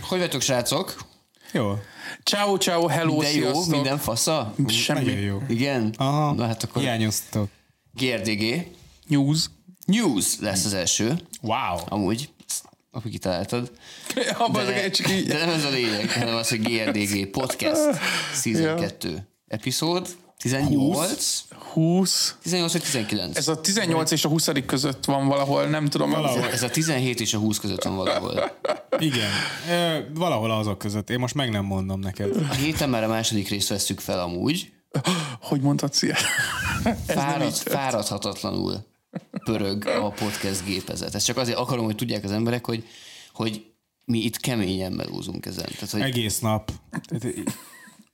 Hogy vagytok, srácok? Jó. Ciao, ciao, hello, De jó, sziasztok. minden fasza? Semmi. Nagyon jó. Igen? Aha. Na hát akkor Hiányoztok. GRDG. News. News lesz az első, Wow. amúgy. Ezt Akkor kitaláltad. Abban De, de... csak így. de nem ez a lényeg, hanem az, hogy GRDG Podcast Season Ja. 2 epizód 18, 20. 18 vagy 19. Ez a 18 és a 20 között van valahol, nem tudom. Valahol. Ez a 17 és a 20 között van valahol. Igen. Ö, valahol azok között. Én most meg nem mondom neked. A héten már a második részt vesszük fel amúgy. Hogy mondhatsz ilyen? Fárad, fáradhatatlanul pörög a podcast gépezet. Ezt csak azért akarom, hogy tudják az emberek, hogy, hogy mi itt keményen melózunk ezen. Tehát, hogy Egész nap. Tehát, í-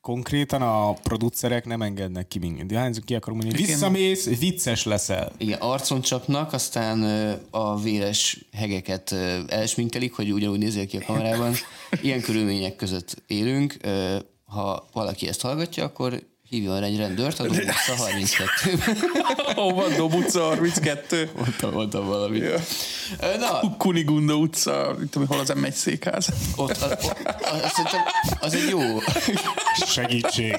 konkrétan a producerek nem engednek ki minket. Hányzunk ki akarom mondani, visszamész, vicces leszel. igen, arcon csapnak, aztán ö, a véres hegeket ö, elsminkelik, hogy ugyanúgy nézzél ki a kamerában. Ilyen körülmények között élünk. Ö, Ha valaki ezt hallgatja, akkor hívjon rá egy rendőrt, a Dóbusz a 32 Hova? Dob utca 32. Mondtam, mondtam valamit. Ja. Ö, Na, Kunigunda utca, itt tudom, hol az M1 székház. ott, a, ott azt szerintem az egy jó, Segítség.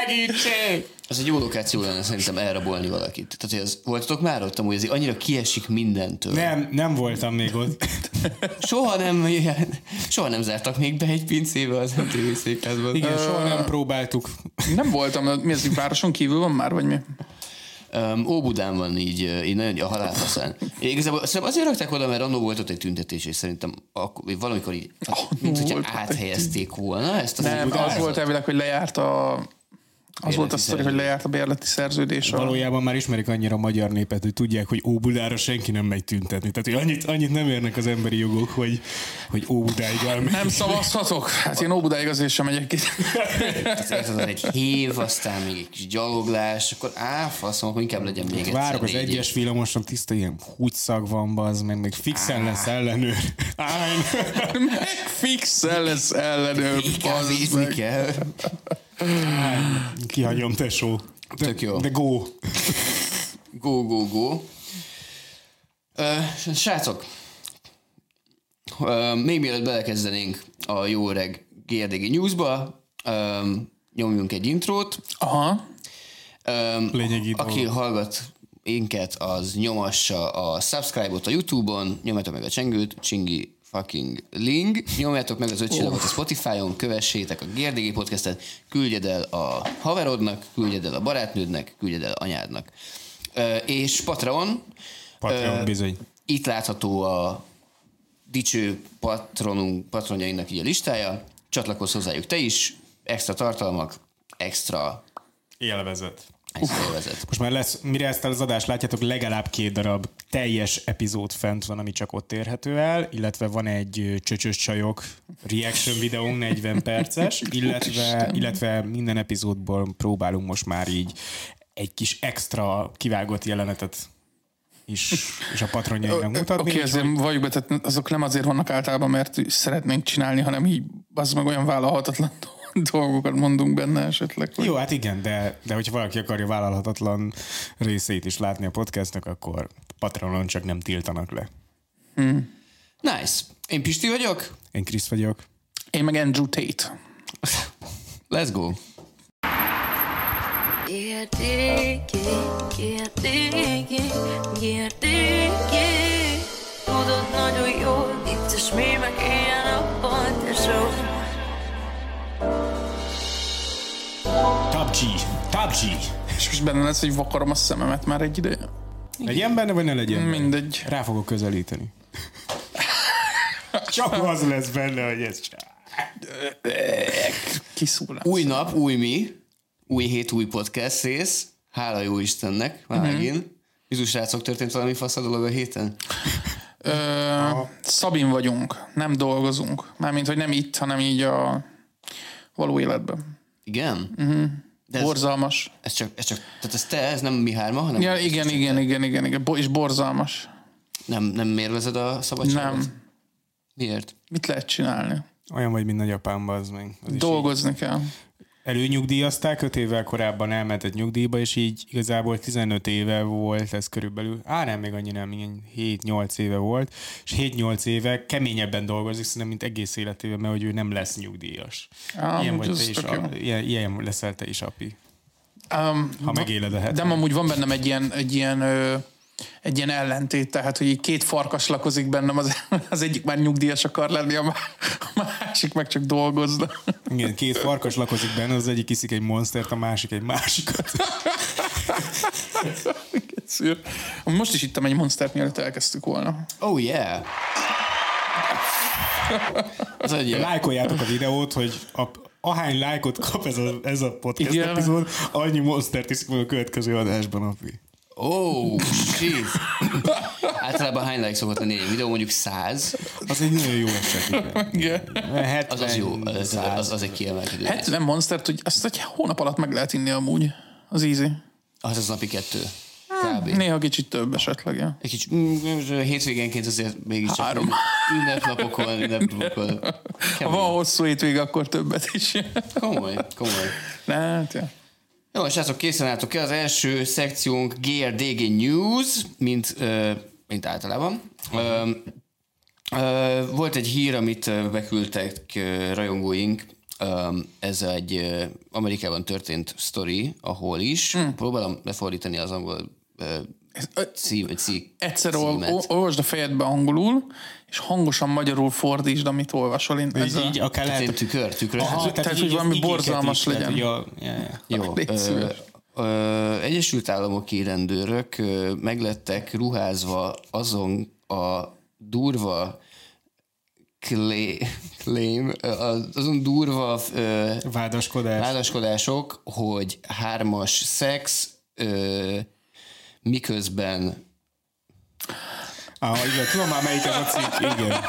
Segítség! az egy jó lokáció lenne szerintem elrabolni valakit. Tehát, hogy az, voltatok már ott amúgy, ez így annyira kiesik mindentől. Nem, nem voltam még ott. Soha nem, soha nem zártak még be egy pincébe az MTV székházban. Igen, soha nem próbáltuk. Nem voltam, mi ez, városon kívül van már, vagy mi? Um, Óbudán van így, ö, így nagyon a halálfaszán. Én Igazából szerintem azért rakták oda, mert annó volt ott egy tüntetés, és szerintem akkor, vagy valamikor így, mint hogyha volt ott egy áthelyezték volna ezt az Nem, Óbudán- az volt elvileg, hogy lejárt a... Az volt a sztori, hogy lejárt a bérleti szerződés. A... Valójában már ismerik annyira a magyar népet, hogy tudják, hogy Óbudára senki nem megy tüntetni. Tehát, hogy annyit, annyit nem érnek az emberi jogok, hogy, hogy Óbudáig elmegy. Nem szavazhatok? Hát én Óbudáig azért sem megyek ki. Tehát érted, van egy hév, aztán még egy kis gyaloglás, akkor á, faszom, akkor inkább legyen még egyszer. Várok az négy év. egyes villamoson, tiszta ilyen húgyszag van, az meg még fixen lesz ellenőr. Állj! Fixel lesz ellenőr. Inkább bazd vízni meg. kell. Kihagyom, tesó. De, Tök jó. De go. Go, go, go. Ö, srácok, ö, még mielőtt belekezdenénk a jó öreg GRDG Newsba, ö, nyomjunk egy intrót. Aha. Öm, Lényegi dolog. aki hallgat minket, az nyomassa a subscribe-ot a Youtube-on, nyomjátok meg a csengőt, csingi fucking link, nyomjátok meg az öt csillagot a Spotify-on, kövessétek a GRDG podcastet, küldjed el a haverodnak, küldjed el a barátnődnek, küldjed el anyádnak. Ö, és Patreon, Patreon bizony. itt látható a dicső patronunk, patronjainknak így a listája, csatlakozz hozzájuk te is, extra tartalmak, extra, Élvezet. extra élvezet. Most már lesz, mire ezt az adást látjátok, legalább két darab teljes epizód fent van, ami csak ott érhető el, illetve van egy ö, csöcsös csajok reaction videónk 40 perces, illetve, illetve minden epizódból próbálunk most már így egy kis extra kivágott jelenetet is, és a patronjainknak mutatni. Oké, okay, úgyhogy- azért valljuk be, tehát azok nem azért vannak általában, mert szeretnénk csinálni, hanem így az meg olyan vállalhatatlan dolgokat mondunk benne esetleg. Jó. Jó, hát igen, de, de hogyha valaki akarja vállalhatatlan részét is látni a podcastnak, akkor Patronon csak nem tiltanak le. Nice. Én Pisti vagyok. Én Krisz vagyok. Én meg Andrew Tate. Let's go. Értéki, értéki, értéki Tudod nagyon jól, vicces mémek ilyen a pontosan Top G! Top G! És most benne lesz, hogy vakarom a szememet már egy ideje. Legyen benne, vagy ne legyen benne? Mindegy. Rá fogok közelíteni. Csak az lesz benne, hogy ez csak. Kiszúr lesz. Új nap, új mi, új hét, új podcast rész. Hála jó Istennek, Mhm. már megint. Jézus srácok, történt valami fasz a dolog a héten? Ö, szabin vagyunk, nem dolgozunk. Mármint, hogy nem itt, hanem így a való életben. Igen? Mhm. De ez, Borzalmas. ez, csak, ez csak, tehát ez te, ez nem mi hárma, hanem Ja, igen, igen, igen, igen, igen. Bo- és borzalmas. nem, nem mérvezed a szabadságot? Nem. Miért? Mit lehet csinálni? Olyan vagy, mint nagyapám, az meg. Az is Dolgozni kell. így- előnyugdíjazták, 5 évvel korábban elmentett nyugdíjba, és így igazából 15 éve volt ez körülbelül, á nem, még annyi nem, ilyen 7-8 éve volt, és 7-8 éve keményebben dolgozik, szerintem, mint egész életében, mert hogy ő nem lesz nyugdíjas. Á, ilyen, amúgy vagy te ez is, tök jó. a, ilyen, ilyen leszel te is, api, Um, ha megéled a de 70. amúgy van bennem egy ilyen, egy ilyen, ö, egy ilyen ellentét, tehát, hogy így két farkas lakozik bennem, az, az egyik már nyugdíjas akar lenni, a má- a másik meg csak dolgozna. Igen, két farkas lakozik benne, az egyik iszik egy monstert, a másik egy másikat. Szűr. Most is ittam egy monstert, mielőtt elkezdtük volna. Oh yeah! Ez egy ilyen. Lájkoljátok a videót, hogy a, ahány lájkot kap ez a, ez a podcast Igen. epizód, annyi monstert iszik meg a következő adásban, api. Oh, shit! Általában hány like szokott lenni egy videó? Mondjuk 100. Az egy nagyon jó eset. igen. Igen. 70, Az az jó, az, az, az egy kiemelkedő. 70 monstert, hogy azt egy hónap alatt meg lehet inni amúgy. Az easy. Az az napi kettő. Kb. Néha kicsit több esetleg, ja. Egy kicsit, mm, hétvégenként azért mégiscsak Három. ünnepnapokon, ünnepnapokon. Ha Kemény. van hosszú hétvége, akkor többet is. Komoly, komoly. Ne, hát, ja. Jó, srácok, készen álltok el. Az első szekciónk GRDG News, mint, ö, mint általában. Ö, ö, Volt egy hír, amit ö, beküldtek ö, rajongóink. Ö, Ez egy ö, Amerikában történt sztori, ahol is. Próbálom lefordítani az angol ö, cím, cím, Egyszer ol, címet. ol, olvasd a fejedbe angolul, és hangosan magyarul fordítsd, amit olvasol. Én ez Így, így a... akár Ez egy lehet, tükör, tükör. tehát, így hogy az valami igéket borzalmas is, tehát, legyen. hogy A, ja, ja. Jó. Légy Ö, szíves. ö, Egyesült Államoki rendőrök ö, meglettek ruházva azon a durva klé, claim, ö, az- azon durva ö, Vádaskodás. válaskodások, hogy hármas szex, ö, miközben Ah, igen, tudom már melyik ez a cikk, igen.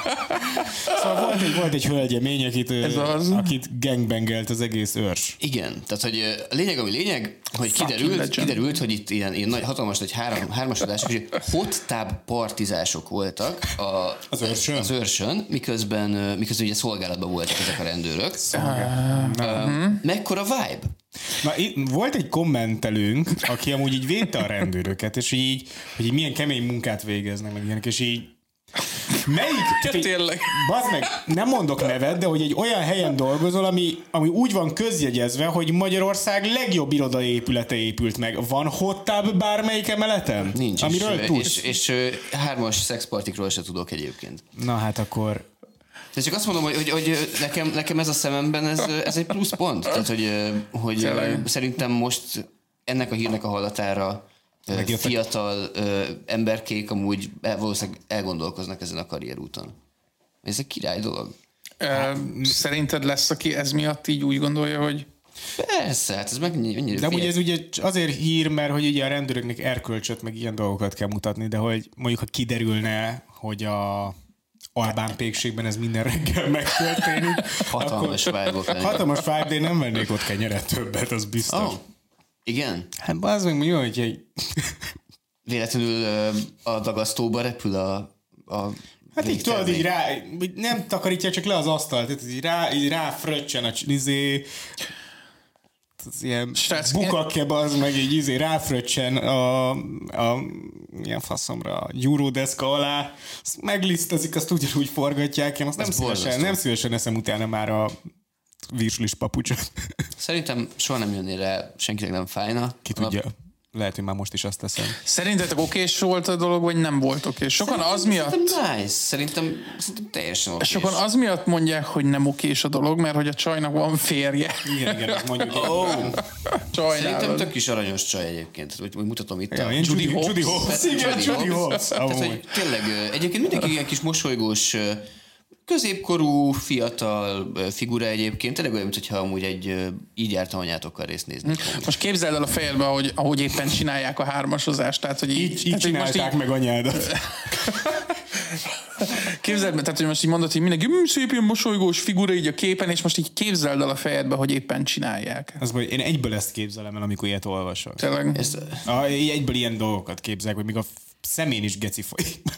Szóval volt egy, volt egy hölgyemény, akit, Ez Ez az. az. akit gangbangelt az egész őrs. igen, tehát hogy ö, a lényeg, ami lényeg, hogy Fucking kiderült, legend. kiderült, hogy itt ilyen, ilyen nagy, hatalmas, nagy három, hármasodások, és hot tub partizások voltak a, Az őrsön? az őrsön, miközben, ö, miközben ugye szolgálatban voltak ezek a rendőrök. Uh, mekkora vibe? Na, itt volt egy kommentelőnk, aki amúgy így védte a rendőröket, és így, hogy így milyen kemény munkát végeznek meg ilyenek, és így Melyik? Ja, tényleg. Bazd meg, nem mondok nevet, de hogy egy olyan helyen dolgozol, ami, ami úgy van közjegyezve, hogy Magyarország legjobb irodai épülete épült meg. Van hot tub bármelyik emeleten? Nincs. Amiről és, tudsz? és, és, ö, hármas szexpartikról se tudok egyébként. Na hát akkor... De csak azt mondom, hogy, hogy, hogy ö, nekem, nekem ez a szememben ez, ö, ez egy plusz pont. Tehát, hogy, ö, hogy ö, Tényleg. szerintem most ennek a hírnek a hallatára ö, Megjöttek. fiatal ö, emberkék amúgy el- valószínűleg elgondolkoznak ezen a karrierúton. Ez egy király dolog. Ö, Szerinted lesz, aki ez miatt így úgy gondolja, hogy Persze, hát ez meg annyira De amúgy figyelj- ez ugye cs- azért hír, mert hogy ugye a rendőröknek erkölcsöt, meg ilyen dolgokat kell mutatni, de hogy mondjuk ha kiderülne, hogy a Albán pékségben ez minden reggel megtörténik, hatalmas vágok hatalmas vibe, de én nem vennék ott kenyeret többet, az biztos. Oh, igen. Hát az meg mondjuk, hogy egy... Véletlenül ö, a dagasztóba repül a... a Hát így tudod, végtermék. így rá, így nem takarítja csak le az asztalt, tehát így rá, így rá fröccsen a cs- izé, az ilyen Srác, bukakjeb az meg így izé ráfröccsen a, a ilyen faszomra a gyúródeszka alá, azt meglisztezik, azt ugyanúgy forgatják, én azt nem szívesen, borzasztó. nem szívesen eszem utána már a virslis papucsot. Szerintem soha nem jönné rá, senkinek nem fájna. Ki tudja, lehet, hogy már most is azt teszem. szerintetek okés volt a dolog, vagy nem volt okés? Sokan az miatt Szerintem nice. Szerintem, szerintem teljesen oké. Sokan az miatt mondják, hogy nem okés a dolog, mert hogy a csajnak van férje. Igen, igen, azt mondjuk. Oh, szerintem Csajnálod. tök is aranyos csaj egyébként. Úgy, úgy mutatom itt Ja, a... én Judy Judy, Judy Hobbs. Igen, Judy Judy Hobbs. Hobbs. Tehát, amúgy. hogy tényleg ö, egyébként mindenki ilyen kis mosolygós, ö, középkorú, fiatal ö, figura egyébként. Tényleg olyan, mintha amúgy egy ö, így jártam anyátokkal részt nézni. Hm. Most képzeld el a fejedbe, ahogy, ahogy éppen csinálják a hármasozást. Tehát, hogy így, Így, így tehát, hogy most csinálták meg anyádat. Képzeld be, tehát, hogy most így mondod, hogy mindenki "Mm, szép ilyen mosolygós figura így a képen, és most így képzeld el a fejedbe, hogy éppen csinálják. Az baj, én egyből ezt képzelem el, amikor ilyet olvasok. Tényleg. Ezt, A, így egyből ilyen dolgokat képzelek, hogy még a f- szemén is geci folyik.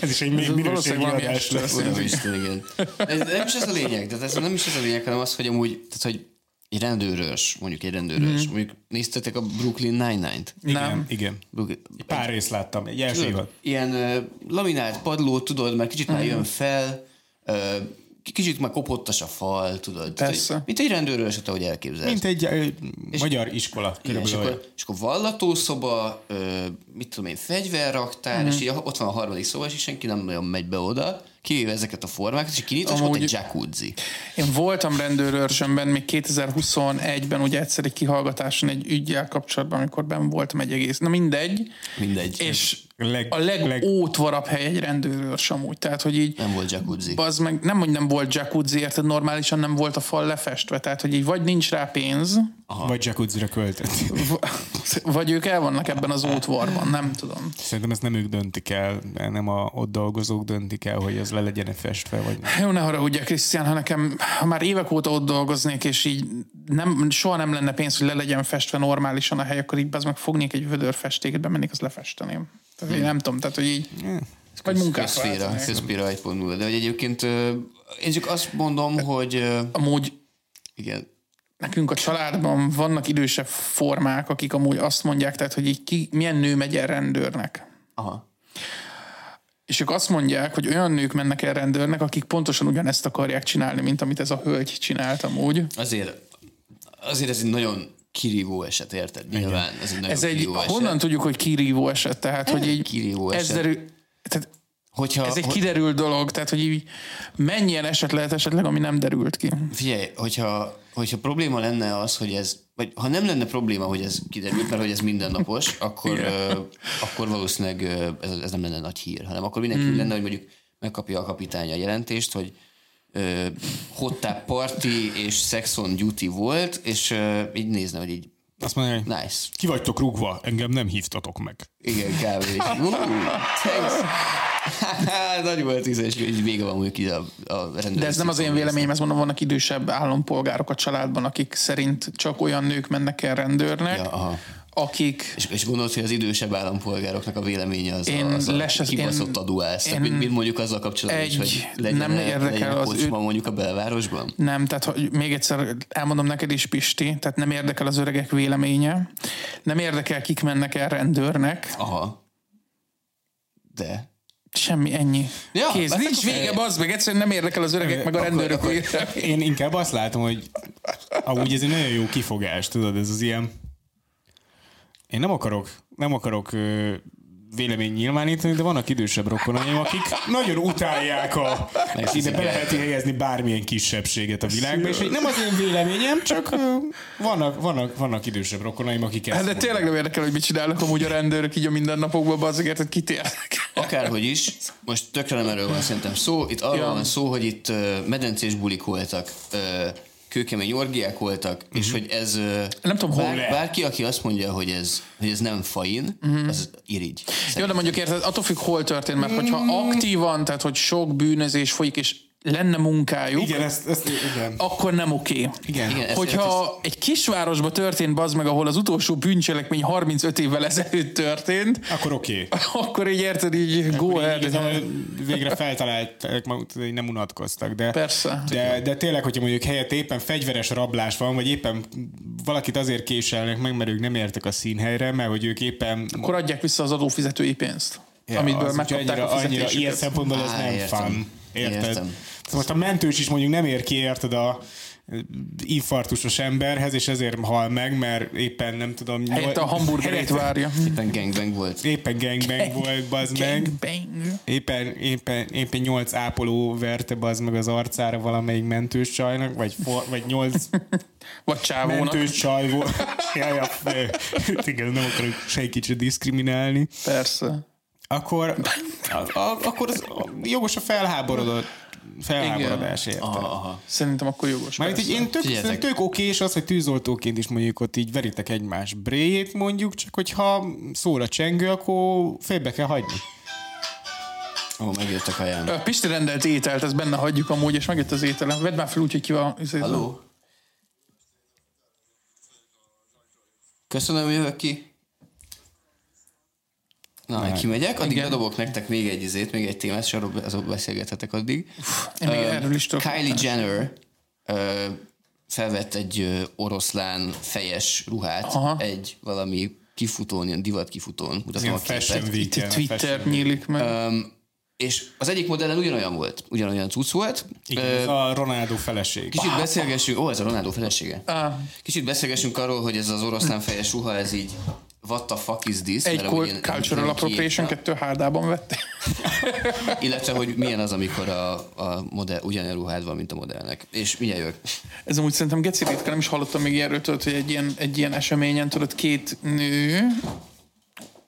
Ez is egy még minőségi valószínűleg valami adás este lesz. lesz. Uram Isten, igen. Ez nem is ez a lényeg, tehát ez nem is ez a lényeg, hanem az, hogy amúgy, tehát hogy egy rendőrös, mondjuk egy rendőrös, Mhm. mondjuk néztetek a Brooklyn Nine-Nine-t? Igen, Nem. igen. Brooklyn- Pár részt láttam, egy első Tudod, évad. Ilyen ö, laminált padló, tudod, mert kicsit Mhm. már jön fel, ö, k- kicsit már kopottas a fal, tudod. Persze. Tehát, Mint egy rendőröset, ahogy elképzeled. Mint egy ö, magyar iskola, Igen, és, körülbelül. olyan. akkor, és akkor vallatószoba, ö, mit tudom én, fegyverraktár, Mhm. és így a- ott van a harmadik szoba, és senki nem nagyon megy be oda, kivéve ezeket a formákat, és kinyitva, és ott Amúgy- egy jacuzzi. Én voltam rendőrőrsömben még 2021-ben, ugye egyszer egy kihallgatáson egy ügyjel kapcsolatban, amikor ben voltam egy egész, na mindegy. Mindegy. És Leg- a leg- legótvarabb hely egy rendőrőrs amúgy, tehát hogy így Nem volt jacuzzi. az meg nem, hogy nem volt jacuzzi, érted, normálisan nem volt a fal lefestve, tehát hogy így vagy nincs rá pénz, Vagy jacuzzi-ra költött. v- vagy ők el vannak ebben az ótvarban, nem tudom. Szerintem ezt nem ők döntik el, nem a ott dolgozók döntik el, hogy az le legyen festve, vagy nem. Jó, ne haragudja, Krisztián, ha nekem, ha már évek óta ott dolgoznék, és így nem, soha nem lenne pénz, hogy le legyen festve normálisan a hely, akkor így az meg fognék egy vödör festéket, bemennék, azt lefesteném. Tehát én nem tudom, tehát hogy így, vagy munkát Közféra, váltanék. közféra 1.0. De hogy egyébként ö, én csak azt mondom, hogy ö, Amúgy igen, nekünk a családban vannak idősebb formák, akik amúgy azt mondják, tehát hogy így ki, milyen nő megy el rendőrnek. aha. És ők azt mondják, hogy olyan nők mennek el rendőrnek, akik pontosan ugyanezt akarják csinálni, mint amit ez a hölgy csinált amúgy. Azért, azért ez egy nagyon kirívó eset, érted? Nyilván ez egy nagyon Ez egy, kirívó eset. Hát, honnan tudjuk, hogy kirívó eset? Tehát, hogy így kirívó ez eset. derül, tehát Hogyha, ez egy kiderült dolog, tehát, hogy így mennyien eset lehet esetleg, ami nem derült ki. Figyelj, hogyha, hogyha probléma lenne az, hogy ez, vagy ha nem lenne probléma, hogy ez kiderült, mert hogy ez mindennapos, akkor, ö, akkor valószínűleg ö, ez, ez nem lenne nagy hír, hanem akkor mindenki Hmm. mm. lenne, hogy mondjuk megkapja a kapitány a jelentést, hogy ö, hottá party és sex on duty volt, és ö, így nézne, hogy így Azt mondja, hogy nice. ki vagytok rúgva, engem nem hívtatok meg. Igen, kb. És, ú, thanks. Hát, Nagy volt tíz, és így vége van mondjuk ide a, a De ez nem az én véleményem, ez mondom, vannak idősebb állampolgárok a családban, akik szerint csak olyan nők mennek el rendőrnek, Ja, aha. akik És, és gondolod, hogy az idősebb állampolgároknak a véleménye az Én a, az les- a én- kibaszott aduász. Tehát, én- mint, mint mondjuk azzal kapcsolatban is, Egy, hogy nem legyen, érdekel legyen az kocsma ő- mondjuk a belvárosban? Nem, tehát hogy még egyszer elmondom neked is, Pisti, tehát nem érdekel az öregek véleménye, nem érdekel, kik mennek el rendőrnek, Aha. De. semmi, ennyi. Ja, Kész. hát Nincs akkor- vége, az meg egyszerűen nem érdekel az öregek, meg a rendőrök véleménye. Én inkább azt látom, hogy amúgy ez egy nagyon jó kifogás, tudod, ez az ilyen... Én nem akarok, nem akarok ö, vélemény nyilvánítani, de vannak idősebb rokonaim, akik nagyon utálják a... Ide be lehet helyezni bármilyen kisebbséget a világba, és hogy nem az én véleményem, csak ö, vannak, vannak, vannak idősebb rokonaim, akik ezt Hát de tényleg nem érdekel, hogy mit csinálnak amúgy a rendőrök így a mindennapokban, bazzeg, érted, kitérnek. Akárhogy is, most tökre nem erről van szerintem szó. Itt arról Ja. van szó, hogy itt ö, medencés bulik voltak, ö, kőkemény orgiák voltak, és hogy ez... ö, Mhm. Nem tudom, hol bár, le. Bárki, aki azt mondja, hogy ez, hogy ez nem fain, az irigy. Mhm. Jó, de mondjuk érted, attól függ, hol történt, mert hogyha aktívan, tehát hogy sok bűnözés folyik, és lenne munkájuk, Igen, ezt, ezt igen. akkor nem oké. Igen. Igen, ez- Hogyha egy kisvárosba történt bazd meg, ahol az utolsó bűncselekmény 35 évvel ezelőtt történt, Akkor oké. akkor így érted, így go Így ahead. igazából végre feltalálták, magukat, hogy nem unatkoztak, de... Persze. De, de tényleg, hogyha mondjuk helyett éppen fegyveres rablás van, vagy éppen valakit azért késelnek meg, mert ők nem értek a színhelyre, mert hogy ők éppen... Akkor adják vissza az adófizetői pénzt, Ja, amiből az, megkapták úgyhogy a annyira, annyira ilyen fizetésüket. szempontból ez Á, nem értem. fun. Érted? Értem. Szóval most a mentős is mondjuk nem ér ki, érted a infarktusos emberhez, és ezért hal meg, mert éppen nem tudom... nyol- Helyette a hamburgerét helyette várja. Éppen gangbang volt. Éppen gangbang volt, bazd meg. Gangbang. Éppen, éppen, éppen nyolc ápoló verte bazd meg az arcára valamelyik mentős csajnak, vagy, for, vagy nyolc Vagy csávónak. mentős csaj volt. ja, ja, ne. Hát igen, nem akarok senki se diszkriminálni. Persze. Akkor, a, a, akkor az jogos a felháborodott felháborodás, érted? Aha. Szerintem akkor jogos. Mert persze. így én tök, Ah, Figyeljetek. szerintem tök oké, és az, hogy tűzoltóként is mondjuk ott így veritek egymás bréjét mondjuk, csak hogyha szól a csengő, akkor félbe kell hagyni. Ó, megjött a kajám. Ö, Pisti rendelt ételt, ezt benne hagyjuk amúgy, és megjött az ételem. Vedd már fel úgy, hogy ki van. izé- Halló? Köszönöm, hogy jövök ki. Na, Nem. kimegyek, addig bedobok nektek még egy izét, még egy témát, és arról be- azok beszélgethetek addig. Én még Ö, erről is tudok. Kylie Jenner ö, felvett egy ö, oroszlán fejes ruhát, Aha. egy valami kifutón, ilyen divat kifutón, mutatom Ilyen a fashion képet. week Twitter nyílik meg. És az egyik modellen ugyanolyan volt, ugyanolyan cucc volt. Igen, Ö, ez a Ronaldo feleség. Kicsit beszélgessünk, ó, ez a Ronaldo felesége. Kicsit beszélgessünk arról, hogy ez az oroszlán fejes ruha, ez így what the fuck is this? Egy Mert cul- ahogy ilyen- cultural ilyen appropriation, kiírta. kettő hárdában vette. Illetve, hogy milyen az, amikor a, a modell ugyanilyen ruhád van, mint a modellnek. És mindjárt jövök. Ez amúgy szerintem geci ritka, nem is hallottam még ilyenről, tudod, hogy egy ilyen, egy ilyen eseményen, tudod, két nő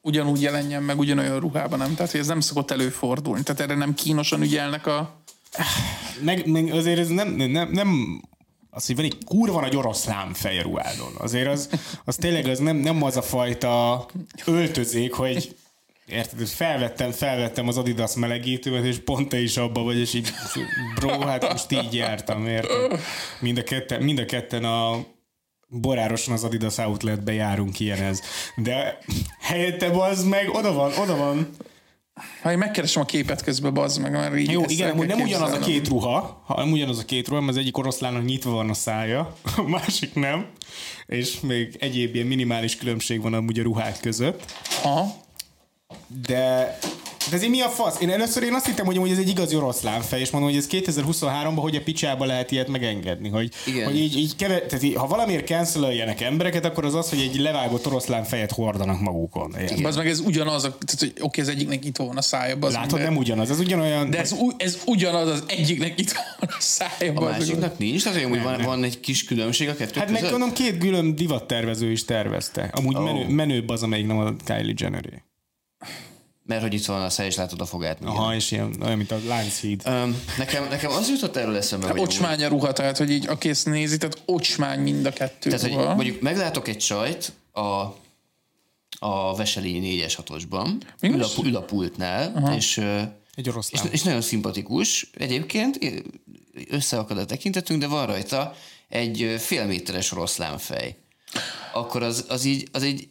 ugyanúgy jelenjen meg ugyanolyan ruhában, nem? Tehát, hogy ez nem szokott előfordulni. Tehát erre nem kínosan ügyelnek a... Meg, meg azért ez nem, nem, nem az, hogy van egy kurva nagy oroszlán fejruhádon. Azért az, az tényleg az nem, nem az a fajta öltözék, hogy Érted, hogy felvettem, felvettem az Adidas melegítőmet, és pont te is abba vagy, és így bro, hát most így jártam, érted? Mind a ketten, mind a, ketten a borárosan az Adidas outletbe járunk ilyenhez. De helyette az meg oda van, oda van Ha én megkeresem a képet közben, bazd meg, mert így jó, ezt igen, el amúgy kell nem ugyanaz a képzelnem. két ruha, ha nem ugyanaz a két ruha, mert az egyik oroszlának nyitva van a szája, a másik nem, és még egyéb ilyen minimális különbség van amúgy a ruhák között, Aha. de de ezért mi a fasz? Én először én azt hittem, hogy amúgy ez egy igazi oroszlán fej, és mondom, hogy ez 2023-ban hogy a picsába lehet ilyet megengedni. Hogy, Igen. hogy így, így keve, tehát így, ha valamiért cancelöljenek embereket, akkor az az, hogy egy levágott oroszlán fejet hordanak magukon. Igen. Bazd meg, ez ugyanaz, a, tehát, hogy oké, az egyiknek itt van a szája, bazd Látod, meg, de- nem ugyanaz. Ez ugyanolyan... De ez, u- ez ugyanaz, az egyiknek itt van a szája, A bazd meg. másiknak nincs, tehát hogy amúgy van, van egy kis különbség a kettő Hát meg között? gondolom két gülöm divattervező is tervezte. Amúgy oh. menő, menőbb az, amelyik nem a Kylie jenner Mert hogy itt van a száj, és látod a fogát. igen. Aha, és ilyen, olyan, mint a Lánchíd. Öm, nekem, nekem az jutott erről eszembe, Hát hogy amúgy- Ocsmány a ruha, tehát, hogy így a kész nézi, tehát ocsmány mind a kettő Tehát, ruha. hogy mondjuk meglátok egy csajt a, a Veselényi 4-es 6-osban, Mégis? ül, a pu- ül a pultnál, és, ö, és, Egy oroszlán. és nagyon szimpatikus. Egyébként é- összeakad a tekintetünk, de van rajta egy ö, fél méteres oroszlánfej. Akkor az, az így, az így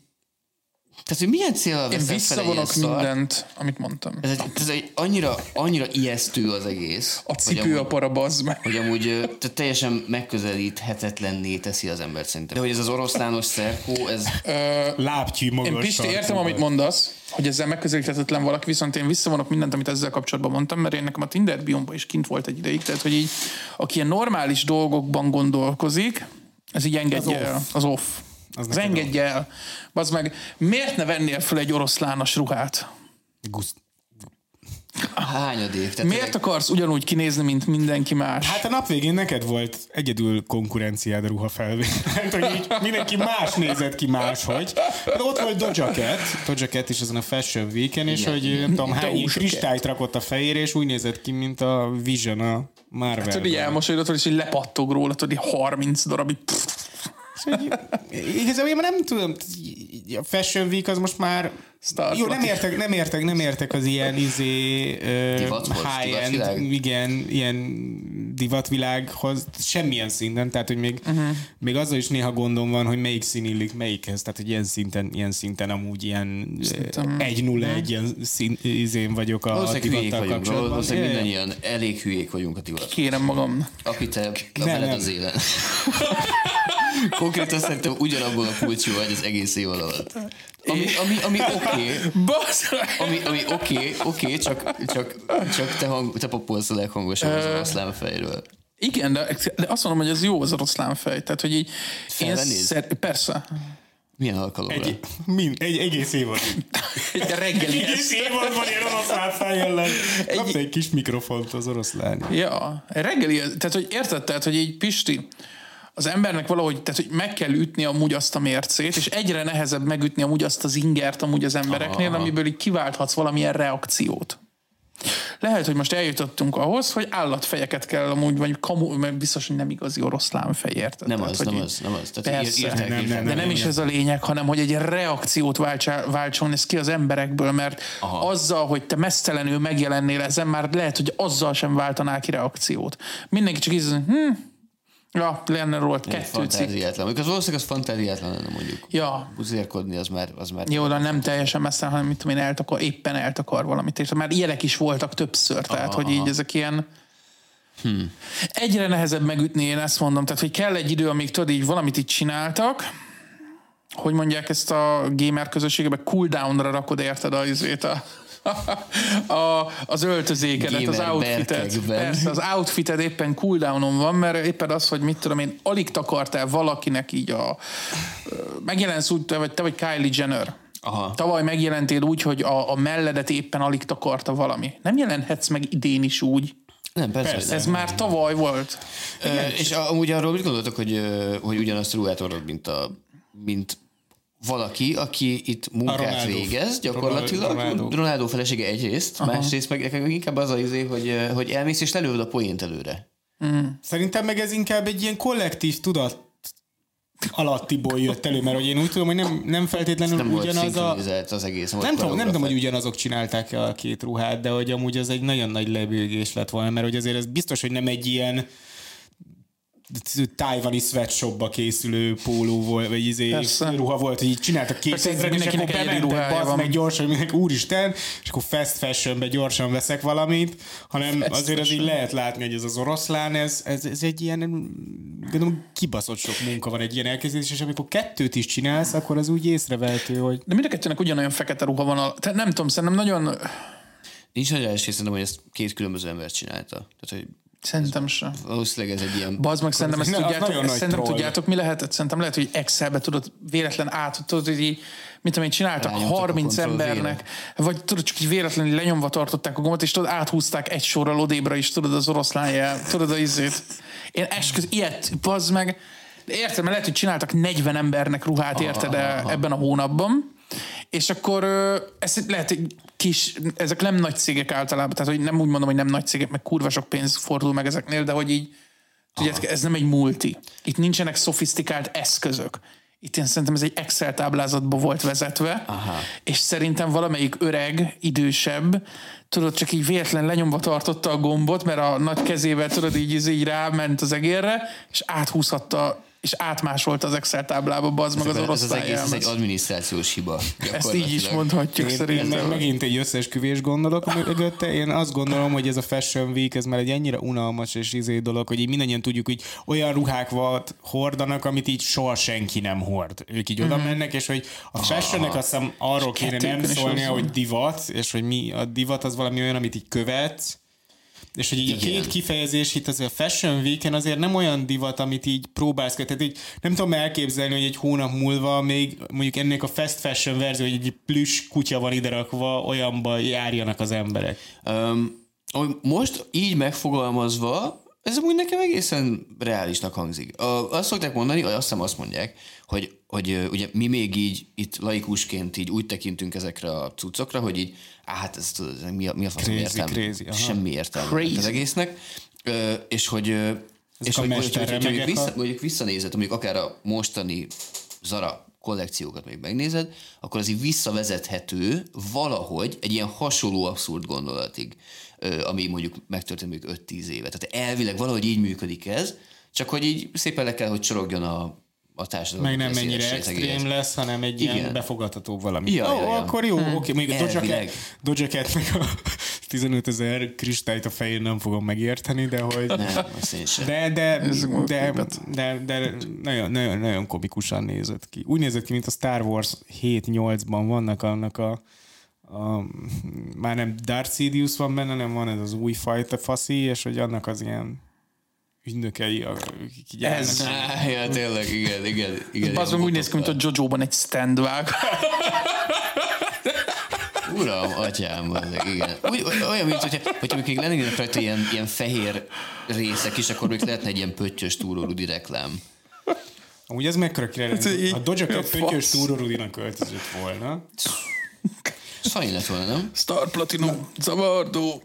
tehát, hogy milyen célral Én veszed fel egy ilyen visszavonok szart? mindent, amit mondtam. Ez, egy, ez egy annyira, annyira ijesztő az egész. A cipő a para, bazd meg. hogy amúgy ö, tehát teljesen megközelíthetetlenné teszi az embert szerintem. De hogy ez az oroszlános szerkó, ez Lábtyű magas. Én Pisti, sarkú értem, vagy. amit mondasz, hogy ezzel megközelíthetetlen valaki, viszont én visszavonok mindent, amit ezzel kapcsolatban mondtam, mert én nekem a Tinder biomba is kint volt egy ideig, tehát hogy így, aki ilyen normális dolgokban gondolkozik, ez így engedje Az off. az el. Off. Az off. Az Az, neked engedje el. Bazd meg, miért ne vennél fel egy oroszlános ruhát? Guszt. hányadék. Tehát Miért akarsz ugyanúgy kinézni, mint mindenki más? Hát a nap végén neked volt egyedül konkurenciád a ruha felvételt, hogy így mindenki más nézett ki máshogy. Hát ott volt Doja Cat, Doja Cat is ezen a Fashion Week-en, és Igen, hogy igen. nem tudom hány Doja Cat. kristályt rakott a fejére, és úgy nézett ki, mint a Vision a Marvel. Tudod, így elmosolyodott, és így lepattog róla, tudod, így 30 darab, így pff, Igazából én már nem tudom, a Fashion Week az most már... Start jó, nem volt. értek, nem értek, nem értek az ilyen izé, ö, Divat volt, high-end, divatvilág? igen, ilyen divatvilághoz semmilyen szinten, tehát hogy még, uh-huh. még azzal is néha gondom van, hogy melyik szín illik melyikhez, tehát hogy ilyen szinten, ilyen szinten amúgy ilyen Szerintem- 1 0 egy ilyen szín, izén vagyok a valószínűleg hülyék divattal vagyunk, kapcsolatban. valószínűleg Ja, ja. mindannyian elég hülyék vagyunk a divat. kérem magam. Aki te, a Nem, veled nem. az élen. Konkrétan szerintem ugyanabból a kulcsú vagy az egész év alatt. Ami, ami, ami oké, Bazd meg! ami, ami oké, oké, csak, csak, csak te, hang, te popolsz a leghangosabb az oroszlán fejről. Igen, de, de azt mondom, hogy ez jó az oroszlán fej. Tehát, hogy így... Én Felvennéd? szer- persze. Milyen alkalomra? Egy, mind, egy egész év alatt. Egy reggeli Egész év alatt van ilyen oroszlán fejjellel. Kapsz egy kis mikrofont az oroszlán. Ja, egy reggeli, tehát hogy érted, tehát hogy így Pisti, az embernek valahogy, tehát hogy meg kell ütni amúgy azt a mércét, és egyre nehezebb megütni amúgy azt az ingert amúgy az embereknél, Aha, aha. amiből így kiválthatsz valamilyen reakciót. Lehet, hogy most eljutottunk ahhoz, hogy állatfejeket kell amúgy, vagy kamu, mert biztos, hogy nem igazi oroszlán fej, érted? Nem Tehát, az, hogy nem így- az, nem az. Tehát ír- Persze. írták, Nem, nem, írták. De nem is ez a lényeg, hanem hogy egy reakciót váltsá, váltson ez ki az emberekből, mert Aha. azzal, hogy te mesztelenül megjelennél ezen, már lehet, hogy azzal sem váltanál ki reakciót. Mindenki csak így, hm, ja, lenne róla kettő cikk. Fantáziátlan. Mondjuk az valószínűleg az fantáziátlan lenne mondjuk. Ja, Buzérkodni az már, az már jó, de nem teljesen messze, hanem mit tudom én, eltakar, éppen eltakar valamit. És már ilyenek is voltak többször, tehát Aha, hogy aha. így ezek ilyen Egyre nehezebb megütni, én ezt mondom. Tehát, hogy kell egy idő, amíg tudod, így valamit itt csináltak, hogy mondják ezt a gamer közösségbe, cooldownra rakod, érted a, izét, a, a, az öltözékedet, az Gamer outfitet. berkekben. Persze, az outfited éppen cooldownon van, mert éppen az, hogy mit tudom én, alig takartál valakinek így a... Megjelensz úgy, te vagy, te vagy Kylie Jenner. Aha. Tavaly megjelentél úgy, hogy a, a melledet éppen alig takarta valami. Nem jelenhetsz meg idén is úgy. Nem, persze. Persze. hogy Ez már tavaly volt. nem. Ö, és a- amúgy arról mit gondoltok, hogy, ö, hogy ugyanazt a ruhát orrod, mint, a, mint valaki, aki itt A munkát Ronaldo. végez, gyakorlatilag. Ronaldo. Ronaldo, Ronaldo felesége egyrészt, Aha. másrészt meg nekem inkább az az izé, hogy, ö, hogy elmész és lelőd a poént előre. Szerintem meg ez inkább egy ilyen kollektív tudat alattiból jött elő, mert hogy én úgy tudom, hogy nem, nem feltétlenül Nem volt ugyanaz a... szinkronizált az egész. volt Nem tudom, nem tudom, koreográfia. hogy ugyanazok csinálták a két ruhát, de hogy amúgy az egy nagyon nagy lebőgés lett volna, mert hogy azért ez biztos, hogy nem egy ilyen tájvani sweatshopba készülő póló volt, vagy izé Persze. ruha volt, hogy így csináltak Persze, készíteni, és akkor mindenkinek egyedi bementem, ruhája bazd van. meg gyorsan, hogy mindenki úristen, és akkor fast fashionbe gyorsan veszek valamit, hanem azért az így lehet látni, hogy ez az oroszlán, ez, ez, ez egy ilyen, gondolom, kibaszott sok munka van egy ilyen elképzelés, és amikor kettőt is csinálsz, akkor az úgy észrevehető, hogy De mind a kettőnek ugyanolyan fekete ruha van. A, tehát nem tudom, szerintem nagyon... Nincs nagy első, szerintem, hogy ezt két különböző ember csinálta. Tehát, hogy Szerintem sem. valószínűleg ez egy ilyen... Bazd meg, szerintem ezt Na, az tudjátok, nagyon ezt nagy szerintem troll. tudjátok, mi lehetett? Szerintem lehet, hogy Excelbe tudod véletlen át, tudod, hogy így, mit tudom én, csináltak Rányomtak a 30 Ctrl V-re. embernek, vagy tudod, csak így véletlenül lenyomva tartották a gombot, és tudod, áthúzták egy sorral odébra is, tudod, az oroszlán jel, tudod, az izét. Én esküsz, ilyet, bazd meg, De érted, mert lehet, hogy csináltak 40 embernek ruhát, Ah, érted, e- ebben a hónapban, és akkor ö, ez lehet, hogy kis, ezek nem nagy cégek általában, tehát hogy nem úgy mondom, hogy nem nagy cégek, meg kurva sok pénz fordul meg ezeknél, de hogy így, Tudjátok, ez nem egy multi. Itt nincsenek szofisztikált eszközök. Itt én szerintem ez egy Excel táblázatba volt vezetve, Aha. és szerintem valamelyik öreg, idősebb, tudod, csak így véletlen lenyomva tartotta a gombot, mert a nagy kezével, tudod, így, így, így ráment az egérre, és áthúzhatta, és átmásolta az Excel táblába, bazd meg az ez orosz az egész, ez egy tájjelmet. adminisztrációs hiba. Ezt így is gyakorlatilag. mondhatjuk Én, én meg szerintem. megint egy összeesküvés gondolok mögötte. Én azt gondolom, hogy ez a Fashion Week, ez már egy ennyire unalmas és izé dolog, hogy így mindannyian tudjuk, hogy olyan ruhákat hordanak, amit így soha senki nem hord. Ők így oda mennek, és hogy a fashionnek azt hiszem arról kéne nem kettőjükön is szólnia, az van. hogy divat, és hogy mi a divat az valami olyan, amit így követsz, és hogy így a Igen. két kifejezés itt azért a Fashion Week-en azért nem olyan divat, amit így próbálsz kötni. Tehát így nem tudom elképzelni, hogy egy hónap múlva még mondjuk ennek a fast fashion verzió, hogy egy plüss kutya van ide rakva, olyanba járjanak az emberek. Öm, hogy most így megfogalmazva, ez amúgy nekem egészen reálisnak hangzik. Ö, Azt szokták mondani, vagy azt hiszem azt mondják, hogy, hogy ö, ugye mi még így itt laikusként így úgy tekintünk ezekre a cuccokra, hogy így, á, hát ez tudod, ez mi a, mi a faszom Crazy, értelme? crazy, aha. Semmi értelme Crazy. az egésznek. Ö, És hogy, ö, és hogy, hogy, hogy, a hogy, mesterremegek hogy a- vissza, mondjuk visszanézed, mondjuk akár a mostani Zara kollekciókat még megnézed, akkor az így visszavezethető valahogy egy ilyen hasonló abszurd gondolatig, ö, ami mondjuk megtörtént mondjuk 5-10 éve. Tehát elvileg valahogy így működik ez, csak hogy így szépen le kell, hogy csorogjon a, a társadalom. Meg nem mennyire szélességéhez. extrém lesz, hanem egy Igen. ilyen befogadhatóbb valami. Ja, Ó, ja, ja. akkor jó, oké. Még a Doja Elvileg. Cat- Doja Cat meg a 15 ezer kristályt a fején nem fogom megérteni, de hogy... Nem, azt én sem. De, de, volt de, képet. de, de nagyon, nagyon, nagyon komikusan nézett ki. Úgy nézett ki, mint a Star Wars 7-8-ban vannak annak a, a már nem Darth Sidious van benne, nem van ez az új fajta faszi, és hogy annak az ilyen ügynökei, akik így Ez- állnak. Á, ja, tényleg, igen, igen. igen Bazd meg úgy néz ki, mint a Jojo-ban egy stand vág. Uram, atyám, az- igen. Úgy, olyan, mint hogyha, hogyha még lennének rajta ilyen, ilyen fehér részek is, akkor még lehetne egy ilyen pöttyös túrórudi reklám. Amúgy ez mekkora király. Hát, így- A Doja a Cat fasz. pöttyös túrorudinak költözött volna. Ez Funny lett volna, nem? Star Platinum, zavardó.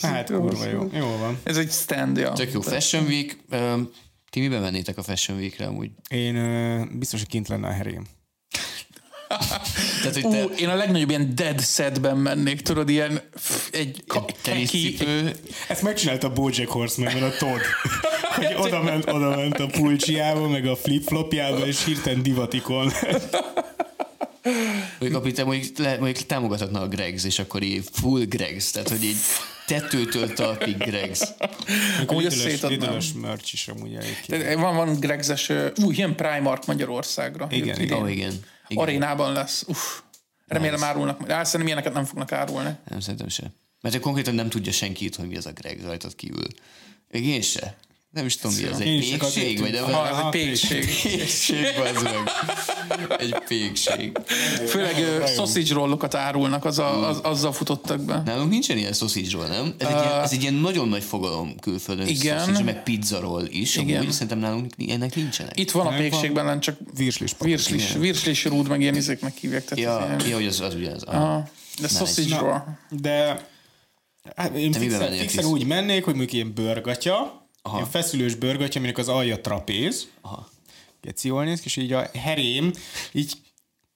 Hát, kurva jó. Jó van. Ez egy stand, ja. Tök jó. Fashion Week. Öm, Ti miben mennétek a Fashion Weekre amúgy? Én ö, biztos, hogy kint lenne a herém. Tehát, hogy Ú, te én a legnagyobb ilyen dead setben mennék, tudod, ilyen pff, egy ka- keki, teniszcipő, Ezt megcsinálta a Bojack Horseman, a Todd. Hogy oda ment, oda ment a pulcsiába, meg a flip-flopjába, és hirtelen divatikon. mondjuk, amit te mondjuk, le, mondjuk támogathatna a Greg's, és akkor így full Greg's, tehát hogy így tetőtől talpig Greg's. Amúgy azt Lidl-ös, szétadnám. lidl merch is amúgy elég ki. Tehát eh, Van, van Gregzes, ö, ú, jön Primark Magyarországra. Igen, Jut Ó, idén. igen. Oh, igen. Arénában lesz. Uff. Remélem árulnak. majd. Á, szerintem ilyeneket nem fognak árulni. Nem, szerintem se. Mert konkrétan nem tudja senki itt, hogy mi az a Greg rajtad kívül. Még én se. Nem is tudom, mi az. Én Egy is csak azért pékség? Vagy de Ha, ez van egy hát, pékség. pékség, az meg. Egy pékség. Főleg ö, sausage rollokat árulnak, az a, az, azzal futottak be. Nálunk nincsen ilyen szoszízsról, nem? Ez, egy ilyen, ez egy ilyen nagyon nagy fogalom külföldön. Igen. Szoszízs, meg pizzaról is. Igen. Igen. Amúgy szerintem nálunk ennek nincsenek. Itt van a Nem, pékségben, nem csak Virslis paprika. virslis, virslis rúd, meg ilyen izéknek hívják. Tehát Ja, ez ilyen- ja, hogy az, az ugyanaz. Ah, Aha. De sausage Na, roll. De hát én miben fixen, mennél, fixen Krisz? úgy mennék, hogy mondjuk ilyen bőrgatya, Aha. ilyen feszülős bőrgatya, aminek az alja trapéz. Aha. Geci jól néz ki, és így a herém, így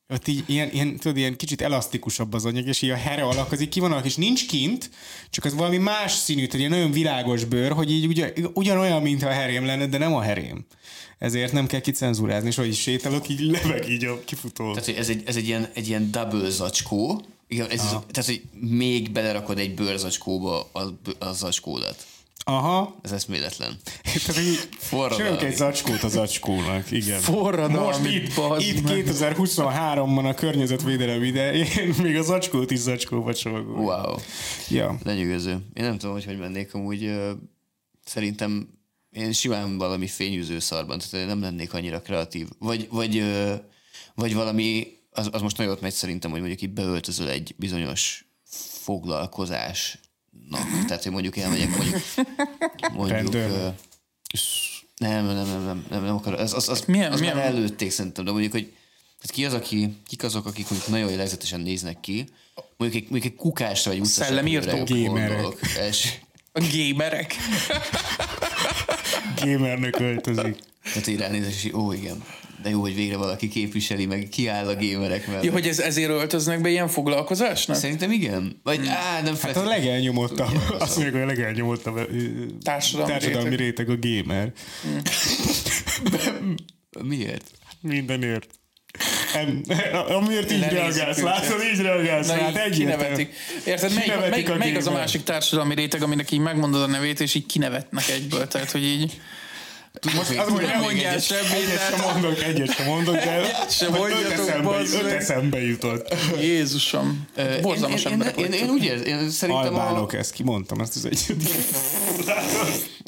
ott így ilyen, ilyen, tudod, ilyen kicsit elasztikusabb az anyag, és így a here alak az így kivonalak, és nincs kint, csak az valami más színű, tehát ilyen nagyon világos bőr, hogy így ugyan, ugyanolyan, mintha a herém lenne, de nem a herém. Ezért nem kell kicenzúrázni, és ahogy így sétálok, így leveg így a kifutó. Tehát, hogy ez egy, ez egy ilyen, egy ilyen double zacskó. Igen, ez, tehát, hogy még belerakod egy bőrzacskóba a, a zacskódat. Aha, Ez eszméletlen. Tehát így Forradalmi. csinálunk egy zacskót az zacskónak, igen. Forradalmi, Most itt, bazd itt meg. 2023-ban a környezetvédelem idején még a zacskót is zacskóba csomagolunk. Wow. Ja. Lenyűgöző. Én nem tudom, hogy hogy mennék amúgy. ö, Szerintem én simán valami fényűző szarban, tehát én nem lennék annyira kreatív. Vagy, vagy, ö, vagy valami, az, az most nagyon ott megy szerintem, hogy mondjuk így beöltözöl egy bizonyos foglalkozás. tehát, hogy mondjuk elmegyek, mondjuk... mondjuk Rendőrnek. ö, nem, nem, nem, nem, nem, nem akarok. Az, az, az, Milyen- milyen, az milyen? milyen- már előtték szerintem, de mondjuk, hogy tehát ki az, aki, kik azok, akik mondjuk nagyon jellegzetesen néznek ki, mondjuk egy, mondjuk egy kukásra vagy utcasra Szellemírtók. Gamerek. gondolok. És, A gémerek. Gamernek öltözik. tehát hát így ránézek, és így, ó igen, de jó, hogy végre valaki képviseli, meg kiáll a gémerek mellett. Ja, hogy ez, ezért öltöznek be ilyen foglalkozásnak? Szerintem igen. Vagy á, nem Hát a feltétlenül. legelnyomottabb, azt mondják, hogy a legelnyomottabb ö, Társadalmi társadalmi réteg a gamer. Miért? Mindenért. Em, amiért így Lenézik reagálsz, őket. látod, így reagálsz, Na, hát így egyértelmű. kinevetik. Érted, melyik, Kinevetik melyik, a melyik az a gamer. másik társadalmi réteg, aminek így megmondod a nevét, és így kinevetnek egyből, tehát, hogy így... Most Az, hogy nem mondjál semmit, Egyet tehát- sem mondok, egyet sem mondok, de sem öt mondjatok, eszembe- bazd öt meg. eszembe jutott. Jézusom. Hát Borzalmas én, én, emberek én, én, én, úgy érzem, én szerintem a, Albánok, ezt kimondtam, ezt az egyet.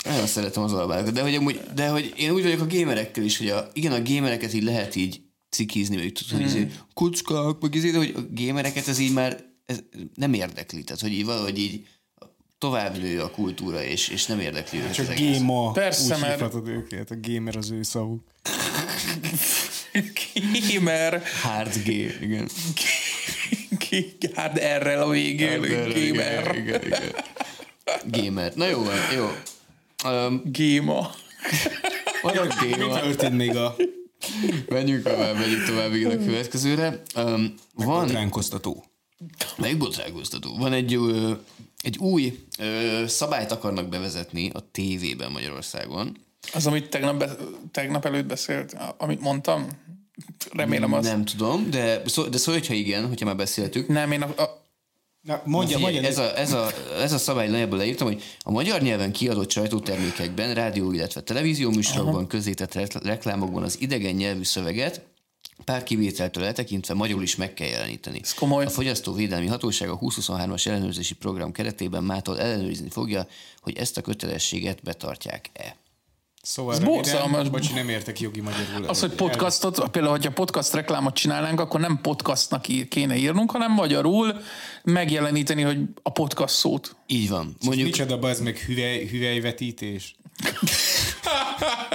Nagyon szeretem az albánokat, de hogy, amúgy, de hogy én úgy vagyok a gémerekkel is, hogy a, igen, a gémereket így lehet így cikizni, vagy tudod, hogy hmm. kuckák, meg izé, de hogy a gémereket ez így már ez nem érdekli, tehát hogy így valahogy így tovább nő a kultúra, és, és nem érdekli őket Csak az egész. géma. Persze, úgy mert- hívhatod őket, a gamer az ő szavuk. Gamer. Hard game, igen. Hát erre a végén. Gamer. Igen, igen, igen. Gamer. Na jó van, jó. Um, Géma. van a gamer. Történt még a Menjünk tovább, menjünk tovább igen a következőre. Um, van ránkoztató. Melyik botránkoztató? Van egy, ö, egy új ö, szabályt akarnak bevezetni a tévében Magyarországon. Az, amit tegnap, be, tegnap előtt beszélt, amit mondtam, remélem az. Nem tudom, de szó, de szó, hogyha igen, hogyha már beszéltük. Nem, én a, a, Na, mondja, Figyelj, mondja. ez, a, ez, a, ez a szabály nagyjából leírtam, hogy a magyar nyelven kiadott sajtótermékekben, rádió, illetve televízió műsorokban, közzétett rekl- reklámokban az idegen nyelvű szöveget pár kivételtől eltekintve magyarul is meg kell jeleníteni. Ez komoly. A Fogyasztóvédelmi Hatóság a 2023-as ellenőrzési program keretében mától ellenőrizni fogja, hogy ezt a kötelességet betartják-e. Szóval Ez röviden, borzalmas. Bocs, nem értek jogi magyarul. az, hogy podcastot, például, hogyha podcast reklámot csinálnánk, akkor nem podcastnak ír, kéne írnunk, hanem magyarul megjeleníteni, hogy a podcast szót. Így van. Mondjuk Micsoda bazd meg hüvely, hüvelyvetítés.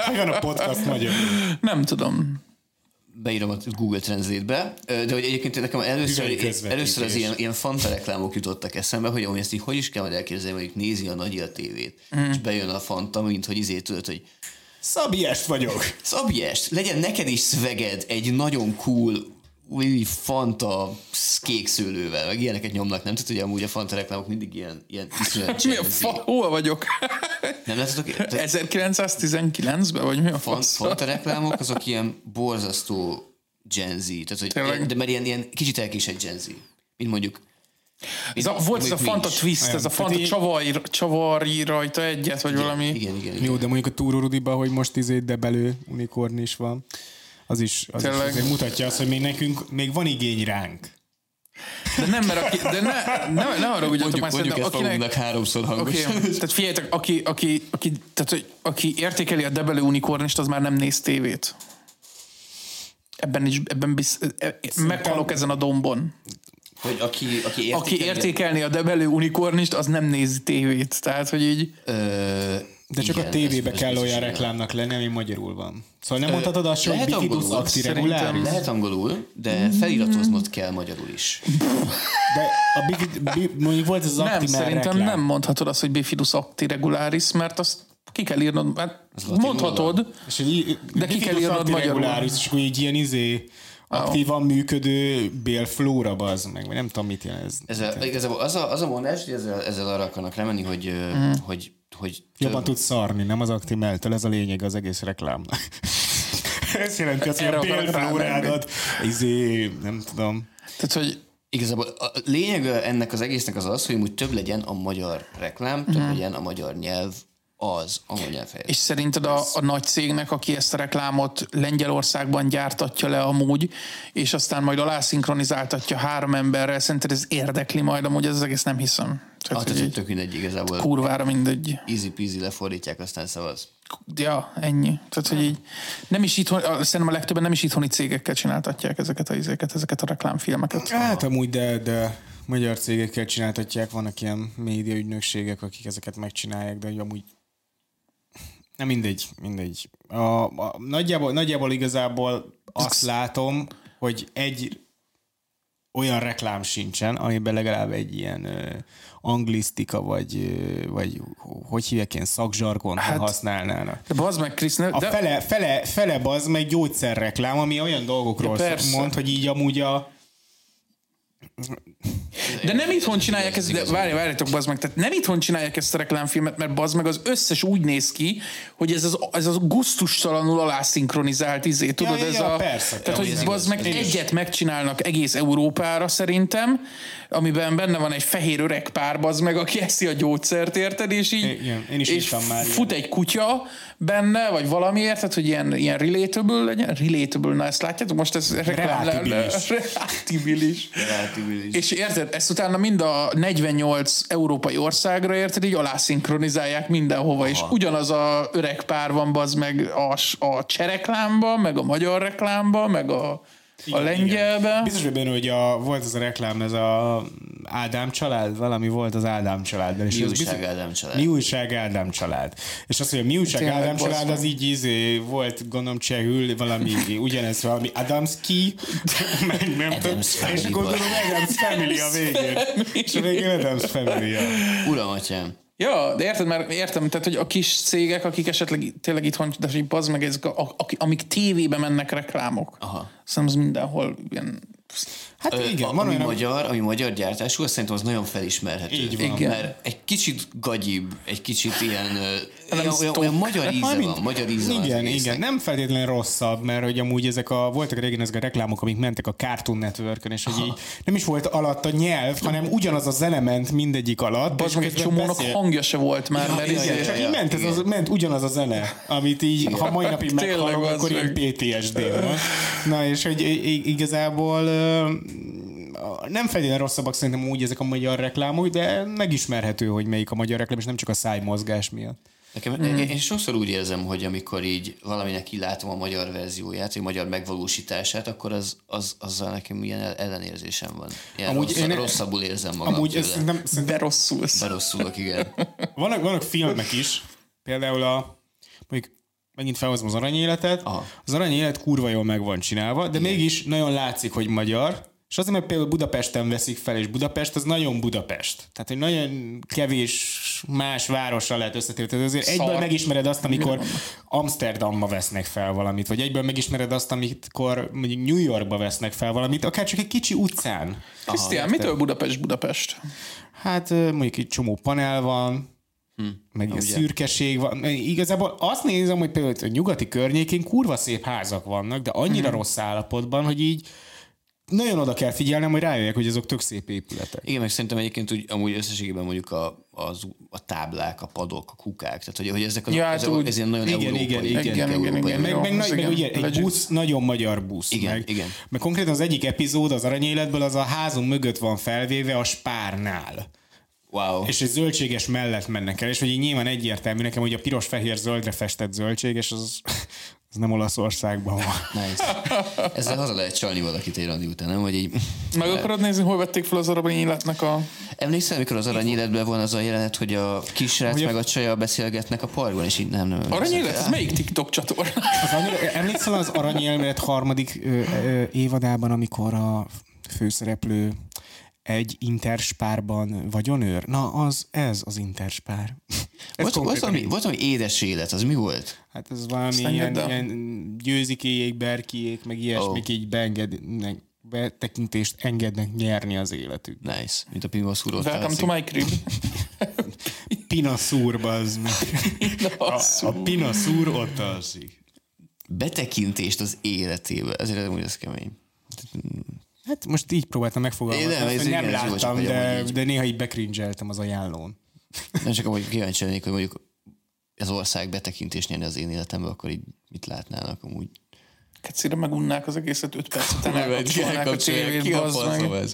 Hogy van a podcast magyarul? Nem tudom. beírom a Google Translate-be, ö, de hogy egyébként nekem Üveg először, közvetítés. először az ilyen, ilyen fanta reklámok jutottak eszembe, hogy amúgy ezt így hogy is kell majd elképzelni, hogy nézi a nagyi a tévét, Mhm. mm. és bejön a fanta, mint hogy izé tudod, hogy Szabiest vagyok. Szabjes, legyen neked is szveged egy nagyon cool új fanta kék szőlővel, meg ilyeneket nyomnak, nem? Tehát ugye amúgy a fanta reklámok mindig ilyen, ilyen iszonyat Hát Mi a Gen Z. fa, hol vagyok? Nem láttatok? Tehát 1919-ben, vagy mi a fan- fasz? fanta reklámok azok ilyen borzasztó Gen Z, tehát, hogy, Tényleg? de mert ilyen, ilyen kicsit elkésett Gen Z, mint mondjuk Ez a, volt ez a amit Fanta nincs. twist, ez a Tehát Fanta így- csavarj, csavarj rajta egyet, vagy valami. Igen, igen, igen. Jó, de mondjuk a Túró Rudiba, hogy most izé debelő unikorn is van, az is, az is Tényleg. azért mutatja azt, hogy még nekünk még van igény ránk. De nem, mert aki, de ne, ne, ne arra ugyatok Mondjuk, mondjuk már szerintem, ezt akinek... magunknak háromszor Oké, hangosan. tehát figyeljetek, aki, aki, aki, tehát, hogy aki értékeli a debelő unikornist, az már nem néz tévét. Ebben is, ebben biz, e- e- meghalok ezen a dombon. Hogy aki, aki értékeli, Aki értékelni a debelő unikornist, az nem nézi tévét. Tehát, hogy így... Ö, De csak igen, a tévébe ez- ez kell biztos, olyan igen. reklámnak lenni, ami magyarul van. Szóval nem mondhatod azt, hogy lehet bikidus angolul, acti szerintem. reguláris. Lehet angolul, de feliratoznod kell magyarul is. De a big, big, mondjuk volt ez az Nem, Actimel szerintem reklám. nem mondhatod azt, hogy bifidus acti regularis, mert azt ki kell írnod, hát latinul mondhatod, És így, De ki kell írnod magyarul. reguláris, és akkor így ilyen izé, aktívan működő bélflóra bazd meg, vagy nem tudom mit jelent ez. Ez a, igazából az a, az a mondás, hogy ezzel, ezzel arra akarnak remenni, hogy, mm. hogy, hogy Jobban tudsz szarni, nem az Actimeltől, ez a lényeg az egész reklámnak. ez jelenti azt, hogy Erre a akarok bélflórádat, izé, nem tudom. tehát, hogy Igazából a lényeg ennek az egésznek az az, hogy úgy több legyen a magyar reklám, több legyen a magyar nyelv az angol nyelv helyett. És szerinted a, a nagy cégnek, aki ezt a reklámot Lengyelországban gyártatja le amúgy, és aztán majd alászinkronizáltatja három emberrel, szerinted ez érdekli majd amúgy, ez az egész nem hiszem. Ah, Tehát, hogy tehát így, tök mindegy, igazából kurvára mindegy. easy peasy lefordítják, aztán szavaz. Ja, ennyi. Tehát, hogy így nem is itthon, a- szerintem a legtöbben nem is itthoni cégekkel csináltatják ezeket a izéket, ezeket a reklámfilmeket. Hát amúgy, de, de magyar cégekkel csináltatják, vannak ilyen médiaügynökségek, akik ezeket megcsinálják, de amúgy nem mindegy, mindegy. A, a, nagyjából, nagyjából igazából azt látom, hogy egy olyan reklám sincsen, amiben legalább egy ilyen ö, anglisztika, vagy, ö, vagy hogy hívják, ilyen szakzsargon hát, használnának. De bazd meg, Krisz, ne, A de, fele, fele, fele az meg gyógyszerreklám, ami olyan dolgokról Ja, ja, persze. mond, hogy így amúgy a, de nem itthon csinálják ezt, de várj, várjatok, bazd meg, tehát nem itthon csinálják ezt a reklámfilmet, mert bazd meg az összes úgy néz ki, hogy ez az, ez az gusztustalanul alászinkronizált izé, tudod, ja, ez ja, a... persze. Tehát, Ja, hogy ez bazd igaz, meg ez egyet megcsinálnak egész Európára szerintem, amiben benne van egy fehér öreg pár, bazd meg, aki eszi a gyógyszert, érted, és így... Igen, én is és írtam már fut egy kutya benne, vagy valamiért, tehát, hogy ilyen, ilyen relatable legyen, relatable, na ezt látjátok, most ez reklám le- le- Relátibilis. Relátibilis. És érted, ezt utána mind a 48 európai országra, érted, így alászinkronizálják mindenhova, és ugyanaz a öreg pár van bazd meg a, s- a csereklámba, meg a magyar reklámba, meg a, a lengyelbe. Biztos vagyok benne, hogy a, volt ez a reklám, ez a Ádám család, valami volt az Ádám családban. és Mi az újság biztos- Ádám család? Mi újság Ádám család. És azt mondja, mi újság Tényleg, Ádám bosszú. család, az így izé, volt gondolom csehül, valami ugyanez, valami Adamski, meg nem tudom, Adams és Family gondolom volt. Adams Family a végén. És a végén Adams Family. -a. Uram, atyám. Ja, de érted, már értem, tehát hogy a kis cégek, akik esetleg tényleg itthon, de hogy bazd meg, ezek, a, a, amik tévébe mennek reklámok. Aha. Szerintem az mindenhol ilyen... Hát Ö, igen, a, van ami, olyan, ami- magyar, ami magyar gyártású, azt szerintem az nagyon felismerhető. Így van. Igen. Mert egy kicsit gagyibb, egy kicsit ilyen, ö, olyan, olyan, sztok. olyan magyar íze Mármint- van, magyar íze van. az Igen, egésznek. igen. Nem feltétlenül rosszabb, mert hogy amúgy ezek a, voltak régen ezek a reklámok, amik mentek a Cartoon network és hogy így nem is volt alatt a nyelv, hanem ugyanaz a zene ment mindegyik alatt. Bazd és meg, egy közben csomónak beszél- hangja se volt már, mert igen, izé- igen, csak ja, így ment, ez igen. az, ment ugyanaz a zene, amit így, ha mai napig Tényleg, meghallom, az akkor ilyen PTSD van. Na és hogy i- i- igazából ö, a- nem feltétlenül rosszabbak szerintem úgy ezek a magyar reklámok, de megismerhető, hogy melyik a magyar reklám, és nem csak a szájmozgás miatt. Nekem, Hmm. mm. Én sokszor úgy érzem, hogy amikor így valaminek kilátom a magyar verzióját, vagy magyar megvalósítását, akkor az, az, azzal nekem ilyen el- ellenérzésem van. Ilyen Amúgy amúgy rosszabb, én- én... rosszabbul érzem magam Amúgy ez tőle. szerintem, szerintem de rosszul. De rosszulok, igen. Vannak, vannak filmek is, például a, mondjuk megint felhozom az aranyéletet, Aha. az aranyélet kurva jól meg van csinálva, de mégis nagyon látszik, hogy magyar, és azért, mert például Budapesten veszik fel, és Budapest az nagyon Budapest. Tehát, hogy nagyon kevés más várossal lehet összetérni. Tehát azért Szar. egyből megismered azt, amikor Amsterdamba vesznek fel valamit, vagy egyből megismered azt, amikor mondjuk New Yorkba vesznek fel valamit, akár csak egy kicsi utcán. Krisztián, mitől Budapest Budapest? Hát ö, mondjuk itt csomó panel van, meg ilyen ugye. szürkeség van. Igazából azt nézem, hogy például a nyugati környékén kurva szép házak vannak, de annyira rossz állapotban, hogy így nagyon oda kell figyelnem, hogy rájöjjek, hogy azok tök szép épületek. Igen, meg szerintem egyébként úgy, amúgy összességében mondjuk a, az, a táblák, a padok, a kukák, tehát hogy, hogy ezek, azok, Ja, ja, hát ezek, úgy- ez ilyen nagyon Igen, európai. igen, igen, inkább igen, igen, európai. igen. Meg, Jó, meg, az nagy, meg igen, ugye egy legit. busz, nagyon magyar busz. Igen, meg, igen. Meg konkrétan az egyik epizód az aranyéletből az a házunk mögött van felvéve a spárnál. Wow. És egy zöldséges mellett mennek el, és hogy így nyilván egyértelmű nekem, hogy a piros-fehér-zöldre festett zöldséges, az, az nem Olaszországban van. Nice. Ezzel haza lehet csalni valakit egy randi után, nem? Hogy így... Meg akarod nézni, hol vették fel az aranyéletnek a... Emlékszel, amikor az arany életben van az a jelenet, hogy a kisrác Hogy a- meg a csaja beszélgetnek a parkban, és így nem, nem. emlékszem. Aranyélet? Ez melyik TikTok csatorna? Az annyira, emlékszel az aranyélmélet harmadik ö, ö, évadában, amikor a főszereplő egy interspárban vagyonőr? Na, az ez az interspár. Ez Volt, volt, konkrétan valami, így. volt valami édes élet, az mi volt? Hát ez valami Aztán ilyen, jött a- ilyen győzikéjék, berkiék, meg ilyesmik oh. így beengednek, betekintést engednek nyerni az életük. Nice, mint a pingvaszúró. Welcome to my crib. Pinaszúrba az mi? A, a pinaszúr ott alszik. Betekintést az életébe. Ezért nem úgy ez kemény. Hát most így próbáltam megfogalmazni. Én nem, ez nem, igen, nem ez jó, csak láttam, hogy de, amúgy így- de néha így bekringeltem az ajánlón. Nem csak amúgy kíváncsi lennék, hogy mondjuk az ország betekintést nyerne az én életembe, akkor így mit látnának amúgy? Kecire megunnák az egészet 5 perc után elkapcsolnák a tévét, Ki a bazd faszom meg. ez?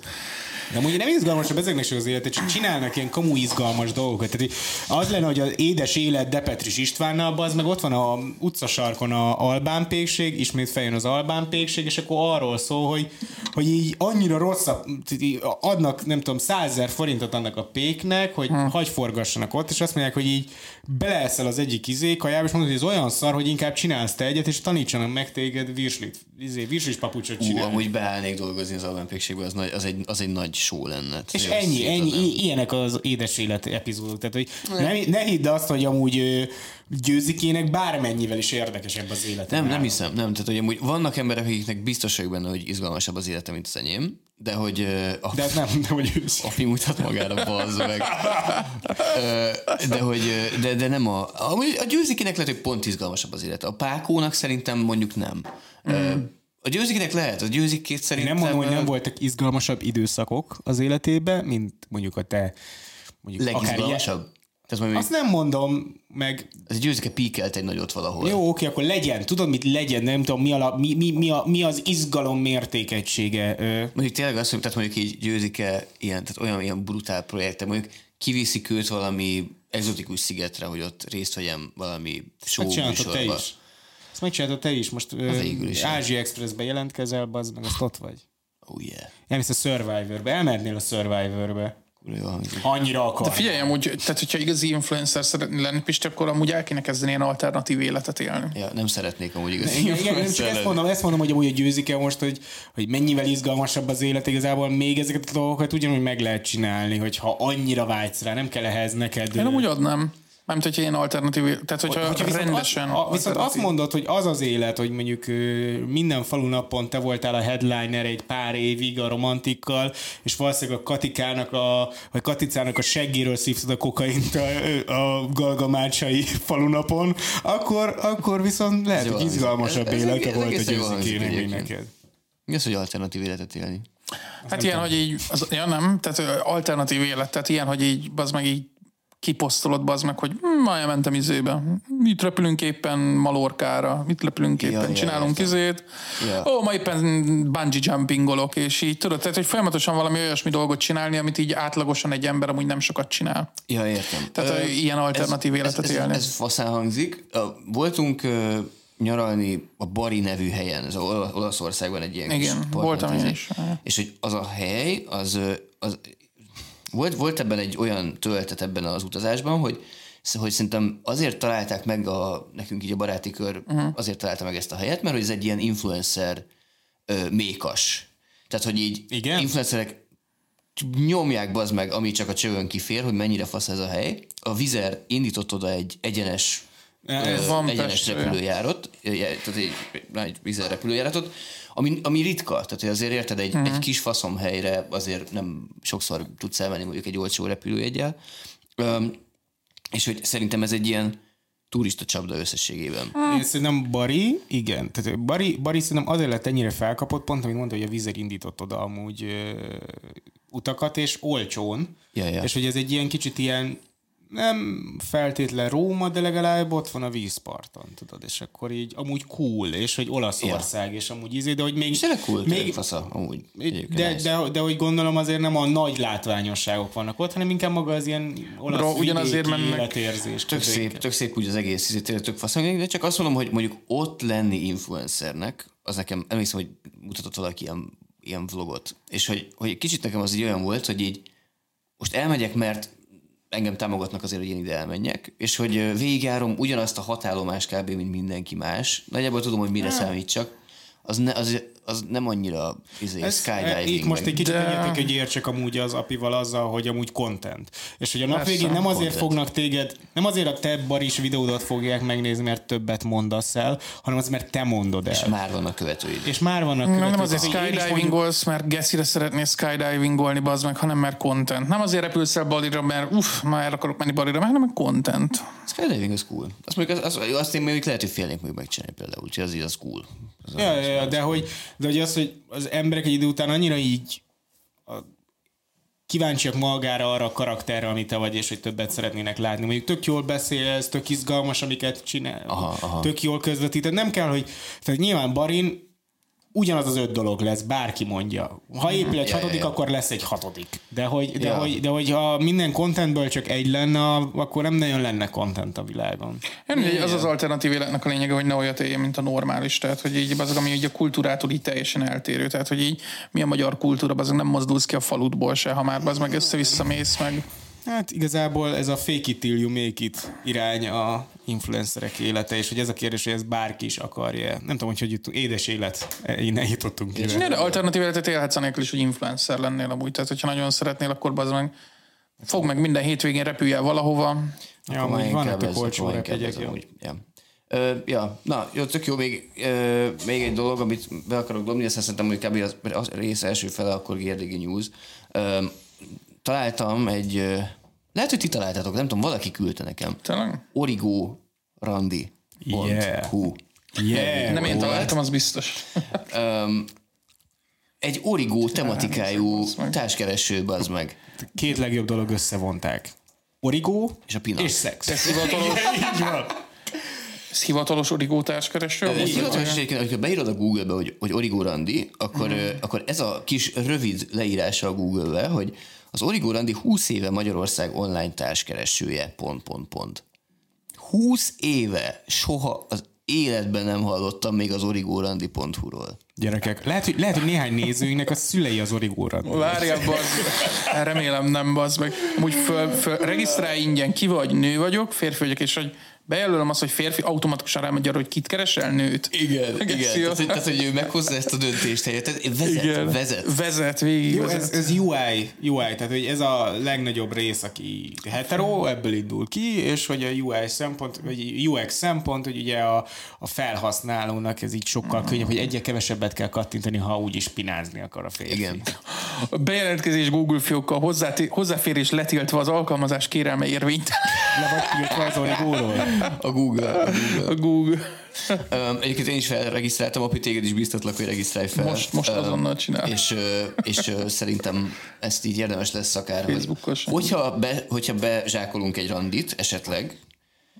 De amúgy nem izgalmasabb ezeknek sem az élete, csak csinálnak ilyen kamu izgalmas dolgokat. Tehát így az lenne, hogy az édes élet Depetris Istvánnal, az meg ott van a utcasarkon a Albán pékség, ismét feljön az Albán pékség, és akkor arról szól, hogy, hogy így annyira rosszabb, tehát így adnak nem tudom, százer forintot annak a péknek, hogy hmm. hagy forgassanak ott, és azt mondják, hogy így beleeszel az egyik izé kajába, és mondod, hogy ez olyan szar, hogy inkább csinálsz te egyet, és tanítsanak meg téged virslit, izé, virslis papucsot Ú, csinálni. amúgy beállnék dolgozni az Albán Pékségbe, az, nagy, az, egy, az egy nagy show lenne. És Tényleg ennyi, szépen ennyi, nem. i- ilyenek az édes élet epizódok. Tehát, hogy ne, ne hidd azt, hogy amúgy ö, győzikének bármennyivel is érdekesebb az élete. Nem, nem hiszem, nem. Tehát, hogy amúgy vannak emberek, akiknek biztos vagyok benne, hogy izgalmasabb az élete, mint az enyém, de hogy ö, a, De ez nem, nem hogy ősz. a fi mutat magára, bazd meg. Ö, de hogy, ö, de, de nem a... Amúgy a győzikinek lehet, hogy pont izgalmasabb az élete. A pákónak szerintem mondjuk nem. Ö, A győzikinek lehet, a győzikét szerintem... Hmm. Nem mondom, hogy nem ö, voltak izgalmasabb időszakok az életében, mint mondjuk a te mondjuk akár ilyen- Legizgalmasabb. Tehát majd Azt nem mondom, meg ez a győzike píkelt egy nagyot valahol. jó, oké, akkor legyen. Tudod, mit legyen? Nem tudom, mi, ala, mi, mi, mi, a, mi az izgalom mértékegysége. Ö, Mondjuk tényleg azt mondjuk, tehát mondjuk így győzik-e ilyen, tehát olyan ilyen brutál projektek, mondjuk kiviszik őt valami exotikus szigetre, hogy ott részt vegyem valami show Megcsináltad te műsorba. is. Ezt megcsináltad te is. Most végül is. Ázsia Expressbe jelentkezel, bazd meg, azt ott vagy. Oh yeah. Elmész a Survivorbe, elmernél a Survivorbe. Kurva jó hangzik. Ha annyira akar. De figyelj, amúgy, tehát hogyha igazi influencer szeretné lenni, Pisti, akkor amúgy el kéne kezdeni ilyen alternatív életet élni. Ja, nem szeretnék amúgy igazán. igen, igen, nem csak ezt mondom, ezt mondom, hogy amúgy a győzik el most, hogy, hogy mennyivel izgalmasabb az élet igazából, még ezeket a dolgokat ugyanúgy meg lehet csinálni, hogyha annyira vágysz rá, nem kell ehhez neked. Én amúgy adnám. Mármint, hogyha ilyen alternatív, tehát hogyha, Hogyha viszont, rendesen. azt, a, viszont azt alternatív. mondod, hogy az az élet, hogy mondjuk ö, minden falu napon te voltál a headliner egy pár évig a romantikkal, és valószínűleg a Katikának a, vagy Katicának a seggéről szívtad a kokaint a, a galgamácsai falunapon, akkor, akkor viszont lehet, Ez hogy jó hangzik. izgalmasabb Ez- ez élete egész- volt a egészen jól hangzik győzikének, mint egyébként. neked. Mi az, hogy alternatív életet élni? Hát ilyen, hogy így, az, ja nem, tehát ö, alternatív élet, tehát ilyen, hogy így, az meg így kiposztolod, az meg, hogy hm, ma elmentem izébe, mit repülünk éppen Malorkára, mit repülünk éppen, ja, csinálunk értem. izét, Ja. ó, ma éppen bungee jumpingolok, és így tudod, tehát hogy folyamatosan valami olyasmi dolgot csinálni, amit így átlagosan egy ember amúgy nem sokat csinál. Ja, értem. Tehát ö, ilyen alternatív életet ez, élni. Ez, ez faszán hangzik. Ö, Voltunk ö, nyaralni a Bari nevű helyen, ez Ola- Olaszországban egy ilyen kis Igen, parkban voltam én tűzik. is. És hogy az a hely, az, ö, az volt, volt ebben egy olyan töltet ebben az utazásban, hogy sz- hogy szerintem azért találták meg a, nekünk így a baráti kör, Mhm. uh-huh. azért találta meg ezt a helyet, mert hogy ez egy ilyen influencer ö, mékas. Tehát, hogy így Igen? influencerek nyomják bazd meg, ami csak a csövön kifér, hogy mennyire fasz ez a hely. A Vizer indított oda egy egyenes Ez ö, van egyenes Pestre. repülőjárat, ö, já- tehát egy nagy Vizer repülőjáratot, ami, ami ritka, tehát hogy azért érted, egy, Mhm. egy kis faszom helyre azért nem sokszor tudsz elmenni mondjuk egy olcsó repülőjegyel. Öm, és hogy szerintem ez egy ilyen turista csapda összességében. Én szerintem Bari, igen. Tehát Bari, Bari szerintem azért lett ennyire felkapott, pont amit mondta, hogy a vízer indított oda amúgy ö, utakat, és olcsón. Ja, ja. És hogy ez egy ilyen kicsit ilyen nem feltétlen Róma, de legalább ott van a vízparton, tudod, és akkor így amúgy cool, és hogy Olaszország, és amúgy izé, de hogy még... És tényleg cool, még, még, fasza, amúgy. egyébként de, nice. de, de, hogy gondolom azért nem a nagy látványosságok vannak ott, hanem inkább maga az ilyen olasz Bro, Bro, ugyanazért mennek- életérzés. Tök szép, tök szép úgy az egész, izé, tényleg tök fasz, de csak azt mondom, hogy mondjuk ott lenni influencernek, az nekem, emlékszem, hogy mutatott valaki ilyen, ilyen vlogot, és hogy, hogy kicsit nekem az így olyan volt, hogy így most elmegyek, mert engem támogatnak azért, hogy én ide elmenjek, és hogy ö, végigjárom ugyanazt a hatállomást kb. mint mindenki más, nagyjából tudom, hogy mire Hát. számítsak, az, ne, az, az nem annyira izé, Ez- e, skydiving. Itt most egy meg- kicsit De- egyetek, hogy értsek amúgy az apival azzal, hogy amúgy content. És hogy a nap végén nem azért content. fognak téged, nem azért a te baris videódat fogják megnézni, mert többet mondasz el, hanem az, mert te mondod el. És már, Már vannak követőid. és már vannak Nem követők, azért akik- én is mondjuk- skydivingolsz, mert geszire szeretnél skydivingolni, bazd meg, hanem mert content. Nem azért repülsz el balira, mert uff, már el akarok menni balira, hanem mert content. Skydiving az cool. Azt mondjuk, az, az, azt én még lehet, hogy félnék még megcsinálni például, úgyhogy az így az cool. Az Ja, ja, ja, de hogy, de hogy az, hogy az emberek egy idő után annyira így a, kíváncsiak magára arra a karakterre, amit te vagy, és hogy többet szeretnének látni. Mondjuk tök jól beszélsz, tök izgalmas, amiket csinál, aha, aha. tök jól közvetíted. Nem kell, hogy tehát nyilván Barin ugyanaz az öt dolog lesz, bárki mondja. Ha épül egy Mhm. Ja, ja, hatodik, ja. akkor lesz egy hatodik. De hogy, de, Ja. hogy, de hogy ha minden contentből csak egy lenne, akkor nem nagyon lenne content a világon. Én mindegy, az az alternatív életnek a lényege, hogy ne olyat éljél, mint a normális. Tehát, hogy így az, ami így a kultúrától így teljesen eltérő. Tehát, hogy így mi a magyar kultúra, az nem mozdulsz ki a falutból se, ha már az meg össze-vissza mész meg. Hát igazából ez a fake it till you make it irány a influencerek élete, és hogy ez a kérdés, hogy ez bárki is akarja. Nem tudom, hogy hogy jutunk. Édes élet. eh, Innen jutottunk ki. Csinálj alternatív életet élhetsz anélkül is, hogy influencer lennél amúgy. Tehát, hogyha nagyon szeretnél, akkor az meg fog meg minden hétvégén repülj el valahova. Ja, Akkor már amúgy vannak inkább a ez, akkor olcsó inkább ez jegyek. ja. amúgy. Ja. Ö, ja, na, jó, tök jó, még, ö, még egy dolog, amit be akarok dobni, aztán szerintem, hogy kb. az, az rész első fele, akkor Gérdégi News. Ö, találtam egy, ö, lehet, hogy ti találtátok, nem tudom, valaki küldte nekem. Tényleg? Origo Randi. Yeah. Hú. Yeah. Nem én Volt. találtam, az biztos. Öm, egy origó tematikájú társkereső, az meg. Két legjobb dolog összevonták. Origó És a pinasz. és szex. Ez hivatalos, Így van. ez hivatalos origó társkereső? Ö, Úgy, Hivatalos hogy- egyébként, hogyha beírod a Google-be, hogy, hogy Origo Randi, akkor, Mhm. ö, akkor ez a kis rövid leírása a Google-be, hogy az Origo Randi 20 éve Magyarország online társkeresője, pont, pont, pont. 20 éve soha az életben nem hallottam még az origórandi.hu-ról. Gyerekek, lehet, hogy, lehet, hogy néhány nézőinknek a szülei az origóra. Várjál, bazd. Remélem nem, bazd meg. Úgy föl, föl, regisztrálj ingyen, ki vagy, nő vagyok, férfi vagyok, és hogy bejelölöm azt, hogy férfi, automatikusan rámegy arra, hogy kit keresel, nőt. Igen, Egész igen. jó. Tehát, hogy- tehát, hogy ő meghozza ezt a döntést helyett. Tehát vezet, igen. vezet. Vezet, végig Jó, vezet. ez, ez UI, UI, tehát hogy ez a legnagyobb rész, aki hetero, ebből indul ki, és hogy a UI szempont, vagy UX szempont, hogy ugye a, a felhasználónak ez így Mm. sokkal könnyebb, hogy egyre kevesebbet kell kattintani, ha úgyis pinázni akar a férfi. Igen. A bejelentkezés Google fiókkal hozzá- hozzáférés letiltva az alkalmazás kérelme érvényt. Le vagy tiltva az origóról? A Google. A Google. A Google. Öm, egyébként én is felregisztráltam, api téged is biztatlak, hogy regisztrálj fel. Most- most Öm, azonnal csinál. És, ö, és ö, szerintem ezt így érdemes lesz akár, hogy- Facebookos. hogyha, be, hogyha bezsákolunk egy randit esetleg,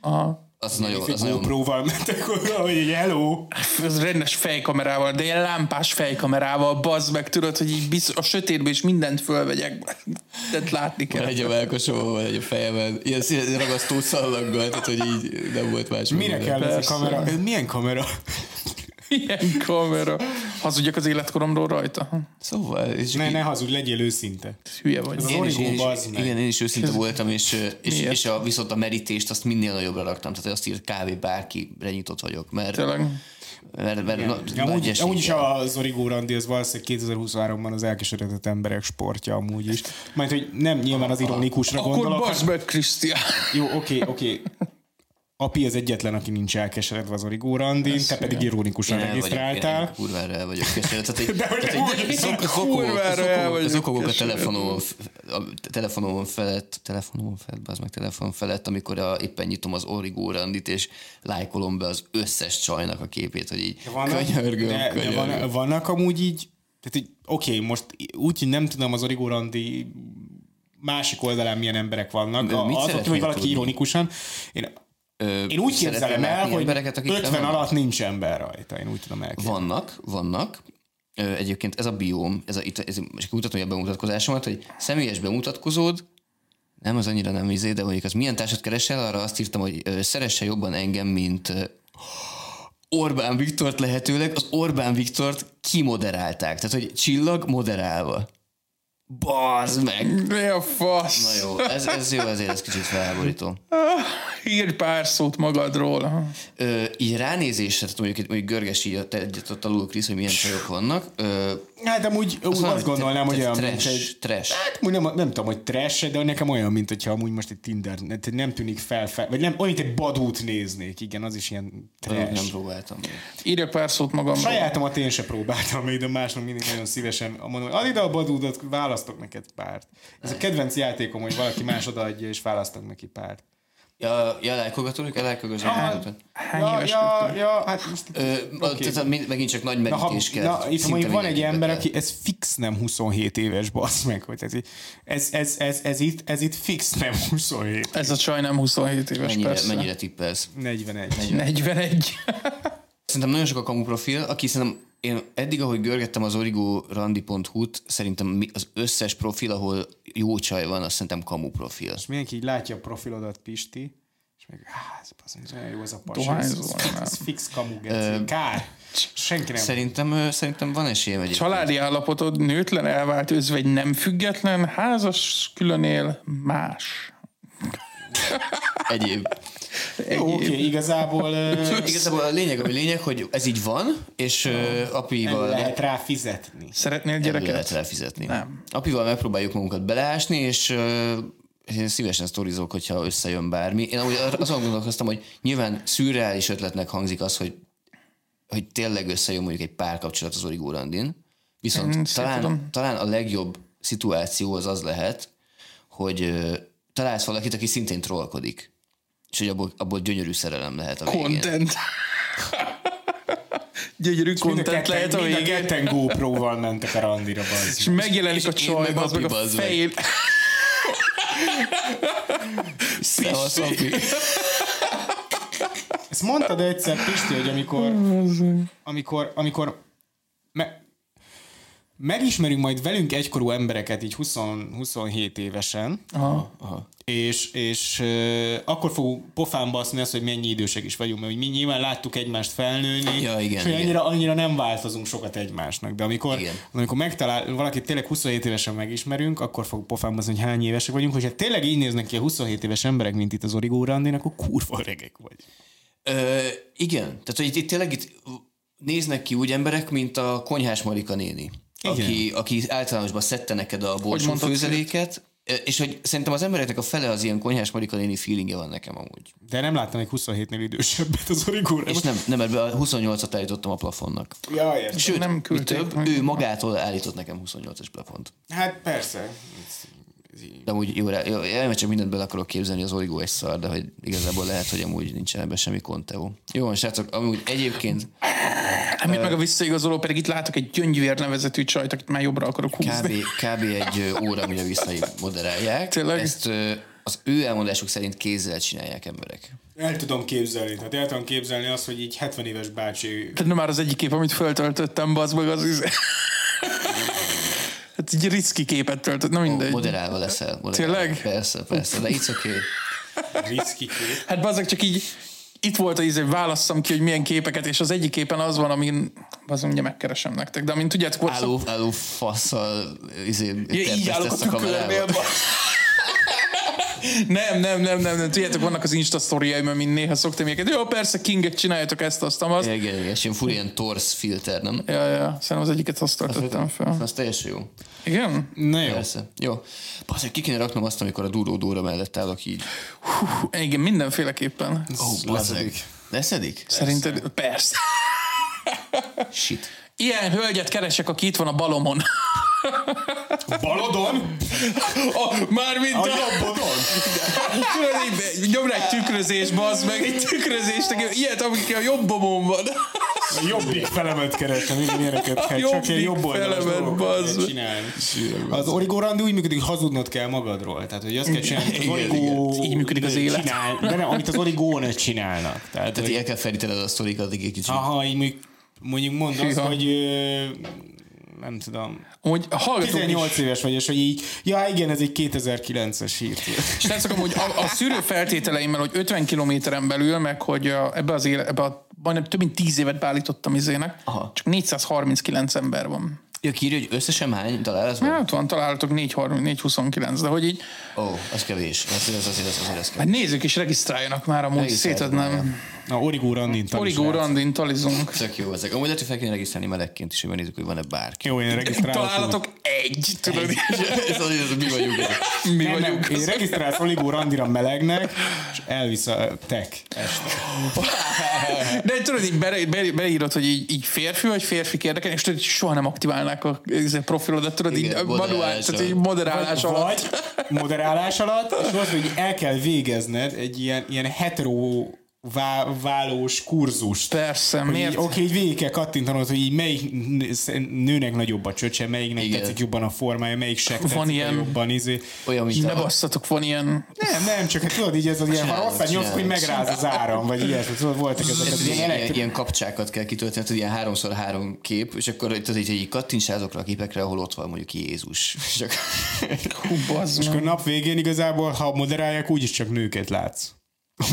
Aha. az nagyon, az nagyon GoPro-val mentek oda, hogy egy hello. Ez rendes fejkamerával, de ilyen lámpás fejkamerával, bazd meg, tudod, hogy így biztos, a sötétben is mindent fölvegyek. Tehát látni kell. egy a melkosomban, van egy a fejemen, ilyen színe- ragasztó szallaggal, tehát hogy így nem volt más. Mire kell ez Persze. a kamera? Ez milyen kamera? Ilyen kamera. Hazudjak az életkoromról rajta? Szóval, és Ne, ne hazudj, legyél őszinte. Hülye vagy. Ez Én is, én Origó, is, bazd meg. igen, én is őszinte voltam, és, ö, és, Miért? és a, viszont a merítést azt minél nagyobbra raktam. Tehát azt írt kávé bárkire nyitott vagyok, mert, Tényleg. mert, mert na, nagy Amúgy, esély amúgy is van. az Origó Randi, ez valószínűleg 2023-ban az elkeseredett emberek sportja amúgy is. Majd, hogy nem nyilván az ironikusra Akkor gondolok. bazd meg, Krisztián. Jó, oké, oké. Api az egyetlen, aki nincs elkeseredve az origó randin, te pedig ironikusan Én el vagyok, én regisztráltál. kurvára el vagyok keseredve. Tehát, egy- De hogy tehát egy úgy, szok- kurvára zokogok- el zokogok- vagyok zokogok a keseredve. telefonomon, f- a telefonomon felett, telefonomon felett, az meg telefon felett, amikor a, éppen nyitom az Origo randit, és lájkolom be az összes csajnak a képét, hogy így könyörgöm, de, de könyörgöm. van, vannak amúgy így, tehát így, oké, most úgy, hogy nem tudom az Origo Randi másik oldalán milyen emberek vannak. De A- mit az, hogy szeretnél vagy valaki tudni? ironikusan. Én, én úgy szeretnél képzelem el, látni hogy embereket, akik 50 vannak? alatt nincs ember rajta. Én úgy tudom elképzelni. Vannak, vannak. Ö, Egyébként ez a bióm, ez a, itt, ez, most mutatom a bemutatkozásomat, hogy személyes bemutatkozód, nem az annyira nem izé, de mondjuk az milyen társat keresel, arra azt írtam, hogy ö, szeresse jobban engem, mint ö, Orbán Viktort lehetőleg, az Orbán Viktort kimoderálták. Tehát, hogy csillag moderálva. Bazd meg! Mi a fasz? Na jó, ez, ez jó, ezért ez kicsit felháborító. Írj pár szót magadról. Ö, így ránézésre, tehát mondjuk, mondjuk görges így ott, egyet ott alul Krisz, hogy milyen csajok vannak. Ö, Hát amúgy úgy mondom, azt hogy te- gondolnám, hogy te olyan, mint trash, egy... trash. Hát úgy nem, nem tudom, hogy trash de nekem olyan, mint hogyha amúgy most egy Tinder, tehát nem tűnik fel, fel vagy nem, olyan, mint egy badút néznék, igen, az is ilyen Trash. Nem trash. próbáltam. még. Írj pár szót magamról. Sajátomat én se E próbáltam még, de másnak mindig nagyon szívesen mondom, hogy add ide a badúdat, választok neked párt. Ez a kedvenc játékom, hogy valaki más odaadja, és választok neki párt. Ja, ja lájkogatunk, elájkogatunk. Hány ja, éves ja, lettél? ja, hát most... Oké. Okay. Tehát mind- megint csak nagy Na, ha, merítés kell. na, itt Szinte mondjuk van egy mindenkibe ember, kell. aki ez fix nem 27 éves, bassz meg, hogy ez, í- ez, ez, ez, ez, itt, ez itt fix nem 27. Ez a csaj nem 27 éves, Mennyire, persze. mennyire tippelsz? 41. 41. Szerintem nagyon sok a kamu profil, aki szerintem én eddig, ahogy görgettem az origorandi.hu-t, szerintem mi- az összes profil, ahol jó csaj van, azt szerintem kamu profil. És mindenki így látja a profilodat, Pisti, és meg, áh, ez baszik, ez olyan jó ez a pasa, ez, Dohányzó, ez, nem? ez fix kamu, geci. Kár. Senki nem. Szerintem, ö, szerintem van esélyem egyébként. Családi állapotod nőtlen, elvált, özvegy, nem független, házas, külön él, más. Egyéb. Jó, oké, igazából ö, Igazából a lényeg, ami lényeg, hogy ez így van, és ö, apival lehet rá fizetni. Szeretnél Gyereket? gyereket? lehet elfizetni. Nem. Apival megpróbáljuk magunkat beleásni, és ö, én szívesen sztorizok, hogyha összejön bármi. Én amúgy ar- azon gondolkoztam, hogy nyilván szürreális ötletnek hangzik az, hogy, hogy tényleg összejön mondjuk egy párkapcsolat az Origó Randin. Viszont Én talán, szépen. talán a legjobb szituáció az az lehet, hogy ö, találsz valakit, aki szintén trollkodik. És hogy abból, abból gyönyörű szerelem lehet a végén. Content. Gyönyörű Mind a content ketten- lehet a mind a végén. ketten GoPro-val mentek a randira, És bazd. megjelenik és a én csaj, meg az meg api, a bazd meg. fejét. Szevasz, api. Ezt mondtad egyszer, Pisti, hogy amikor, amikor, amikor me, megismerünk majd velünk egykorú embereket, így 20, 27 évesen, Aha. és, és euh, akkor fog pofán baszni azt, hogy mennyi idősek is vagyunk, mert hogy mi nyilván láttuk egymást felnőni, Ja, igen, és hogy igen. annyira, annyira nem változunk sokat egymásnak, de amikor, Igen. amikor megtalál, valakit tényleg 27 évesen megismerünk, akkor fog pofán baszni, hogy hány évesek vagyunk, hogyha tényleg így néznek ki a 27 éves emberek, mint itt az Origó Randin, akkor kurva öregek vagy. Ö, igen, tehát hogy itt, itt tényleg itt néznek ki úgy emberek, mint a konyhás Marika néni, Igen. aki, aki általánosban szedte neked a borsó mondtad, főzeléket, Ö, és hogy szerintem az embereknek a fele az ilyen konyhás Marika néni feelingje van nekem amúgy. De nem láttam egy 27-nél idősebbet az origóra. És nem, nem ebbe a 28-at állítottam a plafonnak. Ja, értem. Sőt, Nem nem küldték több, meg. ő magától állított nekem 28-as plafont. Hát persze. De amúgy jó, rá- jó elmegy, csak mindent bele akarok képzelni, az origó egy szar, de hogy igazából lehet, hogy amúgy nincsen ebben semmi konteó. Jó van, srácok, amúgy egyébként Amit meg a visszaigazoló, pedig itt látok egy gyöngyvér nevezetű csajt, akit már jobbra akarok húzni. kb, kb. egy ö, óra, mire visszamoderálják. Tényleg? Ezt ö, az ő elmondásuk szerint kézzel csinálják emberek. El tudom képzelni. Tehát el tudom képzelni azt, hogy így 70 éves bácsi... Tehát már az egyik kép, amit föltöltöttem, bazd meg az izé. Hát egy riszki képet töltött, na mindegy. Moderálva leszel. Moderálva. Tényleg? Persze, persze, de it's okay. Riszki kép. Hát bazdmeg csak így itt volt az izé, válasszam ki, hogy milyen képeket, és az egyik képen az van, amin az ugye megkeresem nektek, de amint tudjátok, volt Álló, álló faszal izé, Ja, így állok a terpesztesz a tükörnél, kamerába. bazd. Nem, nem, nem, nem, nem. Tudjátok, vannak az Insta sztoriaim, amin néha szoktam ilyeneket. Jó, persze, Kinget csináljatok ezt, azt, azt. Igen, igen, igen, és ilyen fura ilyen torsz filter, nem? Ja, ja, szerintem az egyiket azt tartottam fel. Az teljesen jó. Igen? Na jó. Persze. Jó. Basz, ki kéne raknom azt, amikor a duró Dóra mellett állok így. Hú, igen, mindenféleképpen. Ez lazeg. Leszedik? Szerinted? Persze. Shit. Ilyen hölgyet keresek, aki itt van a balomon. Balodon? A, mármint A a... jobbodon? Tudod, így nyom rá egy tükrözés, bazd meg, egy tükrözés, nekem ilyet, amik a jobb bomon van. A jobbik felemet keresem, így ilyeneket kell. Csak ilyen jobbik jobb oldalas felemet, dolgokat bazd kell meg. csinálni. Az origó randi úgy működik, hogy hazudnod kell magadról. Tehát, hogy azt kell csinálni, amit az origó... igen. Így működik az élet. Csinál, de nem, amit az origón csinálnak. Tehát, Tehát hogy- így el kell felítened a sztorikat addig egy kicsit. Aha, így mondjuk, mondjuk mondd azt, Hűha. hogy ö, nem tudom. Hogy hallgatunk is. 18 éves vagy, és hogy így, ja igen, ez egy 2009-es hír. Srácok, amúgy a, a szűrő feltételeimmel, hogy 50 kilométeren belül, meg hogy a, ebbe az éle, ebbe a, majdnem több mint 10 évet beállítottam izének, Aha. csak 439 ember van. Ja, kiírja, hogy összesen hány találat van? Hát van, találtok 430, 429, de hogy így, Ó, az kevés. Az azért, az azért, az azért, az kevés. hát nézzük is, regisztráljanak már amúgy, Regisztráljanak szétadnám. Na, Origó Randin tanul Origó srác. randin talizunk. Tök jó ezek. Amúgy lehet, hogy fel kéne regisztrálni melegként is, hogy megnézzük, hogy van-e bárki. Jó, én regisztrálok. Találatok egy, tudod, ez az, ez mi vagyunk. mi Nem, nem, vagyunk. én regisztrálsz Origó Randira melegnek, és elvisz a tek. De tudod, így bere, bere, beírod, hogy így, így férfi vagy férfi érdekel, és tudod, hogy soha nem aktiválnák a ez a profilodat, tudod, így Igen, manuál, moderálás tehát alatt. így moderálás alatt. Vagy moderálás alatt, és az, hogy el kell végezned egy ilyen, ilyen hetero vá- válós kurzust. Persze, Hogy így, miért? Oké, így végig kell kattintanod, hogy így melyik n- nőnek nagyobb a csöcse, melyiknek Igen. tetszik jobban a formája, melyik se tetszik a ilyen- jobban. Izé. Olyan, mint Ne a... basszatok, van ilyen... Nem, nem, csak hát tudod, így ez az ilyen, ha Csinálod, rosszat nyomsz, csinálod. hogy megráz az áram, vagy ilyesmi. Tudod, voltak ezek az Ez ilyen ilyen, ilyen, elektrik... ilyen, kapcsákat kell kitölteni, tehát ilyen háromszor három kép, és akkor itt az így, így kattints azokra a képekre, ahol ott van mondjuk Jézus. És akkor... Hú, bazd És meg. akkor nap végén igazából, ha moderálják, úgyis csak nőket látsz.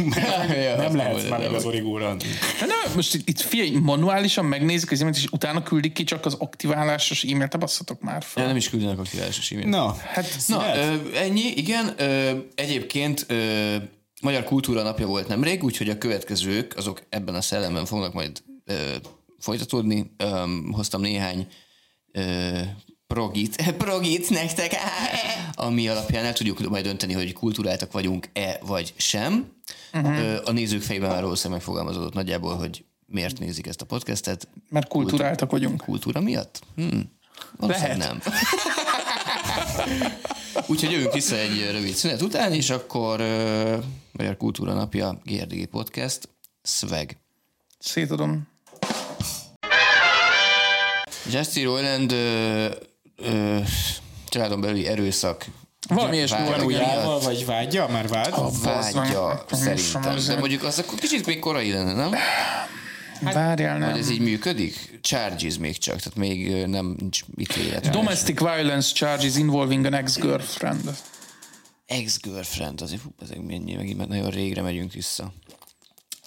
Ja, nem lehetsz nem már meg vagy. az origóra. De Hát nem, most itt, itt figyelj, manuálisan megnézik az e-mailt, és utána küldik ki csak az aktiválásos e-mailt, te basszatok már fel. Ja, nem is küldenek a királyos e Na, Hát, Na, Lehet. ö, ennyi, igen. Ö, egyébként ö, Magyar Kultúra napja volt nemrég, úgyhogy a következők azok ebben a szellemben fognak majd ö, folytatódni. Ö, hoztam néhány ö, progit, progit nektek, ami alapján el tudjuk majd dönteni, hogy kultúráltak vagyunk-e vagy sem. Uh-huh. Ö, a nézők fejében már valószínűleg megfogalmazódott nagyjából, hogy miért nézik ezt a podcastet. mert kulturáltak vagyunk. Kultúra miatt? Hm. Valószínűleg Lehet. nem. Úgyhogy jövünk vissza egy rövid szünet után, és akkor ö, Magyar Kultúra Napja, GRDG Podcast, Swag. Szétadom. Jesse Roland ö, ö, családon belüli erőszak Valami és Várj, volt. ugye? igen. Jával vagy vágya? Már vád? vágya Bazzony. szerintem. De Bazzony. mondjuk az akkor kicsit még korai lenne, nem? Várjál, nem. Ez így működik? Charges még csak, tehát még ö, nem nincs ítélet. Domestic violence charges involving an ex-girlfriend. Ex-girlfriend, azért fú, ezek mennyi, megint már nagyon régre megyünk vissza.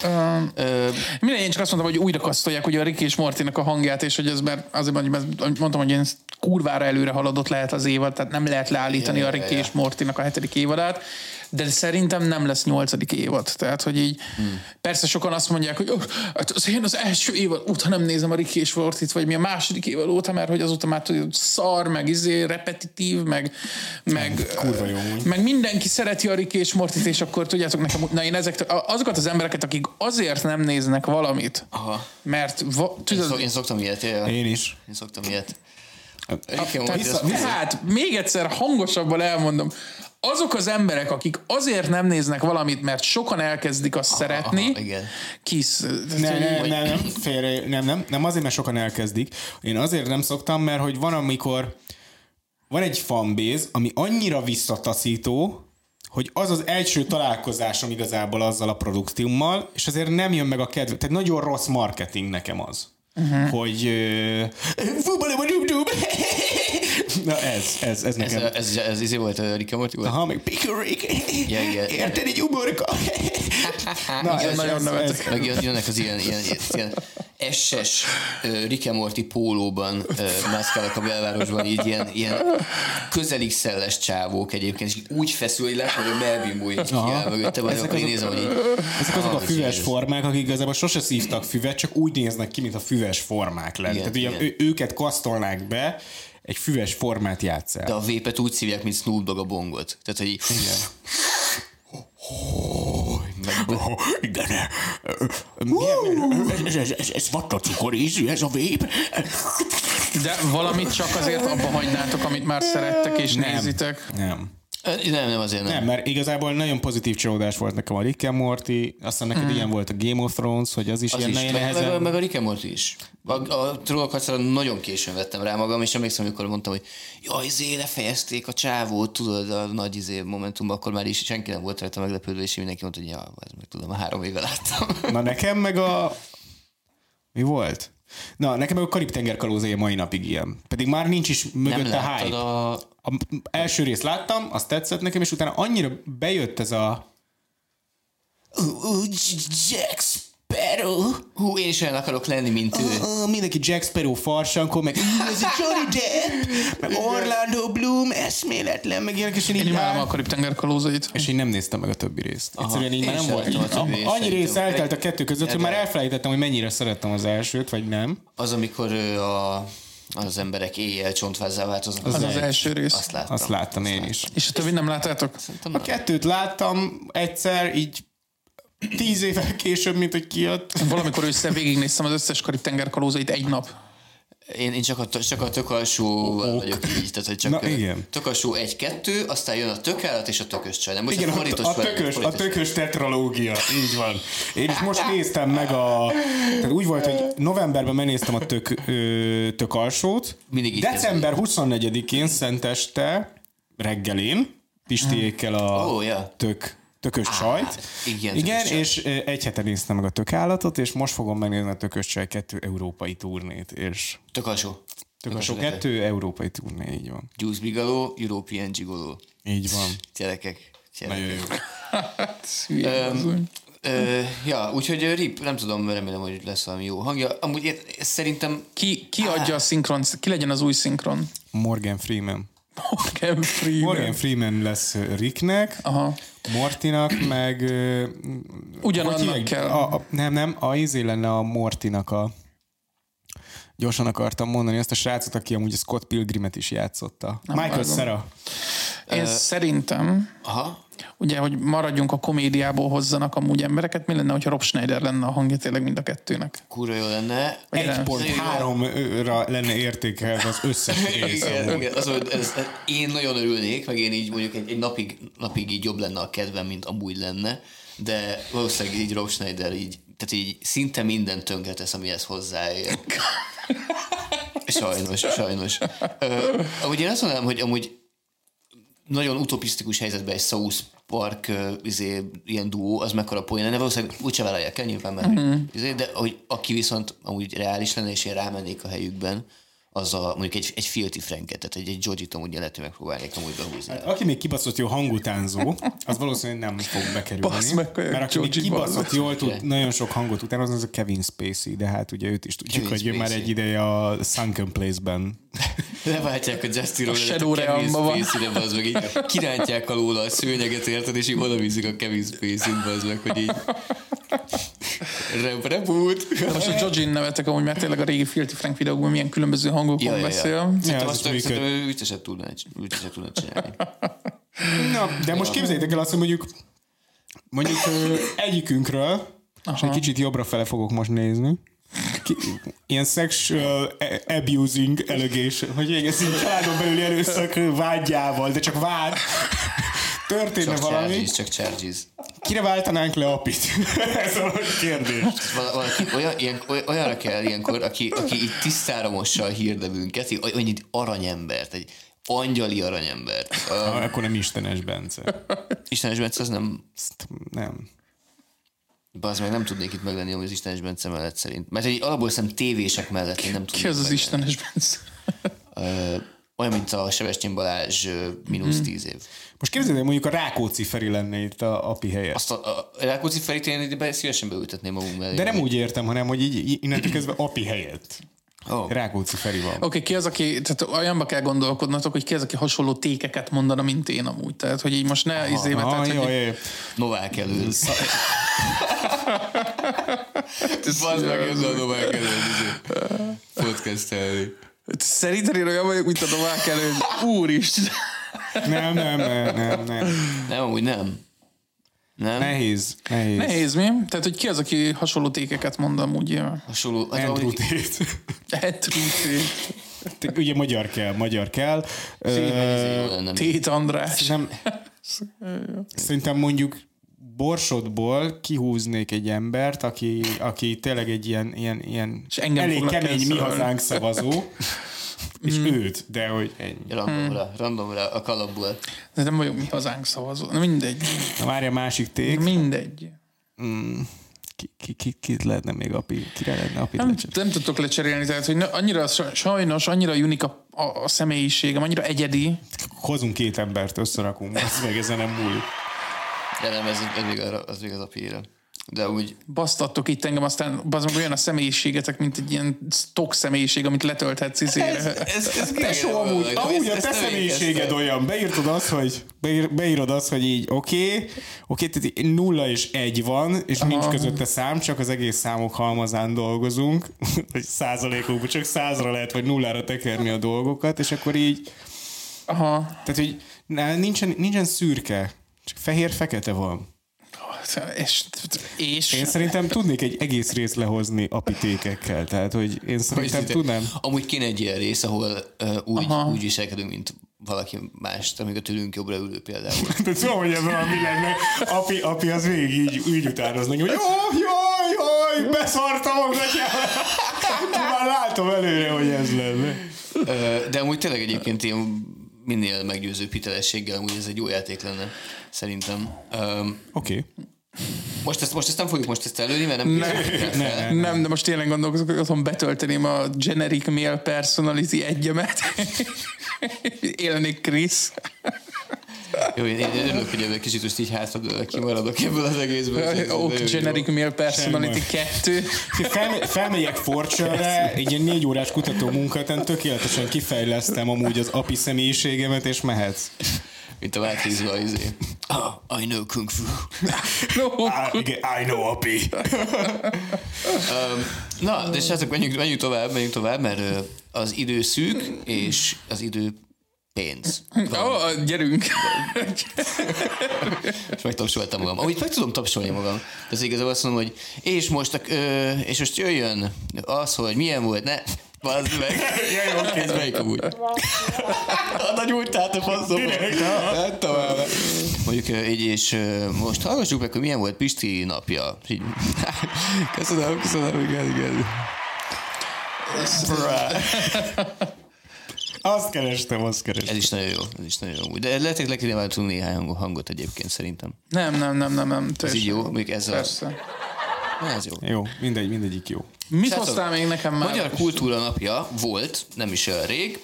Um, Ö, Minden én csak azt mondtam, hogy újra kasztolják ugye a Ricky és Mortinak a hangját, és hogy ez már azért mondom, mert mondtam, hogy én kurvára előre haladott lehet az évad, tehát nem lehet leállítani Ja, a ja, Ricky ja. és Mortinak a hetedik évadát, de szerintem nem lesz nyolcadik évad. Tehát, hogy így Hmm. persze sokan azt mondják, hogy "Öh, hát az én az első évad óta nem nézem a Ricky és Mortit, vagy mi a második évad óta, mert hogy azóta már tudod, szar, meg izé, repetitív, meg, meg, Hmm, kurva jó amúgy. meg mindenki szereti a Ricky és Mortit, és akkor tudjátok nekem, na én ezek, azokat az embereket, akik azért nem néznek valamit, aha. mert va, Én, szok, Szóval tudod, én szoktam ilyet, jaj. Én is. Én szoktam ilyet. Hát, Rick and Morty, tehát- az- tehát hát még egyszer hangosabban elmondom, azok az emberek, akik azért nem néznek valamit, mert sokan elkezdik azt szeretni, aha, igen. kisz, Nem, nem, nem, nem, félre, nem, nem, nem, azért, mert sokan elkezdik. Én azért nem szoktam, mert hogy van, amikor van egy fanbase, ami annyira visszataszító, hogy az az első találkozásom igazából azzal a produktiummal, és azért nem jön meg a kedve. Tehát nagyon rossz Mhm. marketing nekem az. Uh-huh. Hogy... ö, Fú, bele van YouTube! Na ez, ez, ez Ez, nekem. ez, ez, ez izé volt, ö, Rick and Morty volt? Aha, meg pikorik. Ja, igen. Érted, egy uborka. Na, Igen, ez, nagyon ez, ez, nevetek. Meg jön- jönnek az ilyen, ilyen, ilyen SS ö, Rick and Morty pólóban ö, mászkálnak a belvárosban, így ilyen, ilyen közelig szelles csávók egyébként, és így úgy feszül, hogy látom, hogy a Melvin Boy így kiáll mögötte, vagy Ezek akkor így nézem, azok- hogy így... ezek azok a Ah, füves ez- formák, akik igazából sose szívtak füvet, csak úgy néznek ki, mint a füves formák lenne. Igen, Tehát ugye igen. ő, őket kasztolnák be, egy füves formát játszál. De a vépet úgy szívják, mint Snoop Dogg a bongot. Tehát, hogy így... Oh, igen. Milyen- Ez, ez, ez, ez vattacukor ízű, ez a vép. De valamit csak azért abba hagynátok, amit már szerettek és Nem. nézitek. Nem. Ö, Eh, Nem, nem, azért nem. Nem, mert igazából nagyon pozitív csalódás volt nekem a Rick and Morty, aztán neked ilyen volt a Game of Thrones, hogy az is az Az ilyen is, nagyon meg, meg, a- nehezen... meg, a Rick and Morty is. A, a Troll Kacára nagyon későn vettem rá magam, és emlékszem, amikor mondtam, hogy jaj, izé, lefejezték a csávót, tudod, a nagy izé momentumban, akkor már is senki nem volt rajta meglepődve, és mindenki mondta, hogy ja, ez meg tudom, három éve láttam. Na nekem meg a... Mi volt? Na, nekem meg a Karib-tenger kalózai a mai napig ilyen. Pedig már nincs is nem mögötte láttad hype. A... a... a... első részt láttam, azt tetszett nekem, és utána annyira bejött ez a... Jack Sparrow. Hú, én is olyan akarok lenni, mint ő. Ö, mindenki Jack Sparrow farsankor, meg "Ú, ez a Johnny Depp, meg Orlando Bloom, eszméletlen, meg ilyenek, és én Én így imádom áll- a karib kalózait. és én nem néztem meg a többi részt. Egyszerűen így Én már nem sem volt. láttam a többi Így, részt, annyi rész szerintem. eltelt a kettő között, hogy már Egyáltalán. elfelejtettem, hogy mennyire szerettem az elsőt, vagy nem. Az, amikor ö, a, az emberek éjjel csontvázzá változnak. Az az egy. első rész. Azt láttam. Hát Azt láttam én is. És a többit nem láttátok? Szerintem A nem. kettőt láttam egyszer, így tíz évvel később, mint hogy kijött. Valamikor össze végignéztem az összes karib tengerkalózait egy nap. Én, én csak a, csak a tök alsó vagyok így, tehát hogy csak Na, ö, igen. tök alsó egy-kettő, aztán jön a tökállat és a tökös csaj. Nem, most Igen, ez a, fordítós a, vagyok, tökös, a fordítós. tökös tetralógia, így van. Én is most néztem meg a... Tehát úgy volt, hogy novemberben megnéztem a tök, ö, tök alsót. Mindig így December 24-én szenteste reggelén Pistiékkel a Ó, ja. hát, tök tökös csajt. igen, igen tökös csaj. és ö, egy hete néztem meg a tökállatot, és most fogom megnézni a tökös csaj kettő európai turnét, és Tök alsó. tök alsó kettő. kettő európai turné, így van. Juice Bigelow, European Gigolo. Így van. Gyerekek. gyerekek. Nagyon jó. Öm, Ö, ja, úgyhogy ö, Rip, nem tudom, remélem, hogy lesz valami jó hangja. Amúgy én, szerintem Ki, ki adja a szinkron, ki legyen az új szinkron? Morgan Freeman. Morgan Freeman. Morgan Freeman lesz Ricknek, Aha. Mortinak, meg... ö, Ugyanannak hogy hívják? kell. A, a, nem, nem, a izé lenne a Mortinak a... Gyorsan akartam mondani azt a srácot, aki amúgy a Scott Pilgrimet is játszotta. Nem Michael vágom. Cera. Én szerintem, Aha. ugye, hogy maradjunk a komédiából hozzanak amúgy embereket, mi lenne, hogyha Rob Schneider lenne a hangja tényleg mind a kettőnek? kurva jó lenne. Egy pont. Nagyon jó. 1.3-ra lenne értékelve az összes rész. Igen, amúgy. igen. Az, hogy ez, én nagyon örülnék, meg én így mondjuk egy, egy napig, napig így jobb lenne a kedvem, mint amúgy lenne, de valószínűleg így Rob Schneider így, tehát így szinte minden tönkretesz, amihez hozzáér. Sajnos, sajnos. Ö, amúgy én azt mondanám, hogy amúgy nagyon utopisztikus helyzetben egy South Park ö, izé, ilyen duó, az mekkora poén lenne, valószínűleg úgyse vállalják el nyilván, mert Mhm. izé, de hogy aki viszont amúgy reális lenne, és én rámennék a helyükben, az a, mondjuk egy, egy Filthy Franket, tehát egy, egy Jodit amúgy lehet, hogy megpróbálják amúgy behúzni. Hát Aki még kibaszott jó hangutánzó, az valószínűleg nem fog bekerülni. Basz meg, kölyök, mert aki még Georgie kibaszott Bazzett. jól tud nagyon sok hangot utánozni, az a Kevin Spacey, de hát ugye őt is tudjuk, Kevin hogy ő már Spacey. egy ideje a Sunken Place-ben Leváltják a Justin A Roilet, Shadow Realmban van. Spacey-re, bazd meg, így kirántják alóla a szőnyeget, érted, és így oda viszik a Kevin Spacey-t, bazd meg, hogy így Re- reboot. De most a Jojin nevetek amúgy, mert tényleg a régi Filthy Frank videókban milyen különböző hangokon beszél. Szerintem az azt is ő- működ. szerintem ő ügyesen tudná, ügyesen tudná csinálni. Na, de most képzeljétek el azt, hogy mondjuk mondjuk ö, egyikünkről, és egy kicsit jobbra fele fogok most nézni, ki, ilyen sexual a- abusing allegation, hogy végezzünk családon belüli erőszak vágyával, de csak vád, történne Csak valami, charges, csak charges. kire váltanánk le apit? Ez a kérdés. Val- Valaki olyan, ilyen, oly- olyanra kell ilyenkor, aki, aki így tisztára mossa a hírdevünket, így oly- olyan egy aranyembert, egy angyali aranyembert. Uh, Na, akkor nem Istenes Bence. Istenes Bence az nem, Ezt nem. az meg nem tudnék itt meglenni, hogy az Istenes Bence mellett szerint. Mert egy alapból szerintem tévések mellett én nem tudnék Ki az az meglenni. Istenes Bence? Ö, olyan, mint a Sebestyén Balázs ö, mínusz Mhm. tíz év. Most képzeld, hogy mondjuk a Rákóczi Feri lenne itt a api helye. Azt a, a Rákóczi Ferit én be- szívesen beültetném magunk mellé. De nem úgy értem, hanem hogy így innentől kezdve api helyett. Ó. Rákóczi Feri van. Oké, okay, ki az, aki, tehát olyanba kell gondolkodnatok, hogy ki az, aki hasonló tékeket mondana, mint én amúgy. Tehát, hogy így most ne izébe, tehát, Ah, hogy jó, jó, jó. Novák elől. Bazd meg, ez a Novák elől. izé. Podcast elő. Szerinted én olyan vagyok, mint a Novák előtt. Úristen. Nem, nem, nem, nem, nem. Nem, amúgy nem. Nem? Nehéz, nehéz. Nehéz, mi? Tehát, hogy ki az, aki hasonló tékeket mond amúgy? ja. Hasonló. Hát, Andrew ahogy- Tate. Etrúti. Te- Ugye magyar kell, magyar kell. Szépen izé Ö, jó lenne. Tét András. nem, szerintem mondjuk borsodból kihúznék egy embert, aki, aki tényleg egy ilyen, ilyen, ilyen És engem Mm. elég foglak kemény mi elszorolni. hazánk szavazó, és őt, de hogy ennyi. Hmm. Randomra, randomra, a kalapból. De nem vagyok mi hazánk szavazó. Na mindegy. Na várja, másik ték. Mindegy. Ki, ki, ki, ki lehetne még api? Kire lehetne api? Nem, nem tudtok lecserélni, tehát, hogy ne- annyira sa- sajnos, annyira unik a, a, a személyiségem, annyira egyedi. Hozunk két embert, összerakunk, ez meg ezen nem múlik. De nem, ez, ez még, arra, az még az a pére. De úgy Basztattok itt engem, aztán bazd meg olyan a személyiségetek, mint egy ilyen stock személyiség, amit letölthetsz izé. izére. ez, ez Tesó, amúgy, amúgy a te személyiséged olyan, beírtod azt, hogy, beír, beírod azt, hogy így oké, okay, oké, okay, tehát így nulla és egy van, és Aha. nincs közötte szám, csak az egész számok halmazán dolgozunk, hogy százalékokban csak százra lehet, vagy nullára tekerni a dolgokat, és akkor így, Aha. tehát hogy na, nincsen, nincsen szürke, csak fehér-fekete van. És, és Én szerintem tudnék egy egész részt lehozni apitékekkel, tehát hogy én szerintem tudnám. Amúgy kéne egy ilyen rész, ahol uh, úgy, úgy viselkedünk, mint valaki más, amíg a tőlünk jobbra ülő például. De tudom, hogy ez valami lenne. Api, api az végig így, így utánoznak, hogy jó, jaj, jaj, beszartam a gatyámat. Már látom előre, hogy ez lenne. Ö, De amúgy tényleg egyébként ilyen minél meggyőző hitelességgel, amúgy ez egy jó játék lenne, szerintem. Öm, Oké. Most ezt, most ezt nem fogjuk most ezt előni, mert nem ne. nem, de most tényleg gondolkozok, hogy otthon betölteném a generic mail personality egyemet. Élnék Krisz. Jó, én, én örülök, hogy ebben kicsit most így hátra kimaradok ebből az egészből. Ez- ez Ok, nagyon jó. generic mail personality Semmi. 2. Fel, felmegyek Forcsörre, egy ilyen négy órás kutató munkatán tökéletesen kifejlesztem amúgy az api személyiségemet, és mehetsz. Mint a váltvízva, izé. Ah, I know kung fu. No. I, igen, I know api. Um, na, de srácok, menjünk, menjünk tovább, menjünk tovább, mert ö, az idő szűk, és az idő pénz. Oh, gyerünk. És megtapsoltam magam. Amit meg tudom tapsolni magam. De az igazából azt mondom, hogy és most, a, ö, és most jöjjön az, hogy milyen volt, ne, Bazd meg. Jaj, oké. Ez melyik amúgy? A nagy újtát a faszom. Hát tovább. Mondjuk ö, így, és ö, most hallgassuk meg, hogy milyen volt Pisti napja. Így. Köszönöm, köszönöm, igen, igen. Azt kerestem, azt kerestem. Ez is nagyon jó, ez is nagyon jó. amúgy. De lehet, hogy le kéne váltunk néhány hang- hangot egyébként szerintem. Nem, nem, nem, nem, nem. Ez így jó, még ez a... Persze. Na, ez jó. Jó, mindegy, mindegyik jó. Mit Srácok, hoztál még nekem már? Magyar Kultúra Napja volt, nem is olyan rég,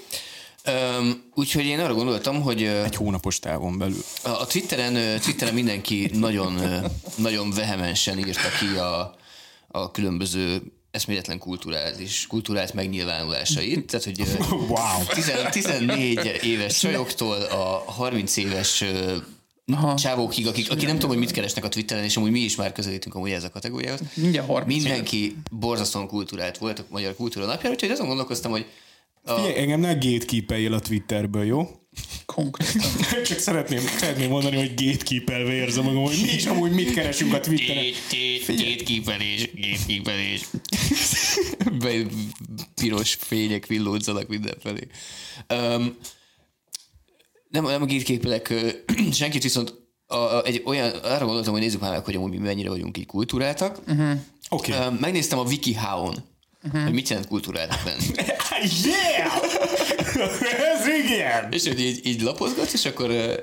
Öm, úgyhogy én arra gondoltam, hogy ö, Egy hónapos távon belül. a a Twitteren, ö, Twitteren mindenki nagyon, ö, nagyon vehemensen írta ki a, a különböző eszméletlen kultúrát és kultúrát megnyilvánulásait. Tehát, hogy ö, Wow. 10 14 éves csajoktól a 30 éves ö, csávókig, akik, aki nem tudom, hogy mit keresnek a Twitteren, és amúgy mi is már közelítünk amúgy ez a kategóriához. Mindjárt 30 Mindenki borzasztóan kultúrát volt a Magyar Kultúra napjára, úgyhogy azon gondolkoztam, hogy Figyelj, engem ne gatekeepeljél a Twitterből, jó? Konkrétan. Csak szeretném, szeretném mondani, hogy gatekeeperve érzem magam, hogy mi is amúgy mit keresünk a Twitteren. két kipelés, két kipelés. Be, piros fények villódzanak mindenfelé. Um, nem, nem a gétképelek ö, senkit, viszont a, a, egy olyan, arra gondoltam, hogy nézzük már meg, hogy amúgy mi mennyire vagyunk így kultúráltak. Oké. Okay. Ö, megnéztem a WikiHow-on, hogy mit jelent kultúráltak lenni. Yeah! Ez igen! És hogy így, így lapozgatsz, és akkor ö,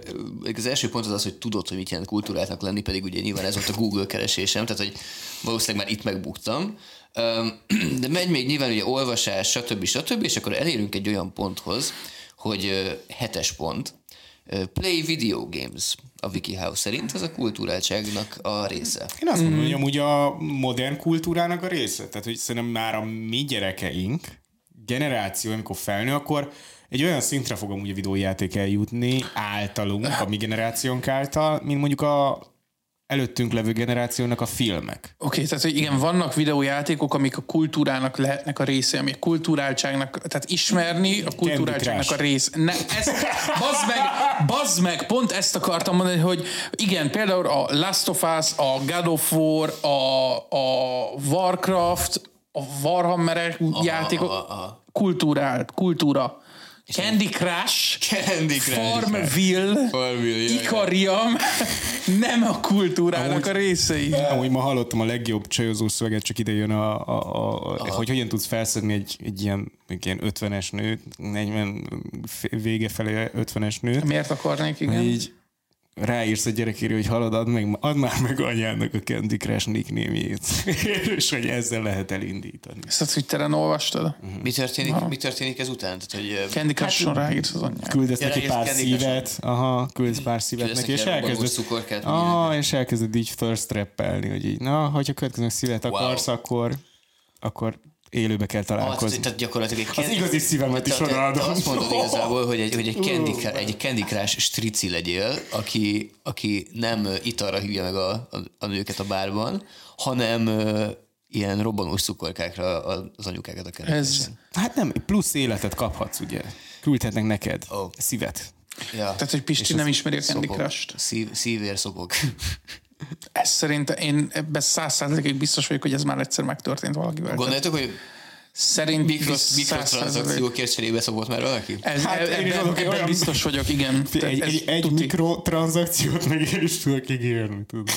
az első pont az az, hogy tudod, hogy mit jelent kultúrátnak lenni, pedig ugye nyilván ez volt a Google keresésem, tehát hogy valószínűleg már itt megbuktam. Öm, De megy még nyilván ugye olvasás, stb. stb. És akkor elérünk egy olyan ponthoz, hogy ö, hetes pont, Ö, play video games a WikiHow szerint, ez a kultúráltságnak a része. Én azt mondom, hogy amúgy a modern kultúrának a része. Tehát, hogy szerintem már a mi gyerekeink generáció, amikor felnő, akkor egy olyan szintre fog amúgy a videójáték eljutni általunk, a mi generációnk által, mint mondjuk a előttünk levő generációnak a filmek. Oké, okay, tehát hogy igen, vannak videójátékok, amik a kultúrának lehetnek a része, ami a kulturáltságnak, tehát ismerni a kulturáltságnak a Crush. rész. Ne, ez, bazd meg, bazd meg, pont ezt akartam mondani, hogy igen, például a Last of Us, a God of War, a, a Warcraft, a Warhammeres játékok, aha, aha. kultúrált, kultúra. Candy Crush, Candy Farmville, Farmville, jaj, jaj. Ikariam, nem a kultúrának a részei. Amúgy ma hallottam a legjobb csajozó szöveget, csak ide jön a, a, a, a hogy hogyan tudsz felszedni egy, egy ilyen, egy ilyen 50-es nőt, 40 f- vége felé 50-es nőt. Miért akarnék, igen? Igen. Így ráírsz a gyerekére, hogy halad, add, meg, add már meg anyának a Candy Crush nicknémjét. És hogy ezzel lehet elindítani. Ezt a Twitteren olvastad? Mi történik, mi történik ezután? Tehát, hogy ö, Candy Crush-on ráírsz az anyját. Küldesz Ja, neki és pár Candy szívet, aha, küldesz pár szívet Küldesz neki, és neki elrobbanó elkezded, cukorkát, meg aha, és elkezded így first rappelni, hogy így, na, hogyha következő szívet akarsz, akkor, akkor élőbe kell Ah, tehát, találkozni. tehát gyakorlatilag egy Az igazi szívemet is Tehát te- odaadom. te Azt mondod igazából, hogy egy, hogy egy, candy, Crush- egy candy Crush strici legyél, aki, aki nem ö, italra hívja meg a, a, a nőket a bárban, hanem ö, ilyen robbanós cukorkákra a- az anyukákat a kerekesen. Ez, Hát nem, plusz életet kaphatsz, ugye? Küldhetnek neked Ó. szívet. Ja. tehát, hogy Pisti nem ismeri a Candy Crush-t. Szív, szívér szopok. Ez szerintem, én ebben száz százalékig biztos vagyok, hogy ez már egyszer megtörtént valakivel. Tehát Gondoljátok, hogy Szerint mikrosz, mikrotranszakciókért cserébe szopott már valaki? Ez, Hát hát én is ebben, adok egy ebben olyan- biztos vagyok, igen. Tehát Egy, ez egy, egy tuti. mikrotranszakciót meg én is tudok ígérni, tudod.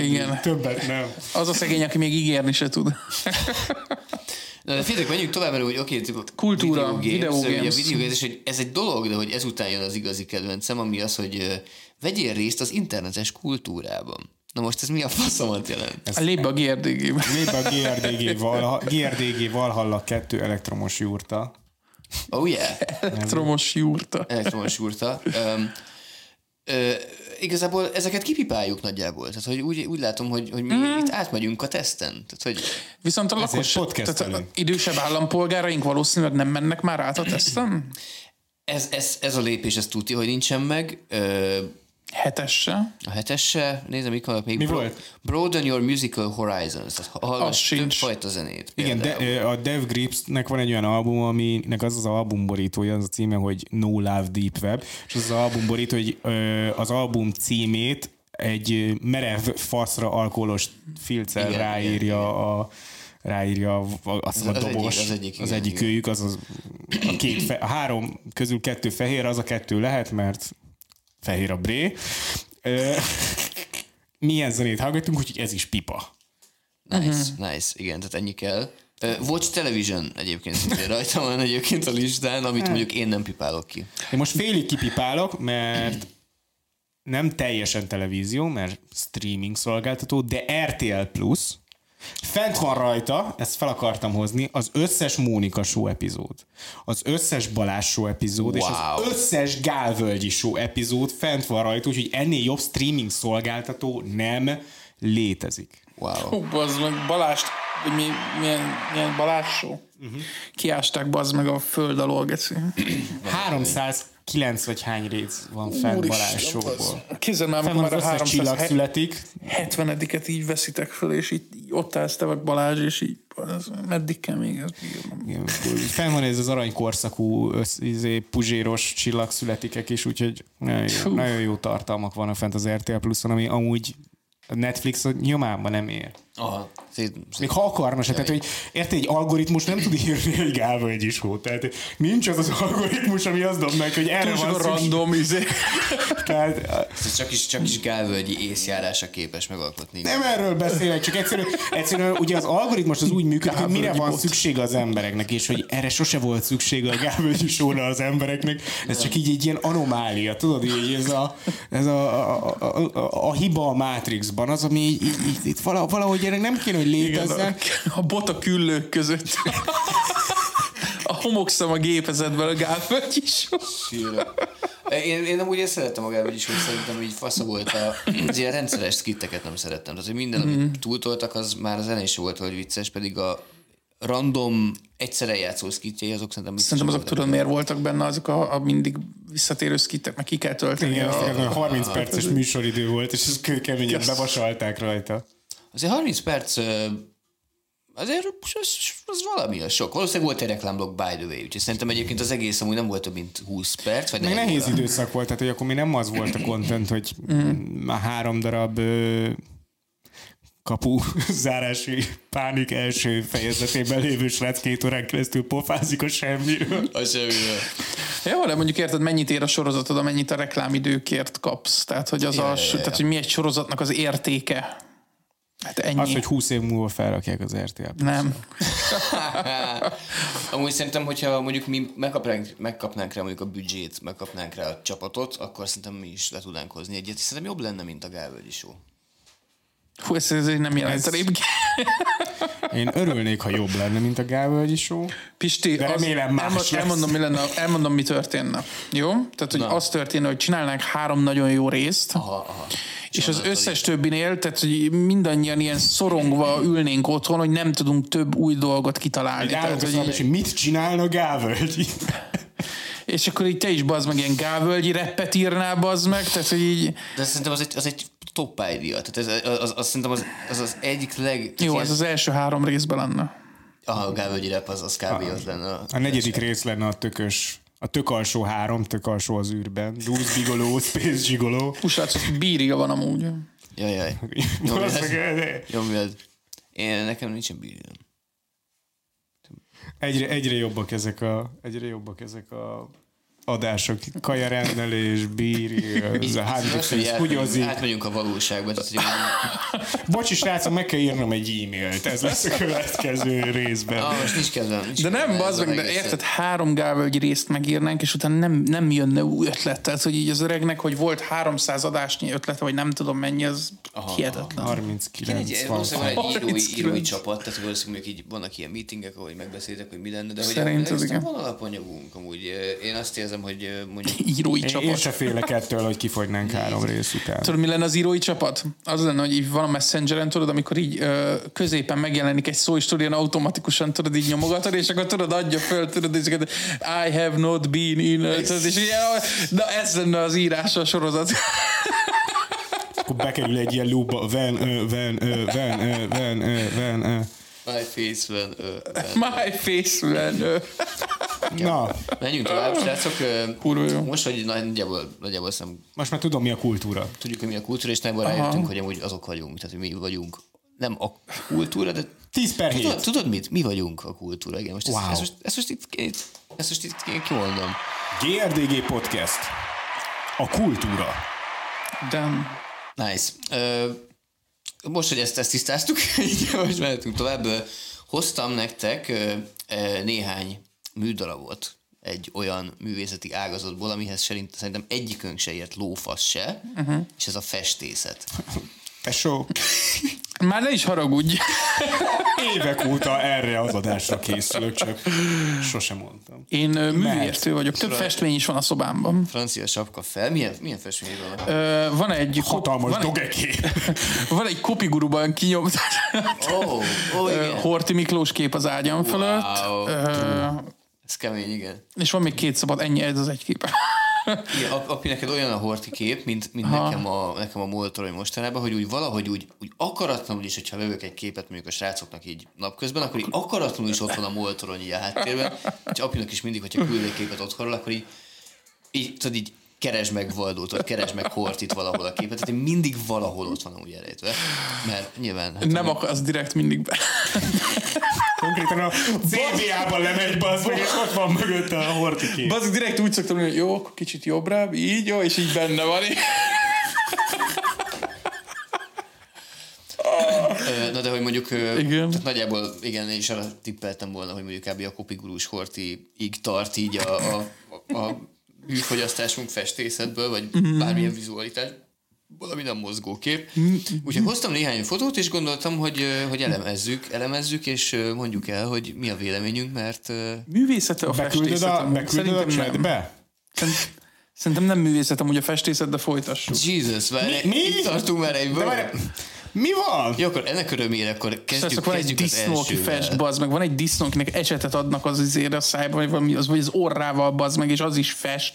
Igen. Többet nem. Az a szegény, aki még ígérni se tud. Na, de figyeljetek, menjünk tovább, mert úgy, oké, okay, Kultúra, video A games. video games, és hogy ez egy dolog, de hogy ezután jön az igazi kedvencem, ami az, hogy ö, vegyél részt az internetes kultúrában. Na most ez mi a faszomat jelent? A lépbe a GRDG-be. Lép a GRDG, Valha, GRDG Valhalla 2 elektromos jurta. Oh yeah, Elektromos júrta. elektromos úrta. Um, Ö, igazából ezeket kipipáljuk nagyjából. Tehát, hogy úgy, úgy látom, hogy, hogy mi mm. itt átmegyünk a teszten. Tehát, hogy Viszont a lakos, podcastelünk. tehát a idősebb állampolgáraink valószínűleg nem mennek már át a tesztem? ez, ez, ez a lépés, ez tudja, hogy nincsen meg. Ö, Hetesse. A hetesse, nézem, mik vannak még. Mi volt? Broaden your musical horizons. Tehát ha- Az hallgass sincs. több fajta zenét. Igen, de, például. ö, a Dev Grips-nek van egy olyan album, aminek az az albumborítója, az a címe, hogy No Love Deep Web, és az az albumborító, hogy ö, az album címét egy ö, merev faszra alkoholos filccel Igen, ráírja igen, a ráírja a, a, azt hiszem a az egyik- dobos, az egyik, az igen, egyik igen. őjük, az, az a, két fe, a három közül kettő fehér, az a kettő lehet, mert fehér a bré. Ö, milyen zenét hallgatunk, úgyhogy ez is pipa. Mhm. Nice, nice, igen, tehát ennyi kell. Ö, Watch Television egyébként szintén rajta van egyébként a listán, amit mondjuk én nem pipálok ki. Én most félig kipipálok, mert nem teljesen televízió, mert streaming szolgáltató, de RTL Plus. Fent van rajta, ezt fel akartam hozni, az összes Mónika show epizód, az összes Balázs show epizód, wow. és az Wow. összes Gálvölgyi show epizód fent van rajta, úgyhogy ennél jobb streaming szolgáltató nem létezik. Wow. Hú, bazd meg, Balást, vagy mi, milyen, milyen Balázsó? Mhm. Uh-huh. Kiásták bazd meg a föld alól, geci. 309 vagy hány rész van fent Balázs showból. Kézzel már, Fent amikor van az már a összes csillag 370 születik, et így veszitek föl, és így, így ott állsz te vagy Balázs, és így, az, meddig kell még ezt bírnom? Igen, Fenn van ez az aranykorszakú össz- izé, puzséros csillagszületikek is, úgyhogy nagyon jó, Hú. nagyon jó tartalmak vannak fent az RTL Plus-on, ami amúgy a Netflix a nyomában nem ér. Aha. Szét, Még ha akarna se, tehát hogy érted, egy algoritmus nem tud írni, hogy Gáva egy is volt. Tehát nincs az az algoritmus, ami azt dob meg, hogy erre Túl van sok a szükség. random, izé. Tehát, szét, csak is, csak is gálvölgyi észjárása képes megalkotni. Nem erről beszélek, csak egyszerűen, egyszerűen ugye az algoritmus az úgy működik, hogy mire van szüksége az embereknek, és hogy erre sose volt szüksége a Gábor sóra az embereknek. Ez csak így egy ilyen anomália, tudod, így ez a, ez a, a, a, a, a hiba a Matrixban, az, ami így, így, így, itt vala- valahogy ennek nem kéne, hogy Igen, létezzen. a, a bot a küllők között. A homokszem a gépezetből, a Gálföld is. Sírva. E, Én, én amúgy ezt szerettem a Gálvölgy is, hogy szerintem így fasza volt a, az ilyen rendszeres skitteket nem szerettem. Tehát, hogy minden, amit túltoltak, az már a zene is volt, hogy vicces, pedig a random egyszerre játszó skitjei, azok szerintem biztos Szerintem azok voltak. tudod, miért voltak benne azok a, a mindig visszatérő skitek, meg ki kell tölteni. Igen, a- azt a 30 perces műsoridő volt, és ez kőkeményen bevasalták rajta. Azért 30 perc ö, azért az, az valami a sok. Valószínűleg volt egy reklámblokk by the way, úgyhogy szerintem egyébként az egész amúgy nem volt több, mint 20 perc. Vagy Meg negyed nehéz óra. időszak volt, tehát hogy akkor mi nem az volt a content, hogy a három darab ö, kapu zárási pánik első fejezetében lévő srác két órán keresztül pofázik a semmiről. Az semmivel. Jó, de mondjuk érted, mennyit ér a sorozatod, amennyit a reklámidőkért kapsz. Tehát, hogy, az Ja, a, ja, ja, ja. tehát, hogy mi egy sorozatnak az értéke. Hát ennyi. Az, hogy 20 év múlva felrakják az RTL-be. Nem. Amúgy szerintem, hogyha mondjuk mi megkapnánk, megkapnánk rá mondjuk a büdzsét, megkapnánk rá a csapatot, akkor szerintem mi is le tudnánk hozni egyet. és Szerintem jobb lenne, mint a Gálvölgyi show. Hú, ez, ez így nem jelent. Ez- Ez... Én örülnék, ha jobb lenne, mint a Gálvölgyi show. Pisti, De az, remélem más elmo- lesz. elmondom, mi lenne, elmondom, mi történne. Jó? Tehát, hogy Na. az történne, hogy csinálnánk három nagyon jó részt, Aha, aha. És az onnantól összes többinél, tehát hogy mindannyian ilyen szorongva ülnénk otthon, hogy nem tudunk több új dolgot kitalálni. Egy Tehát, állok a hogy, szabad, hogy mit csinálna Gálvölgyi? és akkor így te is bazd meg ilyen gávölgyi reppet írnál bazd meg, tehát hogy így, De szerintem az egy, az egy top idea. Tehát ez, az, az, az, szerintem az, az, az egyik leg... jó, ez az első három részben lenne. Aha, a Gálvölgyi rep az, az kb. Ah, az lenne. a- A negyedik rész lenne a tökös a tök alsó három, tök alsó az űrben. Dúz bigoló, space gigoló. Puslátszok, bírja van amúgy. Jaj, jaj. Valószínűleg- Nyomjad. Én, nekem nincsen bűnöm. Egyre, egyre jobbak ezek a, egyre jobbak ezek a adások. Kaja rendelés, bír, ez a hányadik Átmegyünk, húgyozik. átmegyünk a valóságba. Tehát, hogy Bocsi srácom, meg kell írnom egy e-mailt, ez lesz a következő részben. ah, most nincs kedvem. nincs De kedvem nem, bazd meg, ezzel de egészen. érted, három gávölgyi részt megírnánk, és utána nem, nem jönne új ötlet. Tehát, hogy így az öregnek, hogy volt 300 adásnyi ötlete, vagy nem tudom mennyi, az hihetetlen. Egy, 39 van. valószínűleg van egy írói, 39. írói csapat, tehát valószínűleg így vannak ilyen meetingek, ahol megbeszéltek, hogy mi lenne, de hogy Szerinted szerintem igen. van alapanyagunk amúgy. Én azt érzem, hogy ö, mondjuk Írói Én, csapat. én se félek ettől, hogy kifogynánk három rész után. Tudod, mi lenne az írói csapat? Az lenne, hogy így van a messengeren, tudod, amikor így ö, középen megjelenik egy szó, és tudod, ilyen automatikusan tudod, így nyomogatod, és akkor tudod, adja föl, tudod, és akkor I have not been in, tudod, és ilyen, na ez lenne az írás a sorozat. Akkor bekerül egy ilyen lúba, ven, ö, ven, ö, ven, ö, ven, ö, ven, ö. my face van. ö, ö. My face lenne. Na, Menjünk tovább, srácok. ö, Kurva jó. Most, hogy nagyjából, nagyjából szerintem most már tudom, mi a kultúra. tudjuk, hogy mi a kultúra, és nagyjából rájöttünk, hogy amúgy azok vagyunk, tehát hogy mi vagyunk. Nem a kultúra, de 10 per tudod, 7. tudod mit? Mi vagyunk a kultúra. Igen, most ezt, Wow. ezt, most, ezt most itt, itt- ezt most itt ki- kimondom. GRDG Podcast. A kultúra. Damn. Nice. Ö, most, hogy ezt, ezt tisztáztuk, így most mehetünk tovább. Ö, Hoztam nektek ö, ö, néhány műdarabot egy olyan művészeti ágazatból, amihez szerint- szerintem egyikünk se ért lófasz se, uh-huh. és ez a festészet. Tesó, Már ne is haragudj. évek óta erre az adásra készülök, csak sosem mondtam. Én ö, művértő vagyok. Több festmény is van a szobámban. Francia sapka fel. Milyen, milyen festmények vannak? Ö, van egy... Hatalmas van egy, dogeké. van egy kopiguruban kinyomt. Ó, ó, Ö, Oh, igen. Horti Miklós kép az ágyam fölött. Wow. Ö, Ez kemény, igen. És van még két szabad, ennyi ez az egy kép. Igen, ap- api, neked olyan a horti kép, mint, mint nekem a, nekem a moltorony mostanában, hogy úgy valahogy úgy, úgy akaratlanul is, hogyha lövök egy képet mondjuk a srácoknak így napközben, akkor így akaratlanul is ott van a moltorony így a háttérben, és apinak is mindig, hogyha küld egy képet otthonról, akkor így, így tudod, így keresd meg Valdót, vagy keresd meg Hortit valahol a képet, tehát így mindig valahol ott van amúgy elejtve, mert nyilván... Hát, Nem akarsz direkt mindig be. Konkrétan a CBA-ban lemegy, bazd meg, és ott van mögött a hortiké. Bazzik direkt úgy szoktam mondani, hogy jó, akkor kicsit jobbra, így, jó, és így benne van. Ö, Na de hogy mondjuk ö, Igen. Tehát nagyjából igen, én is arra tippeltem volna, hogy mondjuk kb. a kopigurús hortiig tart így Mhm. a, a, a, a műfogyasztásunk festészetből, vagy bármilyen vizualitás. valami nem mozgókép. Úgyhogy hoztam néhány fotót, és gondoltam, hogy, ö, hogy elemezzük, elemezzük, és ö, mondjuk el, hogy mi a véleményünk, mert ö, Művészete a Beküldöd festészet. a, amúgy. beküldöd a Szerintem nem. chatbe? Szerint- Szerintem nem művészet amúgy a festészet, de folytassuk. Jesus, már Mi- mi? itt tartunk már egy De várj, mi van? Jó, akkor ennek örömére akkor kezdjük, Srácok, van egy kezdjük az disznó, aki elsővel. fest, bazd meg. Van egy disznó, akinek ecsetet adnak az izére a szájba, vagy, valami, az, vagy az orrával, bazd meg, és az is fest.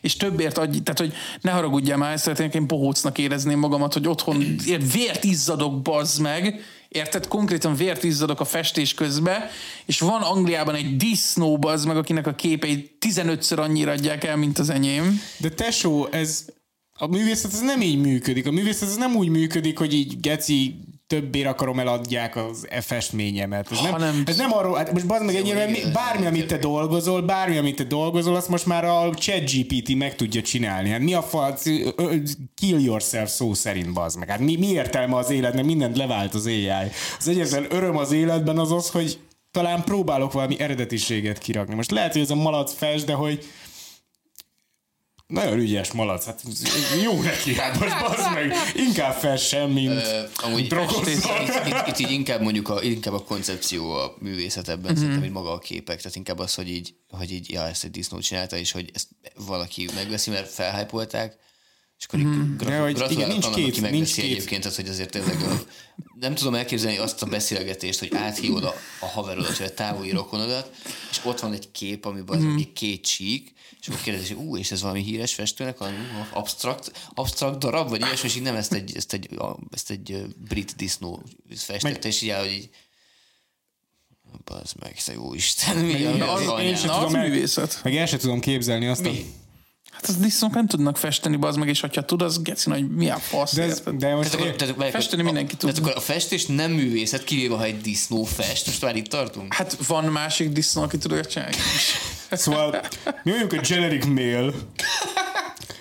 És többért adj, tehát hogy ne haragudjál már, ezt történik, én bohócnak érezném magamat, hogy otthon ér, vért izzadok, bazd meg, Érted? Konkrétan vért izzadok a festés közbe, és van Angliában egy disznó, bazd meg, akinek a képei 15-ször annyira adják el, mint az enyém. De tesó, ez a művészet ez nem így működik. A művészet ez nem úgy működik, hogy így geci többért akarom eladják az e festményemet. Ez nem, Hanem- ez nem arról, hát most bazd meg ennyire, igen, mi- bármi, amit te dolgozol, bármi, amit te dolgozol, azt most már a ChatGPT meg tudja csinálni. Hát mi a fac, ö, ö, kill yourself szó szerint bazd meg. Hát mi, mi értelme az életnek, mindent levált az AI. Az egyetlen öröm az életben az az, hogy talán próbálok valami eredetiséget kirakni. Most lehet, hogy ez a malac fest, de hogy nagyon ügyes malac, hát jó neki, hát most bazd meg, inkább fel sem, mint Ö, amúgy drogozzon. itt, itt, itt, így inkább mondjuk a, inkább a koncepció a művészet ebben mm-hmm. szerintem, mint maga a képek. Tehát inkább az, hogy így, hogy így ja, ezt egy disznó csinálta, és hogy ezt valaki megveszi, mert felhájpolták. És akkor mm. De grat- hogy igen, gratulálok nincs annak, aki kép, nincs megveszi kép. egyébként, tehát hogy azért tényleg ö, nem tudom elképzelni azt a beszélgetést, hogy áthívod a, a haverodat, vagy a távoli rokonodat, és ott van egy kép, amiben Mhm. mm. két csík, és akkor kérdezi, hogy ú, és ez valami híres festőnek, valami ú, abstrakt, abstrakt darab, vagy ilyesmi, és így nem ezt egy, ezt egy, a- ezt egy ö, brit disznó festette, és így áll, hogy így, bazd meg, te jó Isten, mi igen, a- az- az én sem anyám? Na, az tudom el- művészet. Meg el sem tudom képzelni azt a... Hát az disznók nem tudnak festeni, bazd meg, és hogyha tud, az geci, hogy milyen fasz. De, ez, érted? de most... Tehát akkor, tehát, várj, Festeni a- mindenki tud. Tehát akkor a festés nem művészet, kivéve, ha egy disznó fest. Most már itt tartunk? Hát van másik disznó, aki tudja csinálni. Szóval mi vagyunk a generic mail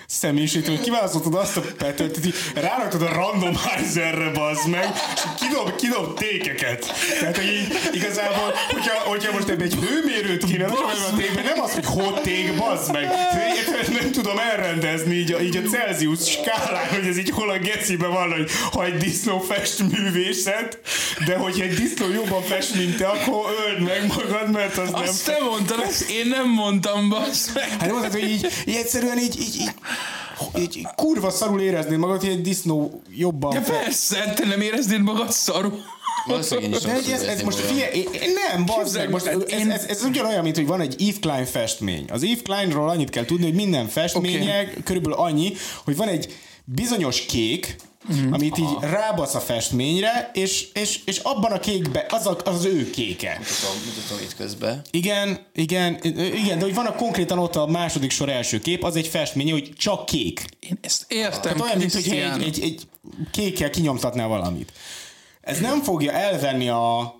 személyisítő, hogy kiválasztottad azt a petőt, hogy így ráraktad a randomizerre, bazd meg, és kidob, kidob tékeket. Tehát, hogy így igazából, hogyha, hogyha most ebbe egy hőmérőt kéne, nem, a tékben, nem az, hogy hot ték, bazd meg. Egyébként nem tudom elrendezni így a, így a Celsius skálán, hogy ez így hol a gecibe van, hogy ha egy disznó fest művészet, de hogyha egy disznó jobban fest, mint te, akkor öld meg magad, mert az nem Azt te mondtad, ezt én nem mondtam, bassz meg. Hát mondhatod, hogy így, így egyszerűen így, így, így, így, így kurva szarul éreznéd magad, hogy egy disznó jobban... Ja, fe- persze, te nem éreznéd magad szarul. Valószínűleg én is de ez, sokszor ez, ez érezném most magam. fie, én- nem, bazd meg, most ez, ez, ez, ez, ugyanolyan, mint hogy van egy Eve Klein festmény. Az Eve Kleinról annyit kell tudni, hogy minden festménye okay. körülbelül annyi, hogy van egy bizonyos kék, Mhm. Mm, amit így rábasz a festményre, és, és, és abban a kékbe, az, a, az az ő kéke. Mutatom, mutatom itt közben. Igen, igen, ö, igen, de hogy van a konkrétan ott a második sor első kép, az egy festmény, hogy csak kék. Én ezt értem, Tehát olyan, mint hogy Krisztián. egy, egy, egy kékkel kinyomtatnál valamit. Ez nem fogja elvenni a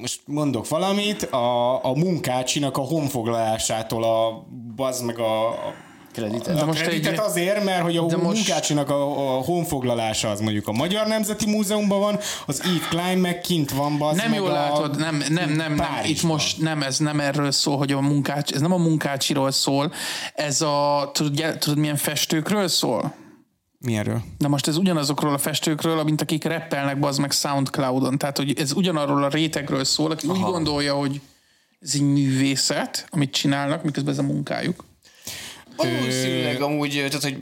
most mondok valamit, a, a munkácsinak a honfoglalásától a bazd meg a, a Kreditet. de De most most kreditet egy- azért, mert hogy a de most- munkácsinak a, a honfoglalása az mondjuk a Magyar Nemzeti Múzeumban van, az Eve Klein meg kint van, bazd Nem meg jól a... látod, nem, nem, nem, nem. Itt Párizsban. most nem, ez nem erről szól, hogy a munkács, ez nem a munkácsiról szól, ez a, tudod, gyere- tudod milyen festőkről szól? Mi erről? De most ez ugyanazokról a festőkről, mint akik rappelnek, bazd meg Soundcloudon. Tehát, hogy ez ugyanarról a rétegről szól, aki úgy gondolja, hogy ez egy művészet, amit csinálnak, miközben ez a munkájuk. Valószínűleg amúgy, ö, tehát hogy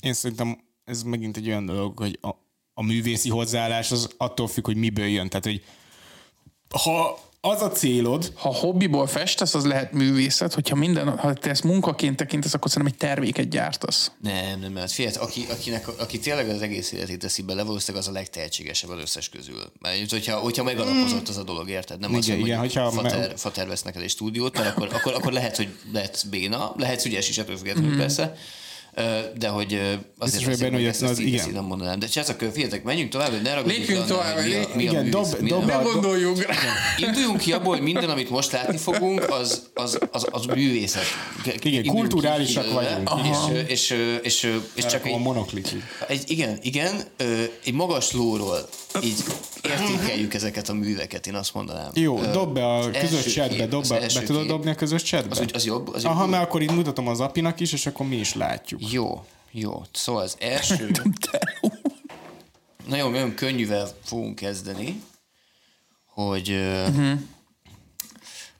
én szerintem ez megint egy olyan dolog, hogy a, a művészi hozzáállás az attól függ, hogy miből jön. Tehát, hogy ha az a célod, Ha hobbiból festesz, az lehet művészet, hogyha minden, ha te ezt munkaként tekintesz, akkor szerintem egy terméket gyártasz. nem, nem, mert figyelj, aki, akinek, aki tényleg az egész életét teszi bele, valószínűleg az a legtehetségesebb az összes közül. Mert hogyha, hogyha megalapozott az a dolog, érted? Nem az, Igen, hogy igen, mondjuk hogyha- fater, fater vesz neked egy stúdiót, mert akkor, akkor, akkor lehet, hogy lehetsz béna, lehetsz ügyes is, ettől függetlenül persze. Ö, De hogy ö, azért Mhm. Biztos vagyok benne, hogy ezt, az- ezt az- így- igen. ezt így nem mondanám. De csak figyeljetek, menjünk tovább, hogy ne ragadjunk Lépjünk le annál, tovább, hogy mi a- lép- mi a igen, művész- dob- mi nem- dob- Ne gondoljunk rá. Induljunk ki abból, hogy minden, amit most látni fogunk, az, az, az, az művészet. Induljunk ki kulturálisak belőle, vagyunk. És, és, és, és, és csak a egy, monoklit. egy, igen, igen, ö, egy magas lóról így értékeljük ezeket a műveket, én azt mondanám. Jó, Ö, dob be a az első közös chatbe, kép, dob az be, első be tudod kép. dobni a közös chatbe? Az úgy- az jobb, az Aha, jobb. mert akkor így mutatom az apinak is, és akkor mi is látjuk. Jó, Jó, szóval az első... nagyon, nagyon könnyűvel fogunk kezdeni, hogy... Uh-huh.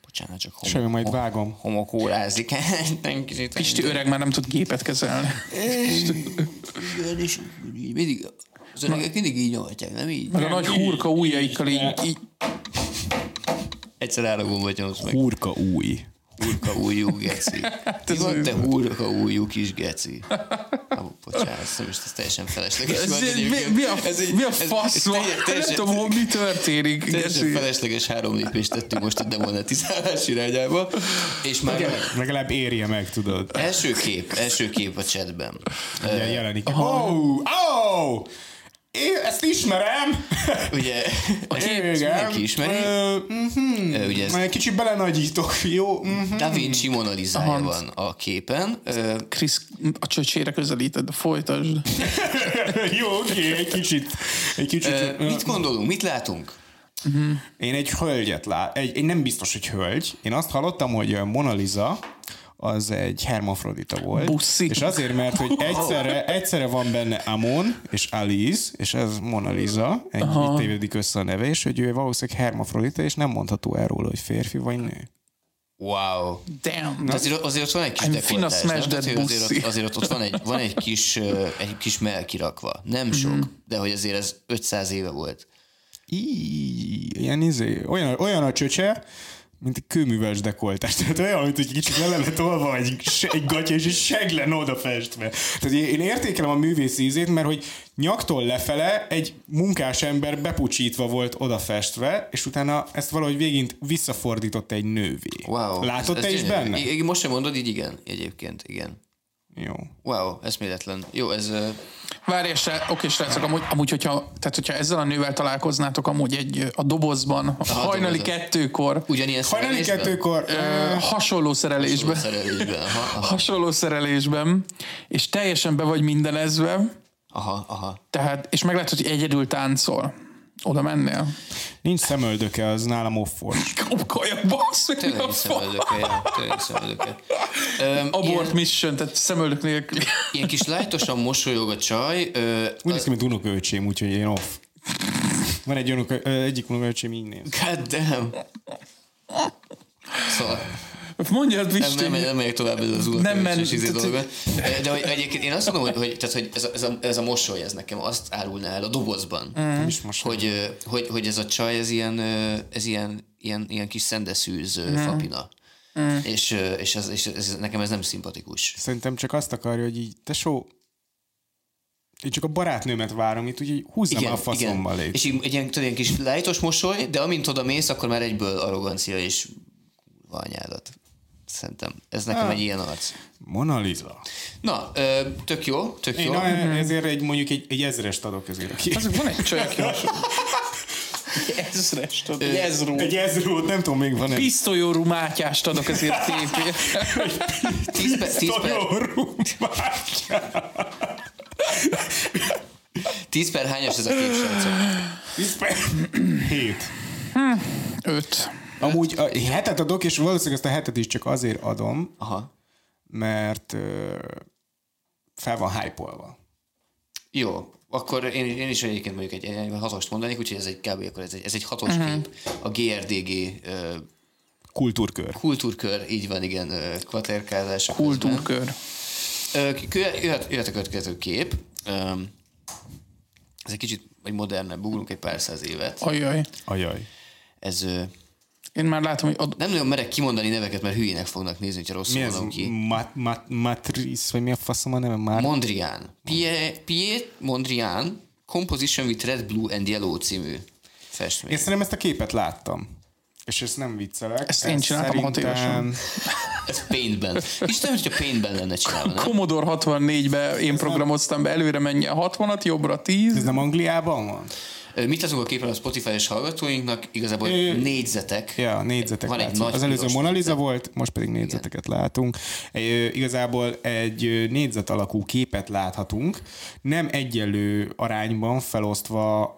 Bocsánat, csak homok, Mhm. Semmi, majd ho- vágom. homokórázik. Nem kicsit- Pisti öreg már nem tud gépet kezelni. Igen, és így mindig, az öregek mindig így nyomhatják, nem így? Meg a nagy hurka ujjaikkal így, így Egyszer állagom vagy nyomsz meg. Hurka új. Hurka újú geci. Hát Mi van te hurka újú kis geci? Ah, bocsánat, azt hiszem, ez teljesen felesleges Ez, volt mi, egyébként. mi, a, ez, mi a fasz van? teljes- Nem teljesen- tudom, hogy mi történik. Teljesen Geci. felesleges három lépést tettünk most a demonetizálás irányába, és már Legalább érje meg, tudod. első kép, első kép a chatben. Ugye jelenik. Oh, oh! Én ezt ismerem! Ugye, a kép mindenki ismeri, Hmm. Ö, mhm. Ö, ugye ez Majd egy kicsit belenagyítok, jó? Mhm. Da Vinci Mona Lisája van a képen. Ö, Krisz, a csöcsére közelíted, de folytasd. Jó, oké, egy kicsit. Egy kicsit. ö, Mit gondolunk, mit látunk? Én egy hölgyet lát, egy, egy, nem biztos, hogy hölgy. Én azt hallottam, hogy a Mona Lisa az egy hermafrodita volt. Buszi. És azért, mert hogy egyszerre, egyszerre van benne Amon és Alice, és ez Mona Lisa, egy így tévedik össze a neve, és hogy ő valószínűleg hermafrodita, és nem mondható el róla, hogy férfi vagy nő. Wow. Damn. Tehát azért, azért ott van egy kis I'm finna dekoltás, smash nem? Tehát, that hogy azért, ott, pussy. azért ott van egy, van egy kis, ö, egy kis mell kirakva. Nem Mhm. sok, de hogy azért ez 500 éve volt. Így, ilyen izé, olyan, olyan a csöcse, mint egy kőműves dekoltás. Tehát olyan, mint egy kicsit le lenne tolva egy, se- egy gatya, és egy seglen odafestve. Tehát én én értékelem a művész ízét, mert hogy nyaktól lefele egy munkás ember bepucsítva volt odafestve, és utána ezt valahogy végint visszafordított egy nővé. Wow. Látod Ez- te ez is gyönyörű. benne? I- I- most sem mondod, így igen, egyébként, igen. Jó. Wow, eszméletlen. Jó, ez... ö, Várj, és oké, srácok, amúgy, amúgy hogyha, tehát, hogyha ezzel a nővel találkoznátok, amúgy egy ö, a dobozban, a hajnali dobozban. kettőkor, Ugyanilyen Hajnali szerelésben? kettőkor... ö, hasonló szerelésben, Szerelésben. Aha, aha, hasonló szerelésben, és teljesen be vagy mindenezve, aha, aha. tehát, és meglátod, hogy egyedül táncol. Oda mennél? Nincs szemöldöke, az nálam off volt. Kopkolja, bassz, hogy mi Tényleg a fa? szemöldöke. Tényleg szemöldöke. Öm, Abort ilyen, mission, tehát szemöldök nélkül. ilyen kis lájtosan mosolyog a csaj. Ö, Úgy néz ki, mint unokaöcsém, úgyhogy én off. Van egy unoka, ö, egyik unokaöcsém így néz. God damn. Szóval Mondjad, Pisti. nem, nem, nem megyek tovább ez az Nem nem men- izé tehát- dolga. De hogy egyébként én azt mondom, hogy, hogy, tehát, hogy ez, a, ez, a, ez a mosoly, ez nekem azt árulná el a dobozban. Nem is most Eh? Hogy, ö, hogy, hogy ez a csaj, ez ilyen, ö, ez ilyen, ilyen, ilyen kis szendeszűz mm. fapina. Mm. És, ö, és, ez, és ez, nekem ez nem szimpatikus. Szerintem csak azt akarja, hogy így, tesó, én csak a barátnőmet várom itt, úgyhogy húzzam már a faszomba légy. És így, egy ilyen, tudod, ilyen kis lájtos mosoly, de amint oda mész, akkor már egyből arrogancia és kurva anyádat. Szerintem ez nekem egy ilyen arc. Mona Lisa. Na, ö, tök jó, tök Én jó. Mhm. na, ezért egy, mondjuk egy, egy ezrest adok ezért. Aki. Az, van egy csaj, aki hasonló. Egy ezres, tudod, egy ezró. Egy ezrót, nem tudom, még van egy Pisztolyórú Mátyást adok ezért tépért. 10 per, 10 per, pisztolyórú bátyám. 10 per hányas ez a kép, srácok? Tíz per- Hét. Öt. Amúgy a hetet adok, és valószínűleg ezt a hetet is csak azért adom, Aha. mert ö, fel van hype-olva. Jó, akkor én, én is egyébként mondjuk egy, egy hatost mondanék, úgyhogy ez egy kb. akkor ez egy, ez egy hatos uh-huh. kép. A GRDG ö, Kultúrkör. kultúrkör, így van, igen, ö, kvaterkázás. Kultúrkör. Ö, kö- Jöhet, jöhet a következő kép. Öm, Ez egy kicsit egy modernebb, ugrunk egy pár száz évet. Ajaj. Ajaj. Ez ö, Én már látom, hogy ad... nem nagyon merek kimondani neveket, mert hülyének fognak nézni, ha rosszul Mi ez? mondom ki. Mat, mat, matriz, vagy mi a faszom a neve? Már Mondrian. Pie, Piet Mondrian, Composition with Red, Blue and Yellow című Én festmény. szerintem ezt a képet láttam. És ezt nem viccelek. Ezt én csináltam hat évesen. Ez paintben. Isten, hogyha paintben lenne csinálva, nem? Commodore 64-be én programoztam be, előre menjen 60-at, jobbra 10. Ez nem Angliában van? Ö, Mit látunk a képen a Spotify-es hallgatóinknak? Igazából Ö, négyzetek. Ja, négyzetek Van egy látszik. nagy Az előző piros Mona Lisa volt, most pedig négyzeteket látunk. E, ö, Igazából egy ö, négyzet alakú képet láthatunk, nem egyenlő arányban felosztva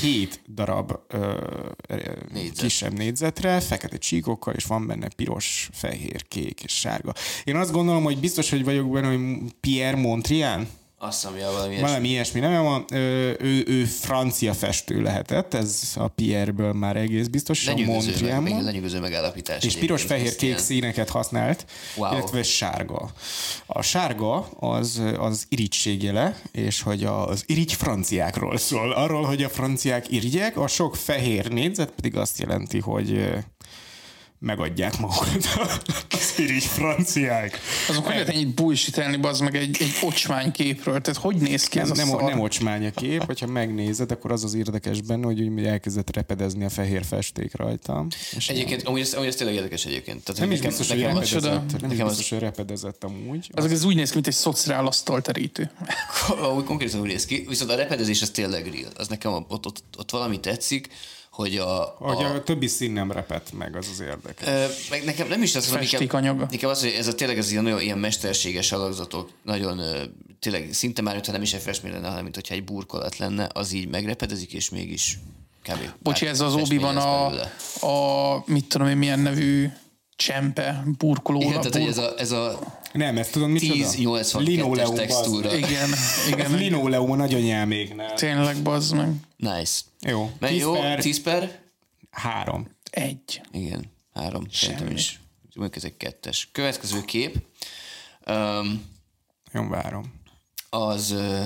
hét darab ö, ö, Négyzet. kisebb négyzetre, fekete csíkokkal, és van benne piros, fehér, kék és sárga. Én azt gondolom, hogy biztos, hogy vagyok benne, hogy Pierre Montrian, Azt hiszem, ja, valami ilyesmi. valami ilyesmi, nem van, ö, ő, ő francia festő lehetett, ez a Pierre-ből már egész biztos, a Lenyűgöző, meg, igen, Montrianban. lenyűgöző megállapítás. És piros, egyébként, fehér, ezt kék ilyen- színeket használt, Wow. illetve sárga. A sárga az, az irigységjele, és hogy az irigy franciákról szól. Arról, hogy a franciák irigyek, a sok fehér négyzet pedig azt jelenti, hogy ö, megadják magukat az irigy franciák. Azok hogy lehet ennyit bullshitelni, bazd meg egy, egy ocsmány képről? Tehát hogy néz ki ez Ez a nem, szar? nem ocsmány a kép, hogyha megnézed, akkor az az érdekes benne, hogy úgy elkezdett repedezni a fehér festék rajta. És Egyébként, amúgy ez, amúgy ez tényleg érdekes egyébként. Tehát, nem is nekem- biztos, hogy nekem, az- repedezett. Nem is nekem az- biztos, hogy repedezett amúgy. Ezek ez úgy néz ki, mint egy szociálasztal terítő. Amúgy konkrétan úgy néz ki, viszont a repedezés az tényleg real. Az nekem ott, ott, ott, ott valami tetszik, hogy a, Hogy a többi szín nem repett meg, az az érdekes. Ö, meg nekem nem is az, hogy Festék nekem, anyaga. nekem az, hogy ez a tényleg ez ilyen, nagyon ilyen mesterséges alakzatok, nagyon ö, tényleg szinte már, mintha nem is egy festmény lenne, hanem mintha egy burkolat lenne, az így megrepedezik, és mégis kb. Bocsi, pár ez az festmény Obi-Wan Hát, lesz a, belőle. a, mit tudom én, milyen nevű csempe, burkoló. Igen, tehát bur... hogy ez a, ez a Nem, ezt tudom, mit 10-82-es textúra. igen, igen, igen. Linoleum a nagyanyáméknál. Tényleg, bazd meg. Nice. Jó. Mert 10 jó, per 10 per? Három. Egy. Igen, három. Szerintem Semmi. is. Mondjuk ez egy kettes. Következő kép. Um, Nagyon várom. az ö,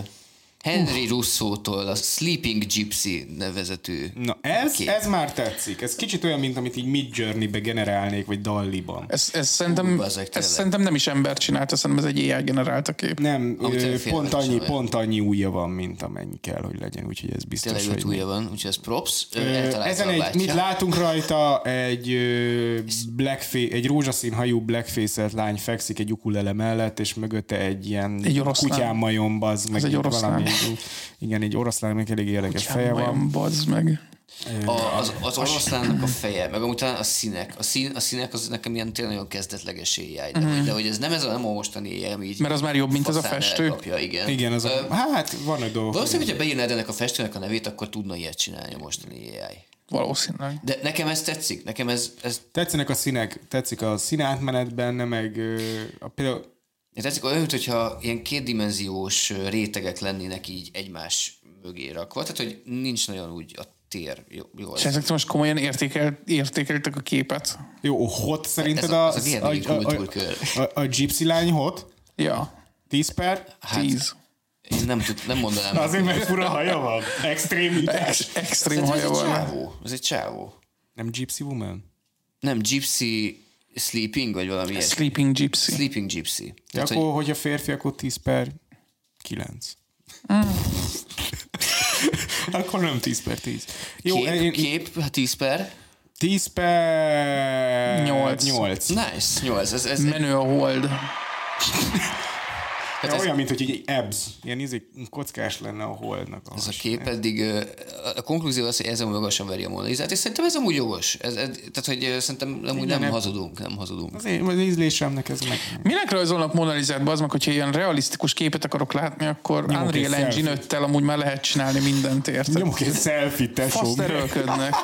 Henry Russo-tól a Sleeping Gypsy nevezetű. Na ez, Kép. ez már tetszik. Ez kicsit olyan, mint amit így mid journey-be generálnék, vagy Dalliban. Ez, ez, szerintem, bazd meg, ez tényleg. szerintem szerintem nem is ember csinálta, szerintem ez egy AI generált a kép. Nem, Amit ö, elfér, pont nem annyi, csinálja. pont annyi újja van, mint amennyi kell, hogy legyen, úgyhogy ez biztos, Tényleg öt hogy... újja van, úgyhogy ez props. Ő Ö, eltalálta Ezen a egy, bátyja. mit látunk rajta, egy, ö, blackface, egy rózsaszín hajú blackface-et lány fekszik egy ukulele mellett, és mögötte egy ilyen Egy oroszlán. kutyámajom, az meg egy így oroszlán. valami. Igen, egy oroszlán, meg elég érdekes feje van. Olyan bazd meg. A, az, az oroszlánnak a feje, meg amúgy talán a színek. A, szín, a színek az nekem ilyen tényleg nagyon kezdetleges éjjáj. De, hogy- de hogy ez nem ez a nem a mostani éjjáj, ami így Mhm. Mert az már jobb, mint ez a faszán festő. elkapja, igen. Igen, az Ö, a, hát van egy dolog. Valószínűleg, hogyha beírnád ennek a festőnek a nevét, akkor tudna ilyet csinálni a mostani éjjáj. Valószínűleg. De nekem ez tetszik, nekem ez, ez Tetszenek a színek, tetszik a színátmenet benne, meg ö, a, például Én tetszik olyan, hogyha ilyen kétdimenziós ö, rétegek lennének így egymás mögé rakva, tehát hogy nincs nagyon úgy a tér jó, jól. És ezek most komolyan értékel, értékeltek a képet. jó, hot szerinted Ez a, a- ez a, a a, Vietnami a, a, kultúrkör. a, a gypsy lány hot? Ja, 10 per? tíz. Én nem, tud, nem mondanám. Azért, mert fura haja van. Extrémitás. Ex- extrém Szerintem Szóval ez haja egy van. csávó. Ez egy csávó. Nem gypsy woman? Nem gypsy sleeping, vagy valami ilyesmi. Sleeping Gypsy. Sleeping gypsy. Tehát, Tehát, akkor, hogy hogy... hogyha férfi, akkor 10 per 9. Ah. akkor nem 10 per 10. Jó, kép, én, én kép, hát 10 per. 10 per Nyolc. 8. Nice, 8. Ez, ez, Menő a hold. hát Ez... ez, Olyan, mint hogy egy abs, ilyen izé, kockás lenne a holdnak. ez a kép pedig, ö, a- a konklúzió az, hogy ez amúgy jogosan veri a Monalizát, és szerintem ez amúgy jogos. Ez, ez, tehát, hogy ö, szerintem amúgy nem, nem. hazudunk, nem hazudunk. Az, én, az ízlésemnek ez meg... Minek rajzolnak Monalizát, bazd meg, hogyha ilyen realisztikus képet akarok látni, akkor egy Unreal selfie-t. Engine 5 amúgy már lehet csinálni mindent, érted? Nyomok egy selfie tesóm. Faszt erőlködnek.